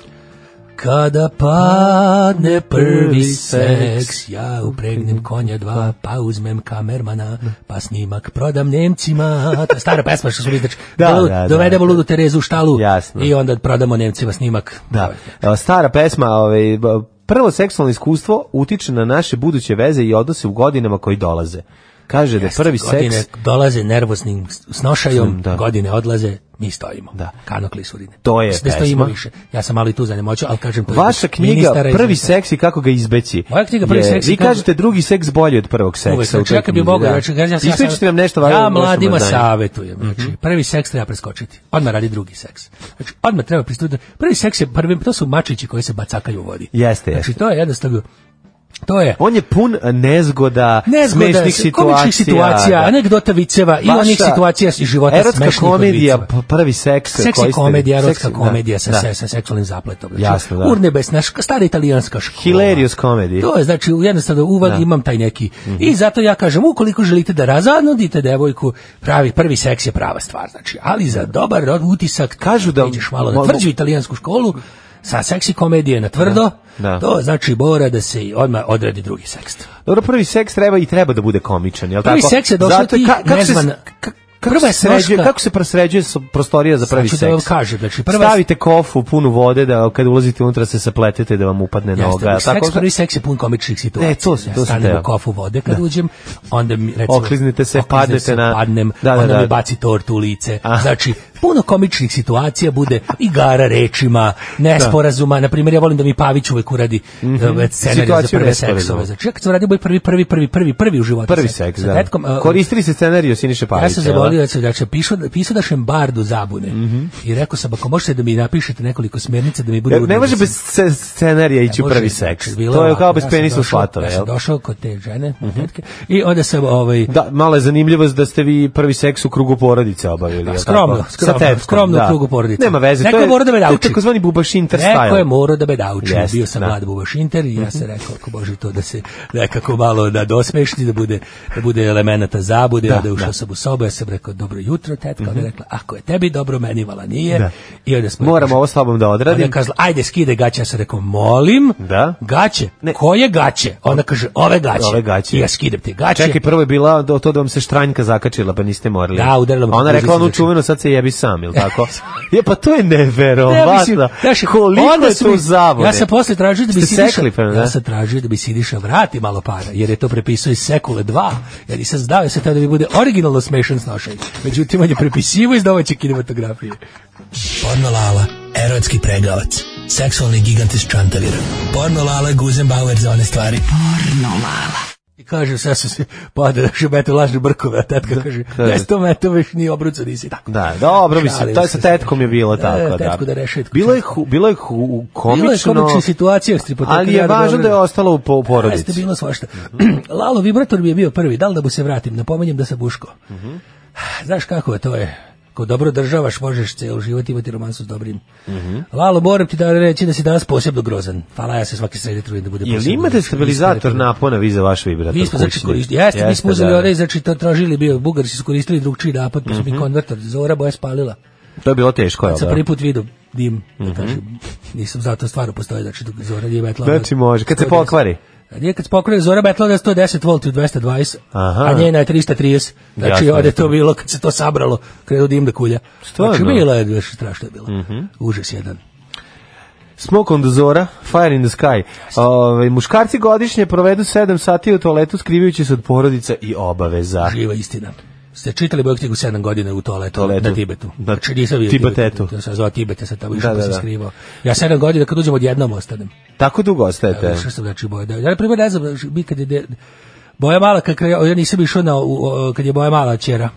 Kada padne prvi seks, ja upregnem konja dva, pa uzmem kamermana, pa snimak prodam Nemcima. To je stara pesma što su bili, znači, Da, do- da, da. dovedemo ludu Terezu u štalu Jasno. i onda prodamo Nemcima snimak. Da. Evo, Stara pesma, ovaj, b- prvo seksualno iskustvo utiče na naše buduće veze i odnose u godinama koji dolaze. Kaže da je prvi godine seks, dolaze nervosnim snošajom, Da. godine odlaze, mi stojimo. Da. Kanokli surine. To je Ne pesma. stojimo više. Ja sam ali tu zanemoćao, ali kažem... to je vaša knjiga ministara iz Prvi ministarstva. seks i kako ga izbeći. Moja knjiga Prvi je- seks i Vi kako- kažete drugi seks bolji od prvog seksa. Uvek, u znači toj ja kad bi knjizi, mogao, da. znači, ja, ja, sam- Ispričite nam nešto važno. ja o vašem mladima znanju. savjetujem, znači, Mhm. prvi seks treba preskočiti, odmah radi drugi seks. Znači, odmah treba pristupiti, prvi seks je prvi, to su mačići koji se bacakaju u vodi. Jeste, Znači, jeste. to je jednostavno, to je, On je pun nezgoda, nezgoda, smešnih situacija. komičnih situacija, da. anegdota viceva i Vaša onih situacija iz života Erotska smešnih od komedija, viceva. p- prvi seks. Seksi koji ste- komedija, erotska seksi- da, komedija sa, da. se- sa seksualnim zapletom. Znači, Jasno, da. Urnebesna, šk- stara italijanska škola. Hilarious comedy. To je, znači, jednostavno uvod imam taj neki. Mhm. I zato ja kažem, ukoliko želite da razanudite devojku, pravi, prvi seks je prava stvar. Znači, ali za dobar rod- utisak, Kažu da- ideš malo na mo- tvrđu italijansku školu, sa seksi komedije na tvrdo, Da. to znači mora da se i odmah odradi drugi seks. Dobro, prvi seks treba i treba da bude komičan, je Prvi tako? seks je došao Zato tih ka- kako se- nezvan- ka- kako Prva je se sređuje, snoška- kako se prosređuje s- prostorija za prvi Znači da vam seks? kažem, znači, prva- Stavite kofu punu vode da kad ulazite unutra se sapletete da vam upadne noga, Jeste, jel seks, tako? prvi seks je pun komičnih situacija. E, to sam- ja to sam stanem teo. u kofu vode kad uđem, onda mi recimo... Okliznite se, okliznem padnete se, na- Padnem, Da, da, onda da. mi baci tortu u lice. Znači, puno komičnih situacija bude igara rečima, nesporazuma. Na primjer, ja volim da mi Pavić uvek uradi e, scenarij za Mhm. Situaciju prve nesporazuma. seksove. Znači, ja kad sam radio moj prvi, prvi, prvi, prvi, prvi u životu. Prvi seks, seks, sa da. tetkom, e, Koristili se scenariju Siniše Pavića. ja sam jel da? zavolio da sam znači, pišao, pisao našem bardu zabune i rekao sam, ako možete da mi napišete nekoliko smjernica da E, mi bude Jer E, Ne može udobno bez se- scenarija ići u Znači, prvi seks. bilo To je znači, ovako, kao bez ja sam penisa došao- slatove, Ja sam jel? Mhm. došao kod te žene, tetke, i onda sam ovaj, Da, mala je zanimljivost da ste vi prvi seks u krugu porodice obavili. jel tako? skromno, skromno, sa dobro, tetkom, skromnu da. krugu porodice. Nema veze, Neko to je je- morao da me to je nauči. takozvani bubaš inter Neko style. je morao da me nauči. Jest, Bio sam da. Mhm. mlad bubaš inter i ja sam rekao, ako bože to da se nekako malo da dosmešni, da bude, da bude elemenata zabude, Da, da, onda je ušao da. Mhm. sam u sobu, ja sam rekao, dobro jutro, tetka, ona je rekla, ako je tebi dobro, meni vala nije. Da. I onda smo Moram ovo s tobom da Ona je odradim. kazala, ajde skide gaće, ja sam rekao, molim, Da. gaće, koje gaće? Ona kaže, ove gaće. Ove gaće. I ja skidem te gaće. Čekaj, prvo je bila do to da vam se štranjka zakačila, pa niste morali. Da, udarila me A Ona po guzi rekla sa onu začetka. čuvenu, sad se jebi sam, ili tako? Je, pa to je Ne, mislim, neverovatno. znaš, Koliko onda je su to mi- zavode? Ja sam posle tražio da bi Ste Sidiša... sekli, pa, da? ja sam tražio da bi Sidiša vrati malo para, jer je to prepisao iz Sekule 2. Ja nisam znao, ja sam teo da mi bude originalno smešan snošaj. Međutim, on je prepisivo iz domaće kinematografije. Pornolala, erotski pregavac, seksualni gigant iz Čantavira. Pornolala je Guzenbauer za one stvari. Pornolala. I kaže, sve su se pada da še mete lažne brkove, a tetka kaže, da. da to mete već ni obrucu nisi tako. Da, dobro, mislim, Šalim to je sa se. tetkom je bilo tako, da. tetku da rešetku. Bilo je, hu- bilo je hu- komično, Bilo je komična situacija u stripoteki, ali je ja da važno dobro- da je ostalo u po- u Jeste porodici. bilo svašta. Lalo Vibrator mi je bio prvi, da li da mu se vratim? Napominjem da sam buško. Mhm. Znaš kako je, to je. Ko dobro državaš, možeš ceo život imati romansu s dobrim. Mhm. Lalo, moram ti da reći da si danas posebno grozan. Hvala, ja se svake srede trudim da bude Jel posebno imate grozan. stabilizator napona vi za vaš vibrator? Mi smo znači kućni? koristili, jeste, mi Jeste, smo uzeli da, da. onaj, znači to tražili bio, Bugari su koristili drugčiji napad, pa su Mhm. mi konvertor, zora boja spalila. To je bilo teško, jel Kad sam da? prvi put vidio dim, Mhm. da kažem, nisam zato stvarno postoji, znači dok zora nije metla. Znači može, kad se 110. pokvari. A Nije kad spokroje Zora Betla da je 110 volti u 220, Aha. a njena je 330. Znači, Jasno, ovde je jasno. to bilo, kad se to sabralo, krenuo dim da kulja. Stvarno? Mhm. Znači, bilo je, znači, strašno je bilo. Užas jedan. Smoke on the Zora, Fire in the Sky. Ove, muškarci godišnje provedu 7 sati u toaletu skrivajući se od porodica i obaveza. Živa istina. Ste čitali moju knjigu 7 godina u toaletu, Toaletu. na Tibetu. Na Znači, nisam bio u Tibetetu. Tibetu. Ja sam zvao Tibet, ja sam tamo Da, išao pa da, se da. skrivao. Ja 7 godina kad uđem odjednom ostanem. Tako dugo ostajete. Ja, što sam znači boja. da- Ja na primjer ne znam, znači, mi kad je de- Boja mala, kad, kre- ja nisam išao na, u- o, kad je moja mala čera,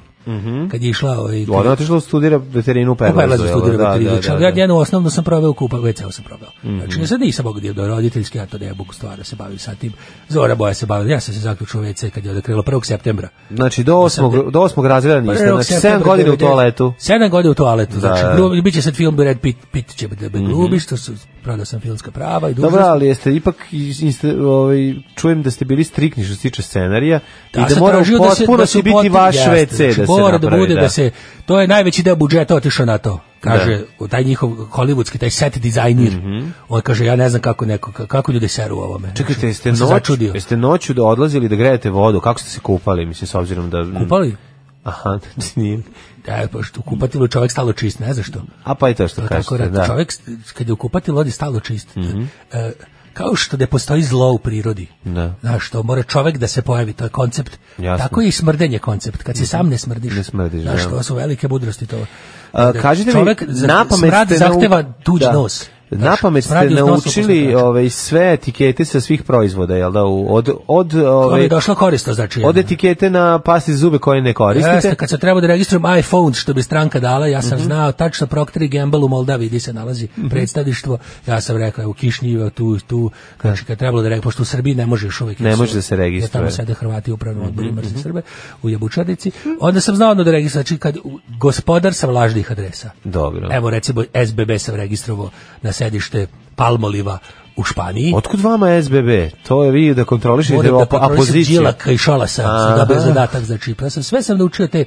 kad je išla... Ovaj, Mhm. Ona je otišla da studira veterinu u Perlazu. Perlazu jel da? studirao Da, veterinu. da, da, Čak da. znači, Mhm. Ja njenu osnovnu sam proveo u kupa, WC sam proveo. Znači, ja sad nisam mogu da idem do roditeljske, ja to ne mogu stvarno se bavim sa tim. Zora Boja se bavila, ja sam se zaključio u WC kad je odekrilo 1. septembra. Znači, do osmog, do osmog razreda niste. Znači, 7 godina u toaletu. 7 godina u toaletu, znači, da. Mhm. glubi, bit će sad film Red Pit, Pit će da be glubi, što su, prodao sam filmska prava i dužnost. Dobro, ali jeste ipak iz- inste, ovaj, čujem da ste bili strikni što se tiče scenarija i da sam mora tražio u potpuno se biti upotpuni- vaš jeste, WC znači, da se mora da napravi, bude da. da. se to je najveći deo budžeta otišao na to kaže taj njihov holivudski taj set dizajnir on kaže ja ne znam kako neko ka- kako ljudi seru u ovome Mhm. Čekajte, jeste, Ja sam noć, začudio. jeste noću da odlazili da grejete vodu? Kako ste se kupali, mislim, s obzirom da... kupali Aha, znači nije. da pa što u kupatilu čovjek stalo čist ne znaš što A pa i to što To tako kažete, radi. da. Mhm. čovjek s- kad je u kupatilu odi stalo čist E, kao što ne postoji zlo u prirodi Da. znaš što mora čovjek da se pojavi to je koncept Jasno. Mhm. tako je i smrdenje koncept kad se sam ne smrdiš Ne smrdiš, znaš da. to su velike mudrosti to A, kažite mi, čovjek za- na pamet smrad ste nau- zahteva tuđ da. nos. Na pamet ste smrad iz nosa posle naučili trača. ovaj, sve etikete sa svih proizvoda, jel da? U- Od, od, Ono je ovaj, došlo koristo, znači. od etikete na pasti zube koje ne koristite. Mhm. Jeste, kad se treba da registrujem iPhone, što bi stranka dala, ja sam znao tačno Procter Gamble u Moldavi gdje se nalazi predstavništvo. Ja sam rekao, evo, Kišnjiva, tu, tu. Znači, kad trebalo da rekao, pošto u Srbiji ne može još uvijek. Ne jer su- može da se registruje. Mhm. jer Tamo sede Hrvati u upravnom odboru, mrze Srbe, u Jabučarnici. Onda sam znao ono da registrujem, znači, kad u- gospodar sam lažnih adresa. Dobro. Evo, recimo, SBB sam registrovao na sedište Palmoliva u Španiji. Otkud vama SBB? To je vi da kontrolišete Moram da opo- potrošim apoziciju. Đilaka i Šolasa, sam Aha. Mhm. dobio zadatak za čip. Ja sam sve sam naučio te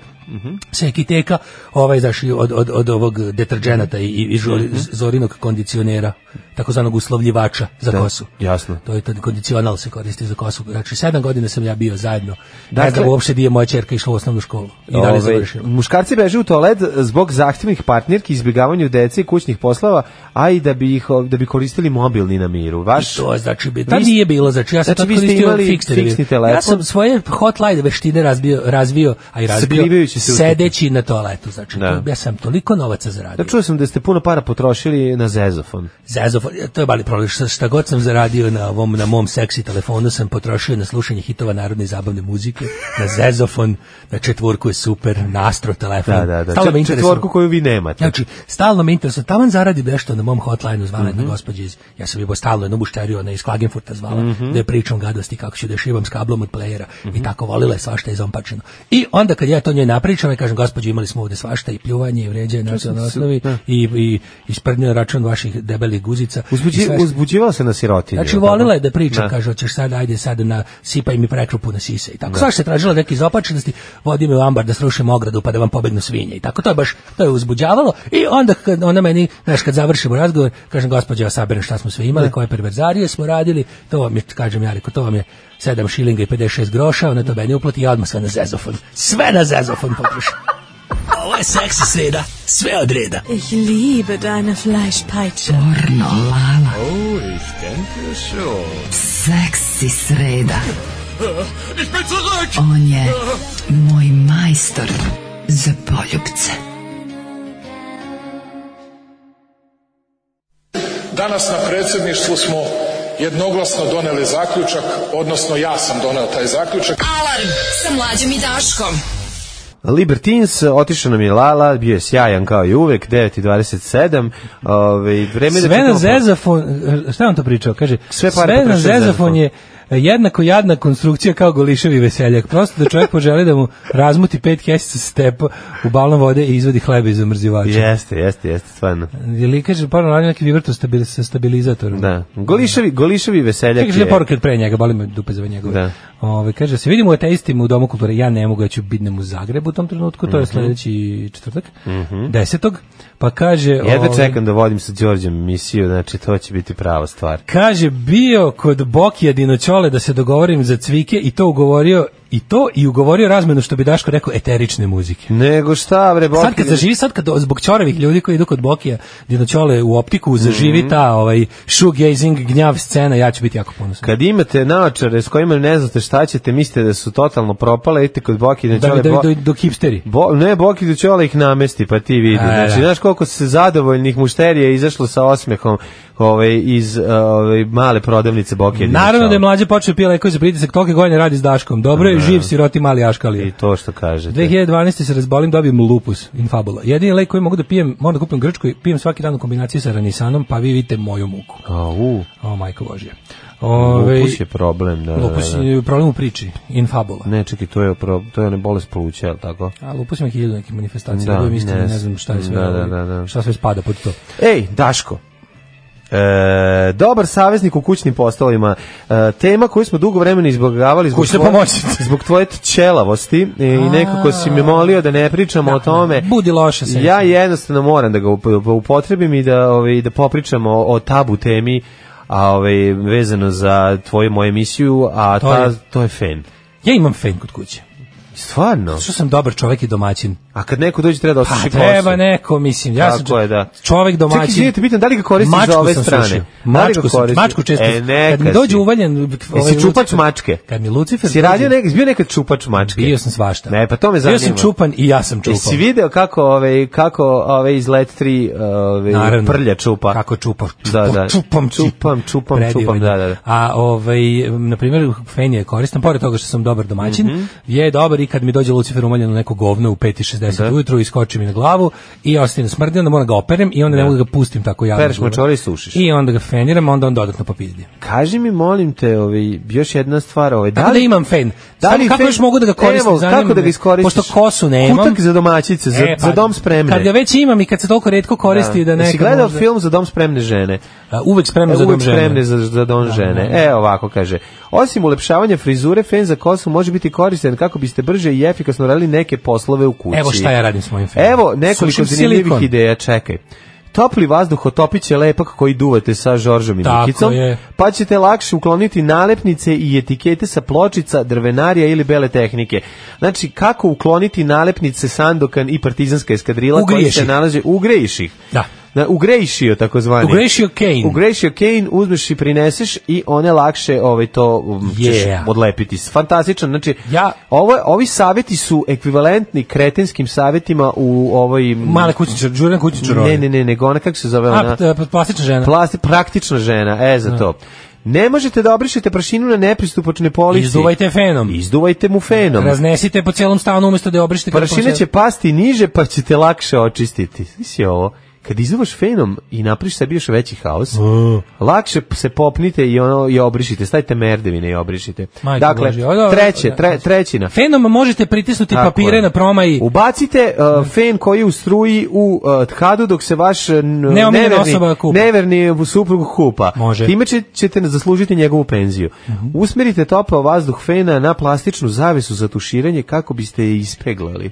sekiteka, ovaj, znaš, i od, od, od ovog deterđenata i, i, i žoli- Mhm. zorinog kondicionera, takozvanog uslovljivača za Da, kosu. jasno. To je to kondicional se koristi za kosu. Znači, sedam godina sam ja bio zajedno. Dakle- ne znam, uopšte di je moja čerka išla u osnovnu školu. I da li Ovaj, završila. muškarci beže u toalet zbog zahtjevnih partnerki, izbjegavanju dece i kućnih poslova, a i da bi, ih, da bi koristili mobilni na miru. Vaš, To je, znači, bi- tad Vi- nije bilo, znači ja sam Znači, tad vi ste koristio imali fiksni, fiksni telefon. telefon. Ja sam svoje hotline veštine razbio, razvio, a i razbio Sakrivajući se u- sedeći na toaletu, znači Da. Znači- ja sam toliko novaca da zaradio. čuo sam da ste puno para potrošili na zezofon. Zazofon, to je mali problem, šta, šta god sam zaradio na, ovom, na mom seksi telefonu sam potrošio na slušanje hitova narodne i zabavne muzike, na zezofon, na četvorku je super, na astro telefon. Da, da, da. Stalno me Čet- interesuje- Četvorku koju vi nemate. Znači, stalno me interesuje, taman zaradi nešto na mom hotline-u zvala jedna gospođa iz, ja sam bio stalno jednu mušteriju, ona iz Klagenfurta zvala, da je pričam gadosti kako ću da je šivam s kablom od playera i tako volila je svašta izompačeno. I onda kad ja to njoj pričam i kažem, gospođo, imali smo ovde svašta i pljuvanje i vređanje na sam nacionalnoj se- osnovi da. i, i, i sprdnje na račun vaših debelih guzica. i Uzbuđi, svašta. uzbuđivala se na sirotinju. Znači, jel tako? volila je da priča, Da. kaže, hoćeš sad, ajde sad na, sipaj mi prekrupu na sise i tako. Da. Svašta je tražila neke izopačenosti, vodi me u ambar da srušim ogradu pa da vam pobegnu svinje i tako. To je baš, to je uzbuđavalo i onda kad ona meni, znaš, kad završimo razgovor, kažem, gospođo, ja sabirem šta smo sve imali, koje perverzarije smo radili, to vam je, kažem ja, reko, to vam je 7 šilinga i 56 groša, ona to meni uplati i ja odmah sve na zezofon. Sve na zezofon potrošim. Ovo je seksi sreda, sve od reda. Ich liebe deine Fleischpeitsche. Pornolala. Oh, ich denke schon. Seksi sreda. Ich bin zurück! On je moj majstor za poljubce. Danas na predsjedništvu smo jednoglasno doneli zaključak, odnosno ja sam doneo taj zaključak. Alarm sa mlađom i Daškom. Libertins, otišao nam je Lala, bio je sjajan kao i uvek, 9.27. Ove, vreme Sve da na čekamo- zezafon, e, šta je on to pričao? Kaže, sve, pare na potrošio za zezafon je e, jednako jadna konstrukcija kao goliševi veseljak. Prosto da čovjek poželi da mu razmuti pet kesica stepa u balon vode i izvadi hleba iz omrzivača. Jeste, jeste, jeste, stvarno. Ili kaže, pa radio neki vibrator stabil, sa stabilizatorom. Da. Goliševi, goliševi veseljak Čekaj, je je... poruke od pre njega, boli me dupe za njegove. Da. Ove, kaže, se vidimo u ateistima u Domu kulture, ja ne mogu, ja ću bidnem u Zagrebu u tom trenutku, to je Mhm. sledeći četvrtak, Mhm. desetog, pa kaže... Jedva ove, čekam da vodim sa Đorđem emisiju, znači to će biti prava stvar. Kaže, bio kod Bokija Dinoćole da se dogovorim za cvike i to ugovorio i to i ugovorio razmenu što bi Daško rekao eterične muzike. Nego šta bre, Sad kad zaživi, sad kad zbog čoravih ljudi koji idu kod Bokija Dinoćole u optiku zaživi Mhm. ta ovaj, shoegazing gnjav scena, ja ću biti jako ponosan. Kad imate naočare s kojima ne znate šta ćete, mislite da su totalno propale, idite kod Boki da Da, čole... da, Bo... da, do hipsteri. Bo, ne, Boki da čole ih namesti, pa ti vidi. A, znači, da. znaš koliko se zadovoljnih mušterija je izašlo sa osmehom ovaj, iz ovaj, male prodavnice Boki. Naravno da je mlađe počeo pije lekoj za pritisak, tolke godine radi s Daškom. Dobro je, Da. živ siroti mali aškali. I to što kažete. 2012. se razbolim, dobijem lupus in fabula. Jedini lek koji mogu da pijem, moram da kupim grčku i pijem svaki dan u kombinaciji sa ranisanom, pa vi vidite moju muku. Au. O, majko Božje. Ove, Ovaj Lupus je problem, da. da, Lupus da. je problem u priči, in fabula. Ne, čekaj, to je, pro, to je one bolest pluća, je li tako? A lupus ima hiljadu nekih manifestacija, Da, da, budem iskreno, ne ne, znam. znam šta je sve, Da, da, ovaj, da, da. šta sve spada pod to. Ej, Daško. E, dobar saveznik u kućnim poslovima. E, tema koju smo dugo vremena izbogavali zbog, Kućna pomoćnica. zbog tvoje ćelavosti e, i nekako si me molio da ne pričamo o tome. Budi loše se. Ja jednostavno moram da ga up- upotrebim i da, ovaj, da popričamo o, o tabu temi a ovaj, vezano za tvoju moju emisiju, a To ta, je- to je fen. Ja imam fen kod kuće. Stvarno? Što sam dobar čovjek i domaćin. A kad neko dođe treba da Pa osuši treba neko, mislim, ja sam Tako je, da. čovjek domaćin. Čekaj, izvinite, pitam, da li ga koristiš Mačku za ove sam strane? slušao. Da li ga Mačku, sam, koristiš? mačku često. E, neka kad mi dođe si. uvaljen... ovaj, Jesi čupač mačke? Kad mi Lucifer... Si radio nekad, bio nekad čupač mačke? Bio sam svašta. Ne, pa to me zanima. Bio sam čupan i ja sam čupan. Jesi video kako ovaj kako ovaj iz Let 3 ovaj Naravno. prlja čupa? Kako čupa? Da, da. Čupam, ti. čupam, čupam, čupam, Predivno. da, da. da. A ovaj m, na primjer fen je koristan pored toga što sam dobar domaćin, Mhm. je dobar i kad mi dođe Lucifer umaljeno neko govno u 5:60 Da. ujutru i skoči mi na glavu i ostane smrdi, onda moram ga operem i onda ne Da. mogu da ga pustim tako javno. Pereš mačore i sušiš. I onda ga feniram, onda on dodatno popizdi. Kaži mi molim te, ovaj još jedna stvar, ovaj Tako da imam fen. Da li Samo kako fen- još mogu da ga koristim? Evo, zanima kako da me. ga iskoristiš? Pošto kosu nemam. Kutak za domaćice, za, E, pa, za dom spremne. Kad ga već imam i kad se toliko redko koristi da, Jesi nekad gledao možda- film za dom spremne žene? A, uvek spremne E, za dom uvek spremne žene. za, za dom žene. E, ovako kaže. Osim ulepšavanja frizure, fen za kosu može biti koristan kako biste brže i efikasno radili neke poslove u kući. Evo šta ja radim s mojim fenom. Evo nekoliko Sušim zanimljivih silikon. ideja, čekaj. Topli vazduh otopit će lepak koji duvate sa Žoržom i Tako Nikicom, je. pa ćete lakše ukloniti nalepnice i etikete sa pločica, drvenarija ili bele tehnike. Znači, kako ukloniti nalepnice Sandokan i partizanska eskadrila koji Ugriješ se ih. nalaze ugrejiš ih. Da. Na, ugrejšio takozvani. Ugrejšio Kane. Ugrejšio Kane, uzmeš i prineseš i one lakše ovaj, to um, ćeš Yeah. odlepiti. Fantastičan, znači Ja- ovo, ovi savjeti su ekvivalentni kretinskim savjetima u ovoj... m, Male kućničar, žurne kućničar. Ne, ne, ne, nego ona kako se zove ona... A, p- plastična žena. Plasti, praktična žena, e, za Da. to. Ne možete da obrišete prašinu na nepristupačne polici. Izduvajte fenom. Izduvajte mu fenom. Raznesite po celom stanu umesto da je obrišite. kako Prašina hoćete. će pasti niže pa ćete lakše očistiti. Svi si ovo. kad izduvaš fenom i napriš sebi još veći haos, lakše p- se popnite i ono i obrišite, stavite merdevine i obrišite. Majko dakle, Božja, ovo- treće, tre, trećina. Fenom možete pritisnuti Tako papire je. na promaj. Ubacite uh, fen koji je u struji u uh, tkadu dok se vaš uh, n- Neomiljena neverni, osoba kupa. neverni suprug kupa. Može. Time će- ćete zaslužiti njegovu penziju. Mhm. Usmerite topao vazduh fena na plastičnu zavesu za tuširanje kako biste je ispeglali.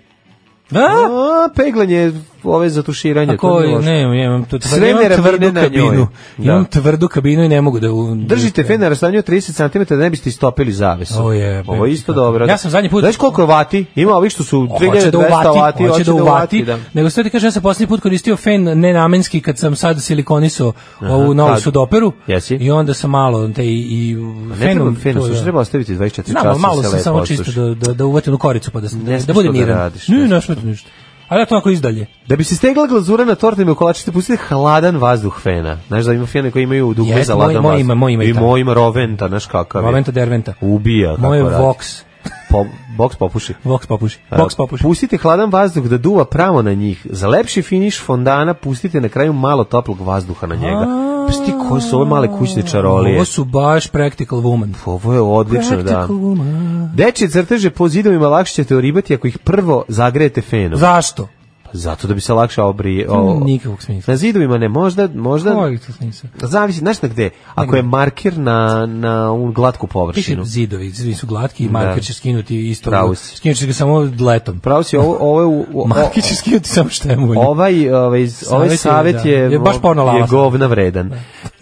Da? A, peglanje ove za tuširanje. Ako, to nije loše. ne, ja imam tu Sve imam nervine tvrdu na njoj. kabinu. Imam Da. tvrdu kabinu i ne mogu da... u- Držite fen na rastavljanju 30 cm da ne biste istopili zavesu. O jebe. Ovo je isto dobro. Ja sam zadnji put- Znaš koliko vati? Ima ovih što su Hoće da 3200 uvati, vati, hoće da uvati. da. Nego što ti kažem, ja sam posljednji put koristio fen nenamenski kad sam sad silikonisao Aha, ovu novu kad? sudoperu. Jesi? Pa I onda sam malo te i, i Ne fenom... treba fena, to, slušaj, da. treba ostaviti 24 časa. Znam, ali da malo se sam lepo samo čisto odsluša. da, da, da uvatim u koricu pa da, sam, da smeš budem to da miran. radiš, ne, ne smeta ništa. Ali ja to ako izdalje. Da bi se stegla glazura na tortama i kolačite, pustite hladan vazduh fena. Znaš da ima fene koji imaju dugme Jeste, za moj- hladan moj vazduh. ima- moj ima i I taj. moj ima roventa, znaš kakav je. Momenta derventa. Ubija. kako Moje radi. Vox. Po, box popuši. Vox popuši. Vox popuši. Pa Pustite hladan vazduh da duva pravo na njih. Za lepši finiš fondana pustite na kraju malo toplog vazduha na njega. Pa ti koje su ove male kućne čarolije? Ovo su baš practical woman. Ovo je odlično, da. Practical woman. Dečje crteže po zidovima lakše ćete oribati ako ih prvo zagrejete fenom. Zašto? Pa zato da bi se lakše obrije. O, Nikakvog smisla. Na zidovima ne, možda, možda, Kojeg to smisla? zavisi, znaš na gde, ako je markir na, na ovu glatku Piše površinu. zidovi, zidovi su glatki i Da. marker će skinuti isto. ono. Pravo si. Skinut će ga samo letom. Pravo si, ovo, ovo je... u- o- Marker će skinuti samo što je volja. Ovaj, ovaj, Savet ovaj je, savet da. je, Je baš porno lava. je govna vredan.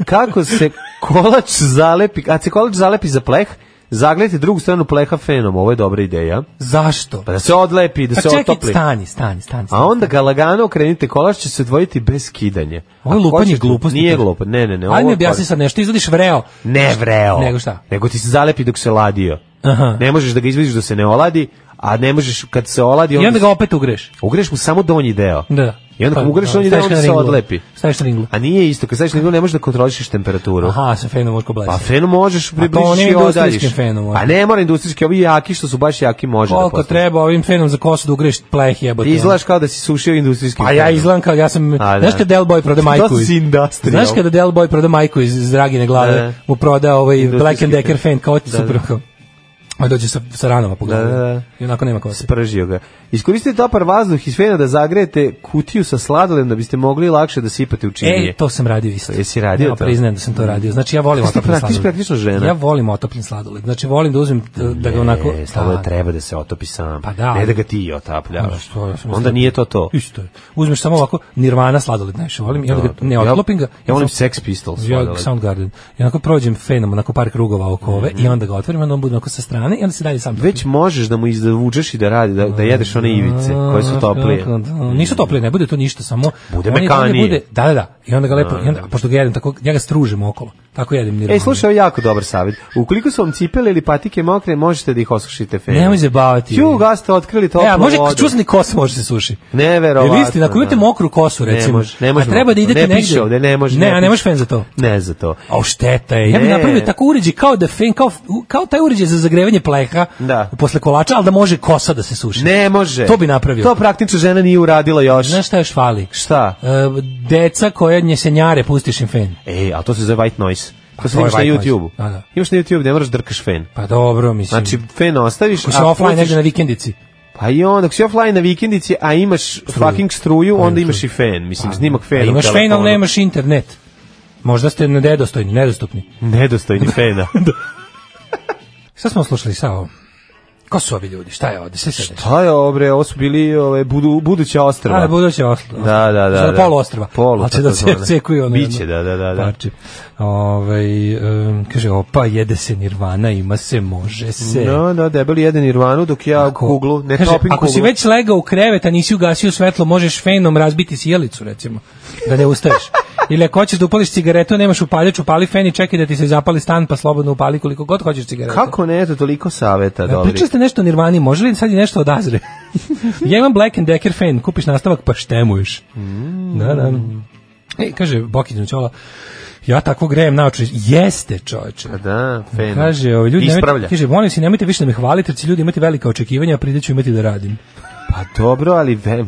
Kako se kolač zalepi, kad se kolač zalepi za pleh, zaglejte drugu stranu pleha fenom, ovo je dobra ideja. Zašto? Pa da se odlepi, da Pa se čekaj, otopli. stani, stani, stani. A onda ga lagano okrenite, kolač će se odvojiti bez kidanja. Ovo je Ako lupanje hoćeš- gluposti. Nije glupo, ne, ne, ne. Ajde ovo pa- mi je objasni korak. sad nešto, izvadiš vreo. Ne vreo. Nego šta? Nego ti se zalepi dok se ladio. Aha. Ne možeš da ga izvadiš da se ne oladi, a ne možeš kad se oladi... I onda ga opet ugreš. Ugreš mu samo donji deo. Da. I onda Pa, kad mu ugreš da, donji deo, staviš onda ga na se ringlu. odlepi. Staviš na ringlu. A nije isto, kad staviš na igru ne možeš da kontrolišeš temperaturu. Aha, sa fenom možeš Pa koblesati. fenom možeš približiš onim i odaljiš. industrijskim fenom, ono. A ne mora industrijski, ovi jaki što su baš jaki može da Koliko postane. treba ovim fenom za kosu da ugreš pleh jebote. Ti izgledaš kao da si sušio industrijskim A Pa ja fenom. izgledam kao, ja sam, A, da. znaš kada Del Boy proda majku? To iz- si industrial. Znaš kada Del Boy proda majku iz, iz Dragine glave, Da, da. mu proda ovaj Industrijski Black and Decker fen. fan, kao Da, super, da. kao. A dođe sa, sa ranama po Da, glavi. da, da. I onako nema kose. Spržio ga. Iskoristite topar vazduh iz fena da zagrejete kutiju sa sladolem da biste mogli lakše da sipate u činije. E, to sam radio isto. Jesi radio ja, to? Mm. priznajem da sam to radio. Znači, ja volim Ti si otopljen praktič- sladoled. praktično žena. Ja volim otopljen sladoled. Znači, volim da uzmem, da, da ga onako... E, sladoled Da. treba da se otopi sam. Pa da, Ne ali- da ga ti Pa otapljavaš. što, ja sam Onda mislio- nije to to. Isto je. Uzmeš samo ovako nirvana sladoled, najviše volim, i onda ga ne Ja- otlopim ga. Ja volim Samo- Sex Pistols. Ja, sladoled. Soundgarden. I onako prođem fenom, onako par krugova oko ove i onda ga otvorim, onda on bude onako sa strane i onda se dalje sam Mhm. topi. Već možeš da mu izvučeš i da radi, da, da jedeš one ivice koje su toplije. Kako da, Nisu toplije, ne bude to ništa, samo... Bude on je- on je mekanije. Bude, da, da, da. I onda ga lepo, i onda, a pošto ga jedem, tako, ja ga stružim okolo. Tako jedem nirvana. E, slušaj, ovo je jako dobar savjet. Ukoliko su vam cipele ili patike mokre, možete da ih osušite fenom. Nemoj zabavati. Ju, gas ste otkrili toplu E, a može, vodu. čuo sam ni kosa može se suši. Neverovatno. Jel istina, ako imate da. mokru kosu, Ne recimo, može, ne može a treba da mokru. idete ne negde. piše ovde, ne može. Ne, a ne piše. može fen za to. Ne za to. A šteta je. Ja bih Ne. napravio tako uređaj kao da fen, kao, kao taj uređaj za zagrevanje pleha Da. posle kolača, ali da može kosa da se suši. Ne može. To bi napravio. To praktično žena nije uradila još. Znaš šta još fali? Šta? E, deca koja njesenjare pustiš im fen. Ej, E, a to se zove white noise. To se to je imaš na white noise. YouTube-u. Da, da. Imaš na YouTube, ne moraš drkaš fen. Pa dobro, mislim. Znači, fen ostaviš, Ako si a offline pustiš- negde na vikendici. Pa i onda, ako si offline na vikendici, a imaš fucking Pa struju, onda imaš i fen. Mislim, snimak A fena. u imaš fen, telefonu. ali nemaš internet. Možda ste nedostojni, nedostupni. Nedostojni fena. Šta smo slušali sa ovo? Ko su ovi ljudi? Šta je ovde? Sve se dešava? Pa je, obre, ovo su bili ove, budu, buduća ostrva. A, buduće ostrva. Da, da, da. Sada da. polu ostrva. Polu, Ali će da se takozvane. cekuju ono. Biće, da, da, da. da. Parče. Ovaj, em, kaže, opa, jede se nirvana, ima se, može se. No, da, debeli jedan Nirvanu, dok ja kuglu, ne E. Kaže, topim ako kuglu. si već legao u krevet, a nisi ugasio svetlo, možeš fenom razbiti sjelicu, recimo, da ne ustaješ. Ili ako hoćeš da upališ cigaretu, nemaš upaljač, upali fen i čekaj da ti se zapali stan, pa slobodno upali koliko god hoćeš cigaretu. Kako ne, eto, toliko saveta, Da, dobri. Pričali ste nešto o Nirvani, može li sad i nešto odazre? ja imam Black and Decker fan, kupiš nastavak pa štemuješ. Mm. Da, da. E, kaže Bokić Noćola, ja tako grejem naoči. Jeste, čoveče. Pa Da, fen. Kaže, ovi ljudi, nemojte, Ispravlja. kaže, molim se, nemojte više da me hvalite, jer će ljudi imati velika očekivanja, a pride ću imati da radim. Pa dobro, ali ve,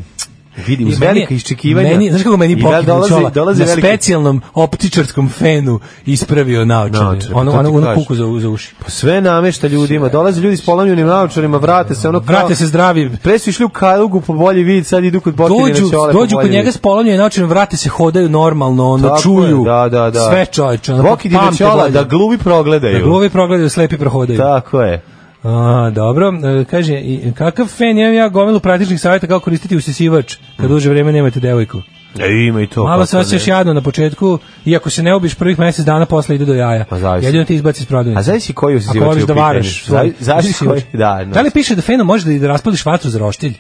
Vidim, I uz meni je- velika iščekivanja. Meni, znaš kako I meni da, pokida dolazi- Ćola? dolazi na veliki- specijalnom optičarskom fenu ispravio naočare. Naočare, pa Ono, to ti ono, ono kažem. kuku za, za uši. Pa sve namešta ljudima. Dolaze ljudi s polamljenim naočarima, vrate se ono Vrate se zdravi. Pre su išli u Kalugu po bolji vid, sad idu kod Botirina Dođu, Ćole po dođu bolji kod njega vid. s polomljenim naočarima, vrate se, hodaju normalno, ono, Tako je, čuju. da, da, da. Sve čoveče. Ono, Bokidina pamte Ćola, bolje. da gluvi progledaju. Da gluvi progledaju, slepi prohodaju. Tako je. A, dobro, E, kaže, i- kakav fen, imam ja gomilu praktičnih savjeta kako koristiti usisivač kad duže vreme nemate devojku. E, ima i to. Malo kako se Pa osjećaš ne. jadno na početku, iako se ne obiš prvih mjesec dana posle ide do jaja. Pa zavisi. Jedino te izbaci iz prodavnice. A zavisi koji usisivač Ako je voliš u da pitanju. varaš. Zavi- zavisi usisivač. koji- da, no. da li piše da fenom može da i da raspališ vatru za roštilj?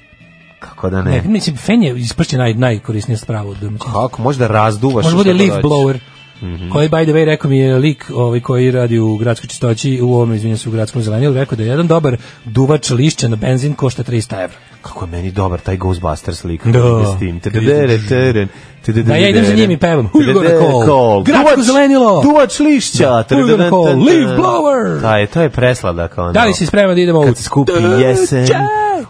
Kako da Ne. ne? mislim, fen je ispršće naj, najkorisnija sprava u domaćinstvu. Kako, možda razduvaš. Može bude šta god leaf hoćeš. blower. Mhm. Koji, by the way, rekao mi je lik ovaj, koji radi u gradskoj čistoći, u ovom, izvinjam se, u gradskom zelenju, rekao da je jedan dobar duvač lišća na benzin košta 300 evra. Kako je meni dobar taj Ghostbusters lik. Da. S tim. Tededere, teren, tededere, Da ja idem za njim i pevam. Who you gonna tededere, call? Gradsko Duvač, zelenilo! duvač lišća. Da. Who you gonna call? Leaf blower! Taj, to je presladak. Ono. Da li si spreman da idemo u... Kad se skupi jesen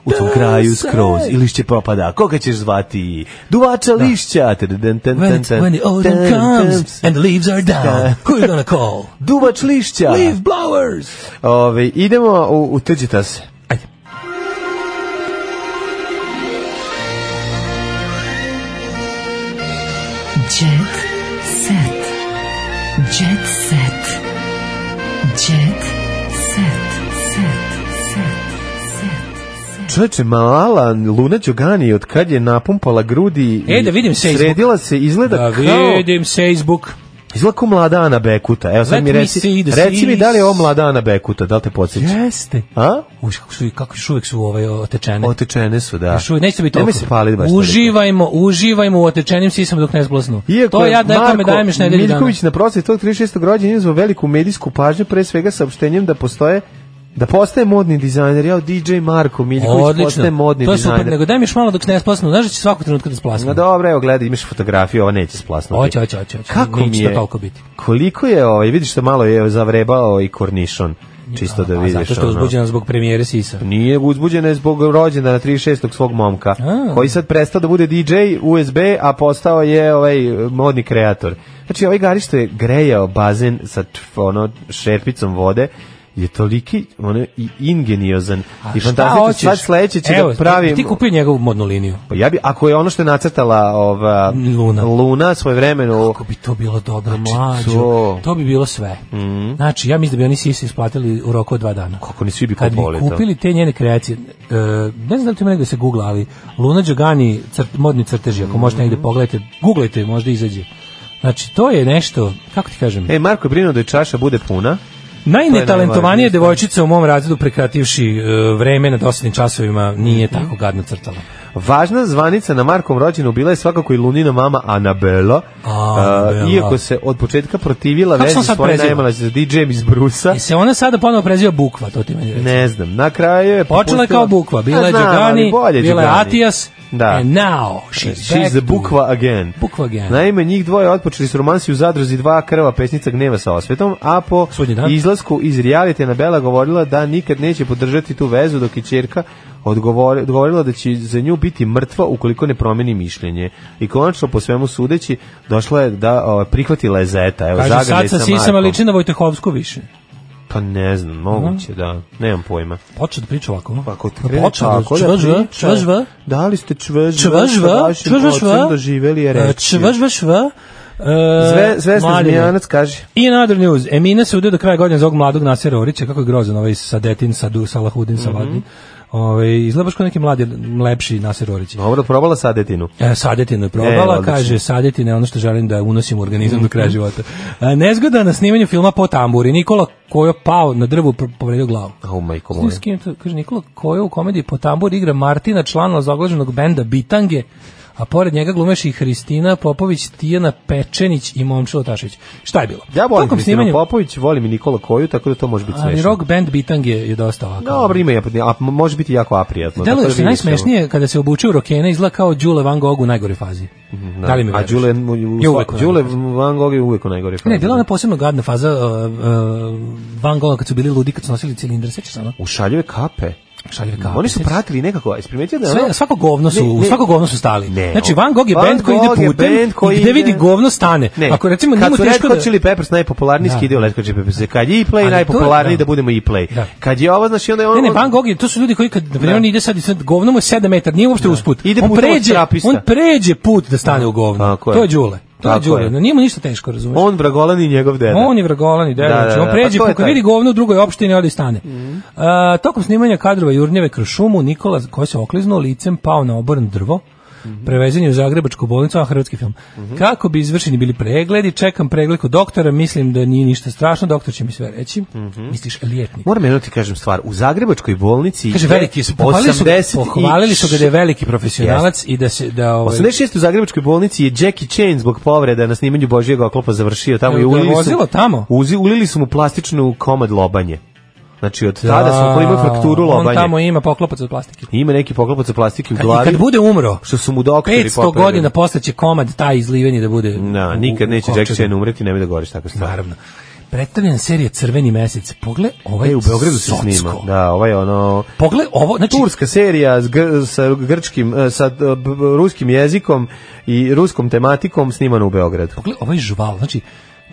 u tom kraju skroz i lišće popada. Koga ćeš zvati? Duvača lišća. Tededen, ten, When, ten, it's, when ten, the autumn ten, comes ten. and the leaves are down, who you gonna call? Duvač lišća. Leaf blowers! Ove, idemo u, u Tuđitas. Jet set. Jet set. Jet set. Set. Set. Čoveče, mala Luna Đugani od kad je napumpala grudi i E, da vidim se iz- sredila se, izgleda Da kao... vidim Facebook. Izgleda kao mlada Ana Bekuta. Evo sad Let mi me reci, see the reci mi seas. da li je ovo mlada Ana Bekuta, da li te podsjeća? Jeste. A? Uš, kako su, kako još uvijek su ovaj otečene. Otečene su, da. Još uvijek, neće biti Nemoj toliko. se paliti baš Uživajmo, uživajmo u otečenim sisama dok ne zblosnu. To ja da tome dajem još nedelju dana. Miljković na proslavi tog 36. rođenja izvao veliku medijsku pažnju, pre svega saopštenjem da postoje da postaje modni dizajner, ja DJ Marko Miljković postaje modni to je dizajner. super, nego daj mi još malo dok ne splasnu, znaš da će svakog trenutka da No splasnu. dobro, evo gledaj, imaš fotografiju, ova neće splasnuti. Hoće, hoće, hoće, hoće. Kako Neće mi to je? toliko biti. Koliko je, ovaj, vidiš da malo je zavrebao i kornišon, čisto da A vidiš. zato što je ono. uzbuđena zbog premijere Sisa. Nije uzbuđena je zbog rođena na 36. svog momka, koji sad prestao da bude DJ USB, a postao je ovaj modni kreator. Znači, ovaj garište je grejao bazen sa tf- ono, šerpicom vode, je toliki ono, i ingeniozan i fantastičan. Sad sledeće će Evo, da pravi... Ti kupio njegovu modnu liniju. Pa ja bi, ako je ono što je nacrtala ova, Luna. Luna svoje vremenu... Kako bi to bilo dobro, mlađo. Znači, to- To... bi bilo sve. Mm. Znači, ja mislim da bi oni Sisa isplatili u roku od dva dana. Kako ni svi bi Kad bi kupovali to. kupili te njene kreacije, e, ne znam da li to ima negde da se googla, ali Luna Đogani, crt- modni crteži, ako možete Mm. negde pogledajte, googlajte, možda izađe. Znači, to je nešto, kako ti kažem, E, Marko je brinuo da je čaša bude puna. najnetalentovanija devojčica u mom razredu prekrativši e, vreme na dosadnim časovima nije tako gadno crtala. Važna zvanica na Markom rođenu bila je svakako i Lunina mama Anabela, Anabela. a, iako se od početka protivila Kako se vezi on sad svoje preziva? najmalađe za DJ-em iz Brusa. I E, se ona sada ponovo preziva Bukva, to ti meni reći. Ne znam, na kraju je Počela je popustila- kao Bukva, bila A, je znam, ali Đogani, bolje bila je Đugani. Atijas, Da. and now she's, She's back the to- Bukva again. Bukva again. Naime, njih dvoje otpočeli su romansi u zadruzi dva krva pesnica gneva sa osvetom, a po Sudnji dan. izlasku iz realite Anabela govorila da nikad neće podržati tu vezu dok je čerka odgovori- odgovorila da će za nju biti mrtva ukoliko ne promeni mišljenje. I konačno po svemu sudeći došla je da o, prihvatila je Zeta. Evo, Kaže, zagrlje sad sa sa sisama Markom. liči Mhm. na Vojtehovsku više. Pa ne znam, moguće, da. Nemam pojma. Počeo da priča ovako. ono. Pa Ako ti Počeo da čvržva, čvržva. Da li ste čvržva? sa Čvržva, vašim čvržva, ocem šva. doživeli je E, reči? Čvržva, šva. E, Zve- Zvezdan mladine. Zmijanac kaže. I na other news. Emina se udio do kraja godine za ovog mladog Nasera Orića, kako je grozan ovaj sa Detin, sa Du, sa Mhm. Lahudin, sa Vadin. Ovaj, izgleda baš kao neki mladi, lepši Naser Orić. Dobro, probala sadetinu. E, sadetinu je E, probala, odlično. kaže, sadjetina je ono što želim da unosim u organizam do kraja života. E, nezgoda na snimanju filma po tamburi. Nikola Kojo pao na drvu, pr- povredio glavu. Oh, majko Znaš moja. s kim to- kaže Nikola Kojo u komediji po tambur igra Martina, člana zaglađenog benda Bitange, a pored njega glumeš i Hristina Popović, Tijana Pečenić i Momčilo Tašić. Šta je bilo? Ja volim Tokom Kristinu snimanja- Popović, volim i Nikola Koju, tako da to može biti Ali smešno. rock band Bitange je dosta ovako. Dobro, ima je, a može biti jako aprijatno. Delo tako je da što je vidiš najsmešnije kada se obuče u rokene izgleda kao Đule Van Gogh u najgore fazi. ono. Da li mi A veruješ? Đule, mu- u- Je uvek ono. u Đule Van Gogh je uvijek u najgori fazi. Ne, bila je ona posebno gadna faza uh, uh, Van Gogha kad su bili ludi, kad su nosili cilindre, sećaš se ono? U šaljive kape. šaljive kape. Oni su pratili nekako, jesi primetio da je Sve- ono- svako govno su- svako govno su stali. Ne, Znači, ovo- Van Gogh je bend koji ide Gogh je putem bend koji i gde ide- vidi govno stane. Ne. Ako recimo kad njemu su Red teško da Hot Chili Peppers najpopularniji Da. skidaju Red Hot Chili Peppers. Kad je i play Ali najpopularniji da. to- da. budemo i play. Da. Kad je ovo znači onda je ono Ne, ne, Van Gogh, je- to su ljudi koji kad na primjer, Da. on ide sad, i sad govno mu je 7 metara, nije uopšte usput. Ide on putem od pređe, trapista. on pređe put da stane u govno. Tako je. to je Đule. To Tako je Đule. je. No, nije mu ništa teško, razumeš? on Vragolan i njegov deda. On je vrgolan i Da, da, deda. znači, da, On pa pređe, to je kako taj. Mhm. vidi govno u drugoj opštini, odi stane. A, tokom snimanja kadrova Jurnjeve kroz šumu, Nikola, koji se okliznuo licem, pao na oboran drvo, Mhm. prevezen je u Zagrebačku bolnicu, a hrvatski film. Kako bi izvršeni bili pregledi, čekam pregled kod doktora, mislim da nije ništa strašno, doktor će mi sve reći. Mhm. Misliš, lijetni. Moram jedno ti kažem stvar, u Zagrebačkoj bolnici Kaže, je veliki su, pohvalili su, ga, 80 i- pohvalili su ga da je veliki profesionalac i da se, da ovaj, 86. u Zagrebačkoj bolnici je Jackie Chan zbog povreda na snimanju Božijeg oklopa završio tamo i Jel ga je ulili su, vozilo tamo? Uzi, ulili su mu plastičnu komad lobanje. Znači od tada su on ima frakturu On lobanje. tamo ima poklopac od plastike. Ima neki poklopac od plastike u Kad- i glavi. kad bude umro, što su mu doktori 500 popravili. godina posle će komad taj izliveni da bude. Na, u- nikad u- neće u Jackie kovčegu. Chan umreti, nemoj da govoriš tako stvar. Naravno. Predstavljena serija Crveni mesec. Pogle ovaj E, u Beogradu se socko. snima. Da, ovaj ono... Pogle ovo, znači Turska serija s gr- sa grčkim, eh, sa eh, b- b- ruskim jezikom i ruskom tematikom snimana u Beogradu. pogle ovaj žval, znači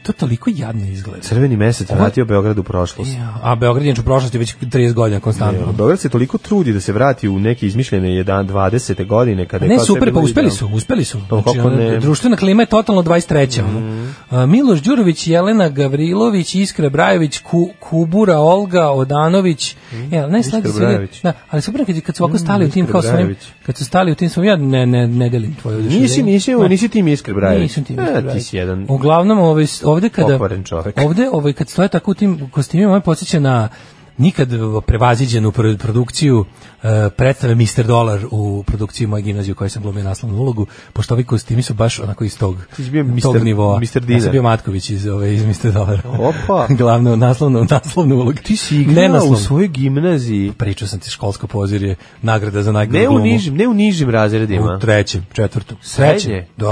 to toliko jadno izgleda. Crveni mesec Ovo- vratio Beograd u prošlost. Ja, A Beograd je inače u prošlosti već 30 godina konstantno. Beograd se toliko trudi da se vrati u neke izmišljene 11 20. godine kada je Ne, kao sve super, bilo pa uspeli idealno. su, uspeli su. To Znači, kako ono, ne. Mhm. društvena klima je totalno 23. ono. A, Miloš Đurović, Jelena Gavrilović, Iskra Brajović, Ku- Kubura, Olga Odanović. E, ne, Mhm. Iskra slađe se. Brajović. Mhm, Da, ali super kad, kad su ovako stali u tim Iskra kao svojim, Brajović. kad su stali u tim svojim, ja ne, ne, ne delim tvoje oduševljenje. Nisi, nisi, Ne. nisi ti mi iskri Brajević. Nisam E, ti Iskra ti Brajević. si jedan... Uglavnom ovaj ovde kada Pokvaren čovek. ovde ovaj kad stoje tako u tim kostimima, ovaj podsjeća na nikad prevaziđenu pro- produkciju e, predstave Mr. Dolar u produkciji moje gimnazije u kojoj sam glumio naslovnu ulogu, pošto ovi kostimi su baš onako iz tog, Ti si bio Mr. tog nivoa. Mr. Ja Dinar. sam bio Matković iz, ove, iz Mr. Dolara. Opa. Glavno, naslovnu, naslovnu ulogu. Ti si igrao u Nenaslovnu. svojoj gimnaziji. Pričao sam ti školsko pozirje, nagrada za najgore Ne u glumu. nižim, ne u nižim razredima. U trećem, četvrtom. Srednje? Trećem, Da.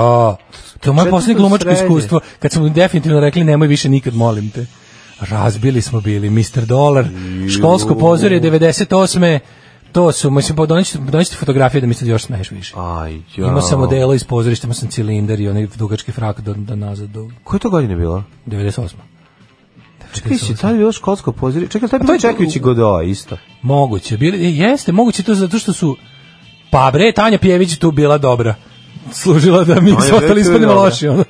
To je moje Četvrto, posljednje glumačko srednje. iskustvo, kad smo definitivno rekli nemoj više nikad, molim te. Razbili smo bili, Mr. Dolar, školsko pozorje 98. To su, mislim, pa donećete, donećete fotografije da mi se još smeješ više. Aj, ja. Imao sam odelo iz pozorišta, imao sam cilindar i onaj dugački frak do, do nazad do Koje to godine bilo? 98. Čekaj, si tad je bilo školsko pozirje. Čekaj, tad je to bilo je- čekajući Godoa isto. Moguće, bili, e, jeste, moguće to zato što su pa bre, Tanja Pjević je tu bila dobra. Služila da mi Tanja svi ostali Pjević je ispadnemo dobra. loši, ono.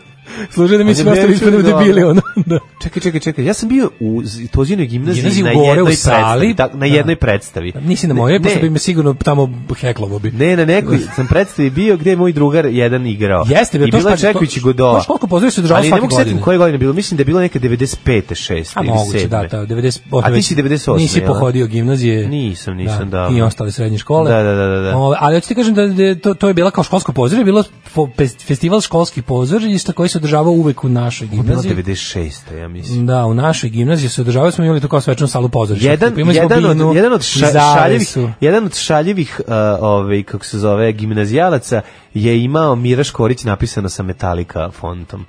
Služila da mi Tanja svi ostali Pjević je ispadnemo dobra. debili, ono. Da. Čekaj, čekaj, čekaj. Ja sam bio u z- Tozinoj gimnaziji Gimnaziji na gore, u jednoj sali. predstavi. tak- na Da. jednoj predstavi. Nisi na Ne, moje, pošto ne. bi me sigurno tamo heklovo bi. Ne, na nekoj sam predstavi bio gde je moj drugar jedan igrao. Jeste, bre, I to bila šta- čekajući to- Godoa. znaš koliko pozorišta je održavalo Ali ne svake mogu se setim godine? koje godine je bilo, mislim da je bilo neke 95. 6. A ili moguće, 7. da, da, 90, od A ti si 98. Nisi jel? pohodio gimnazije. Nisam, nisam, da. I ostale srednje škole. Da, da, da, da, da. Ove, ali hoću ti kažem da, da je to, to je bila kao školsko pozorje, bilo fo- fes- festival školskih pozorišta koji se održavao uvek u našoj Ovo je bilo gimnaziji. 96. ja mislim. Da, u našoj gimnaziji se održavali smo imali to kao svečanu salu pozorišta. Jedan, Tipa, imali smo jedan, binu od, jedan, od i ša- šaljevih, zavesu. jedan od šaljevih uh, ovaj, kako se zove, gimnazijalaca je imao Mira Škorić napisano sa Metallica fontom.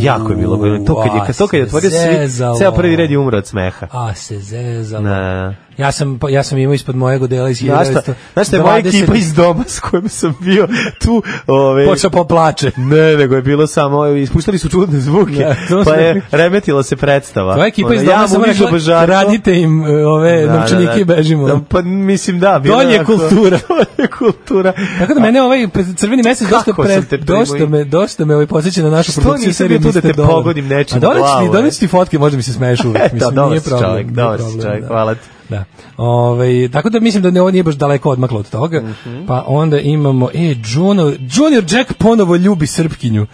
jako je bilo. godno. To kad je, kad, to kad je a, otvorio svi, zezalo. ceo prvi red je umro od smeha. A se zezalo. Na, na, na. Ja sam pa- ja sam imao ispod mojeg odela iz Znaš šta, 1920. znaš šta je moja ekipa iz doma s kojom sam bio tu, ove, počeo poplače. ne, nego je bilo samo, ispuštali su čudne zvuke, Da, samo pa smo je rekli- remetila se predstava. Tvoja ekipa Ono, iz doma ja samo Mudić rekla, Obožarko. radite im e, ove Da, da, novčanike da. i bežimo. Da, pa mislim da. bilo Donje onako- kultura. Donje kultura. Tako da mene ovaj pe- crveni mesec Kako dosta pre, sam te primio? dosta me dosta me ovaj podseća na našu Što produkciju nisam serije bio tu da Mr. te Dolar. pogodim nečim A doneću u glavu, ti, e. doneću ti fotke, možda mi se smeješ uvek, Eto, mislim, E, dobar nije si problem. čovjek, nije dobar si problem, čovjek, da. hvala ti. Da. Ovaj, tako da mislim da ne, ovo nije baš daleko odmaklo od toga. Mhm. Pa onda imamo, e, Juno, Junior Jack ponovo ljubi Srpkinju.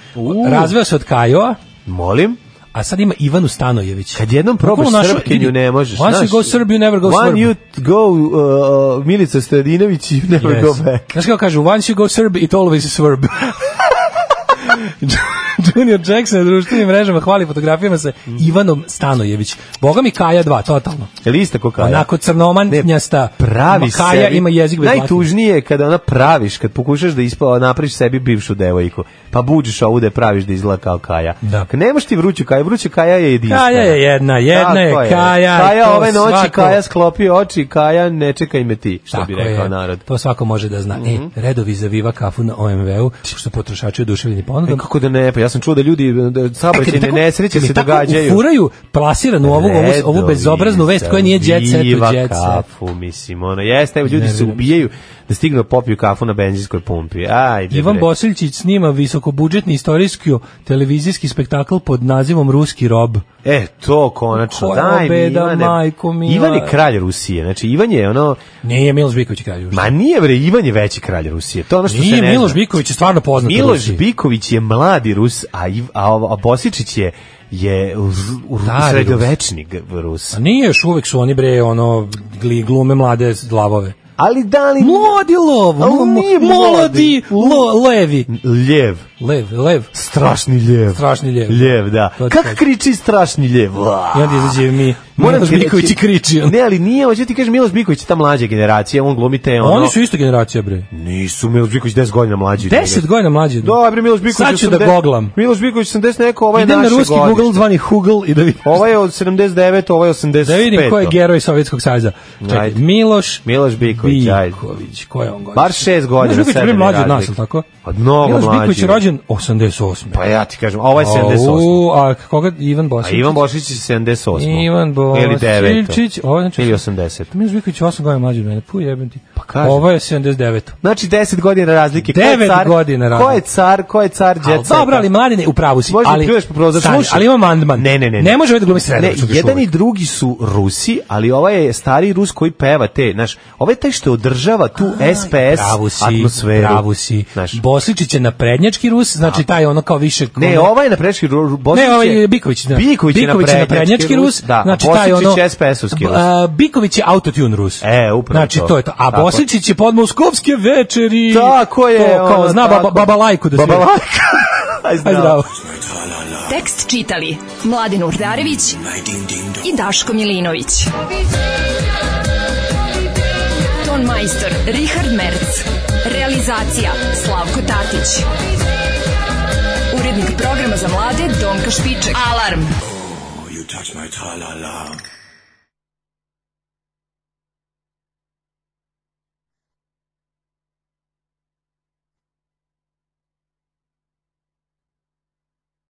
Razveo se od Kajoa, Molim? a sad ima Ivanu Stanojević. Kad jednom probaš Bukvalno našo- Srpkinju vidi, ne možeš. Once znaš. you go Serb, you never go One Serb. you go uh, Milica Stradinović, you never Yes. go back. Znaš kako kažu, once you go Serb, it always swerb. Junior Jackson na društvenim mrežama hvali fotografijama sa Mhm. Ivanom Stanojević. Boga mi Kaja 2, totalno. Je li ista ko Kaja? Onako crnomantnjasta. pravi Kaja sebi- ima jezik bez dlake. Najtužnije je kada ona praviš, kad pokušaš da ispa, napraviš sebi bivšu devojku, pa buđeš ovu da je praviš da izgleda kao Kaja. Da. Nemaš ti vruću Kaja, vruća Kaja je jedinstvena. Kaja je jedna, jedna Tako je Kaja, Kaja to ove noći, svako- Kaja sklopi oči, Kaja ne čekaj me ti, što bi Tako rekao je. narod. Mhm. To svako može da zna. E, redovi za Viva kafu na OMV-u, što potrošači oduševljeni ponudom. Kako da ne, pa ja sam čuo da ljudi, da saobraćajne nesreće se događaju. Furaju plasiranu ovu, ovu, ovu Redovi bezobraznu vest koja nije za jet set u Viva jet set. kafu, mislim, ono, jeste, evo, ljudi se Nerviram se. ubijaju da stignu da popiju kafu na benzinskoj pumpi. Ajde, Ivan bre. Bosiljčić snima visokobudžetni istorijski televizijski spektakl pod nazivom Ruski rob. E, to konačno. Koja Daj mi, beda, Ivane. majko mila. Ivan je kralj Rusije. Znači, Ivan je ono... Nije Miloš Biković kralj Ma nije, bre, Ivan je veći kralj Rusije. To je ono što Nije, se ne Miloš zna. Biković je stvarno poznat u Miloš Rusiji. Biković je mladi Rus, a, Iv, a, ovo- a Bosičić je je u- u- Stari sredovečni g- Rus. A nije još uvek su oni bre ono gli- glume mlade glavove. Ali da li... Mladi lov, Ali mo- nije molodi lo, levi. Ljev. Lev, lev. Strašni ljev. Strašni ljev. Ljev, da. To je Kako to. kriči strašni ljev? Vaa. I onda izađe mi. Moram Miloš ti reći- Biković i kriči. ono. on. Ne, ali nije, hoću ti kažem, Miloš Biković je ta mlađa generacija, on glumi te ono... Oni su isto generacija bre. Nisu, Miloš Biković 10 godina mlađi. od njega. 10 godina mlađi. od njega. Dobre, Miloš Biković. Sad ću da 80 goglam. Miloš Biković 80 neko, ovaj je Idem na naše ruski godište. Google zvani Hugel i da vidim. Ovo je od 79, ovo je Ono. 85. Da vidim ko je geroj Sovjetskog saveza. Čekaj, Ajde. Miloš Miloš Biković, ajde. Biković, ko je on godište? Bar 6 godina. Miloš Biković je sedam mlađi od nas, razlike. jel tako? Od Pa mnogo Miloš mlađi. Biković je rođen 88. Pa ja ti kažem, a ovaj je 78. Au, a koga? Ivan A Bosić. Ivan Bošić je 78. Ivan Ili 9. Bosiljčić, ovo je znači- Ili 80. Miloš Biković je 8 godina mlađi od mene. Puj jebem ti. Pa kažem. Ovo je 79. Znači 10 godina razlike. Ko je 9 car- godina Ko je razlike. car, ko je car Jet Ali Seta? dobro, ali mladine, u pravu si. Možda ali, pljuješ po prozoru, Stani, slušaj. ali imam mandman. Ne, ne, ne. Ne može ovaj da glumi Ne, Sredović. jedan i drugi su Rusi, ali ovaj je stari Rus koji peva te, znaš, ovaj je taj što održava tu SPS Pravu si, atmosferu. pravu si. Znaš. Bosličić je na prednjački Rus, znači taj ono kao više... Ne, ono- ovaj je na prečki Bosić. Ne, ovaj je Biković, da. Biković, je na prednjački Rus. Da, znači a taj ono Bosić je SPS-ovski Rus. A, Biković je autotune Rus. E, upravo Znači to. to je to. A Tako. Bosličić je pod moskovske večeri. Tako je, To, kao ono, zna tako. baba, babalajku da svira. Babalajka. Aj, Aj, zdravo. zdravo. Tekst čitali Mladin Urdarević i Daško Milinović. Ton majstor Richard Merc. Realizacija Slavko Tatić. Urednik programa za mlade Donka Špiček. Alarm! You touch my tra-la-la.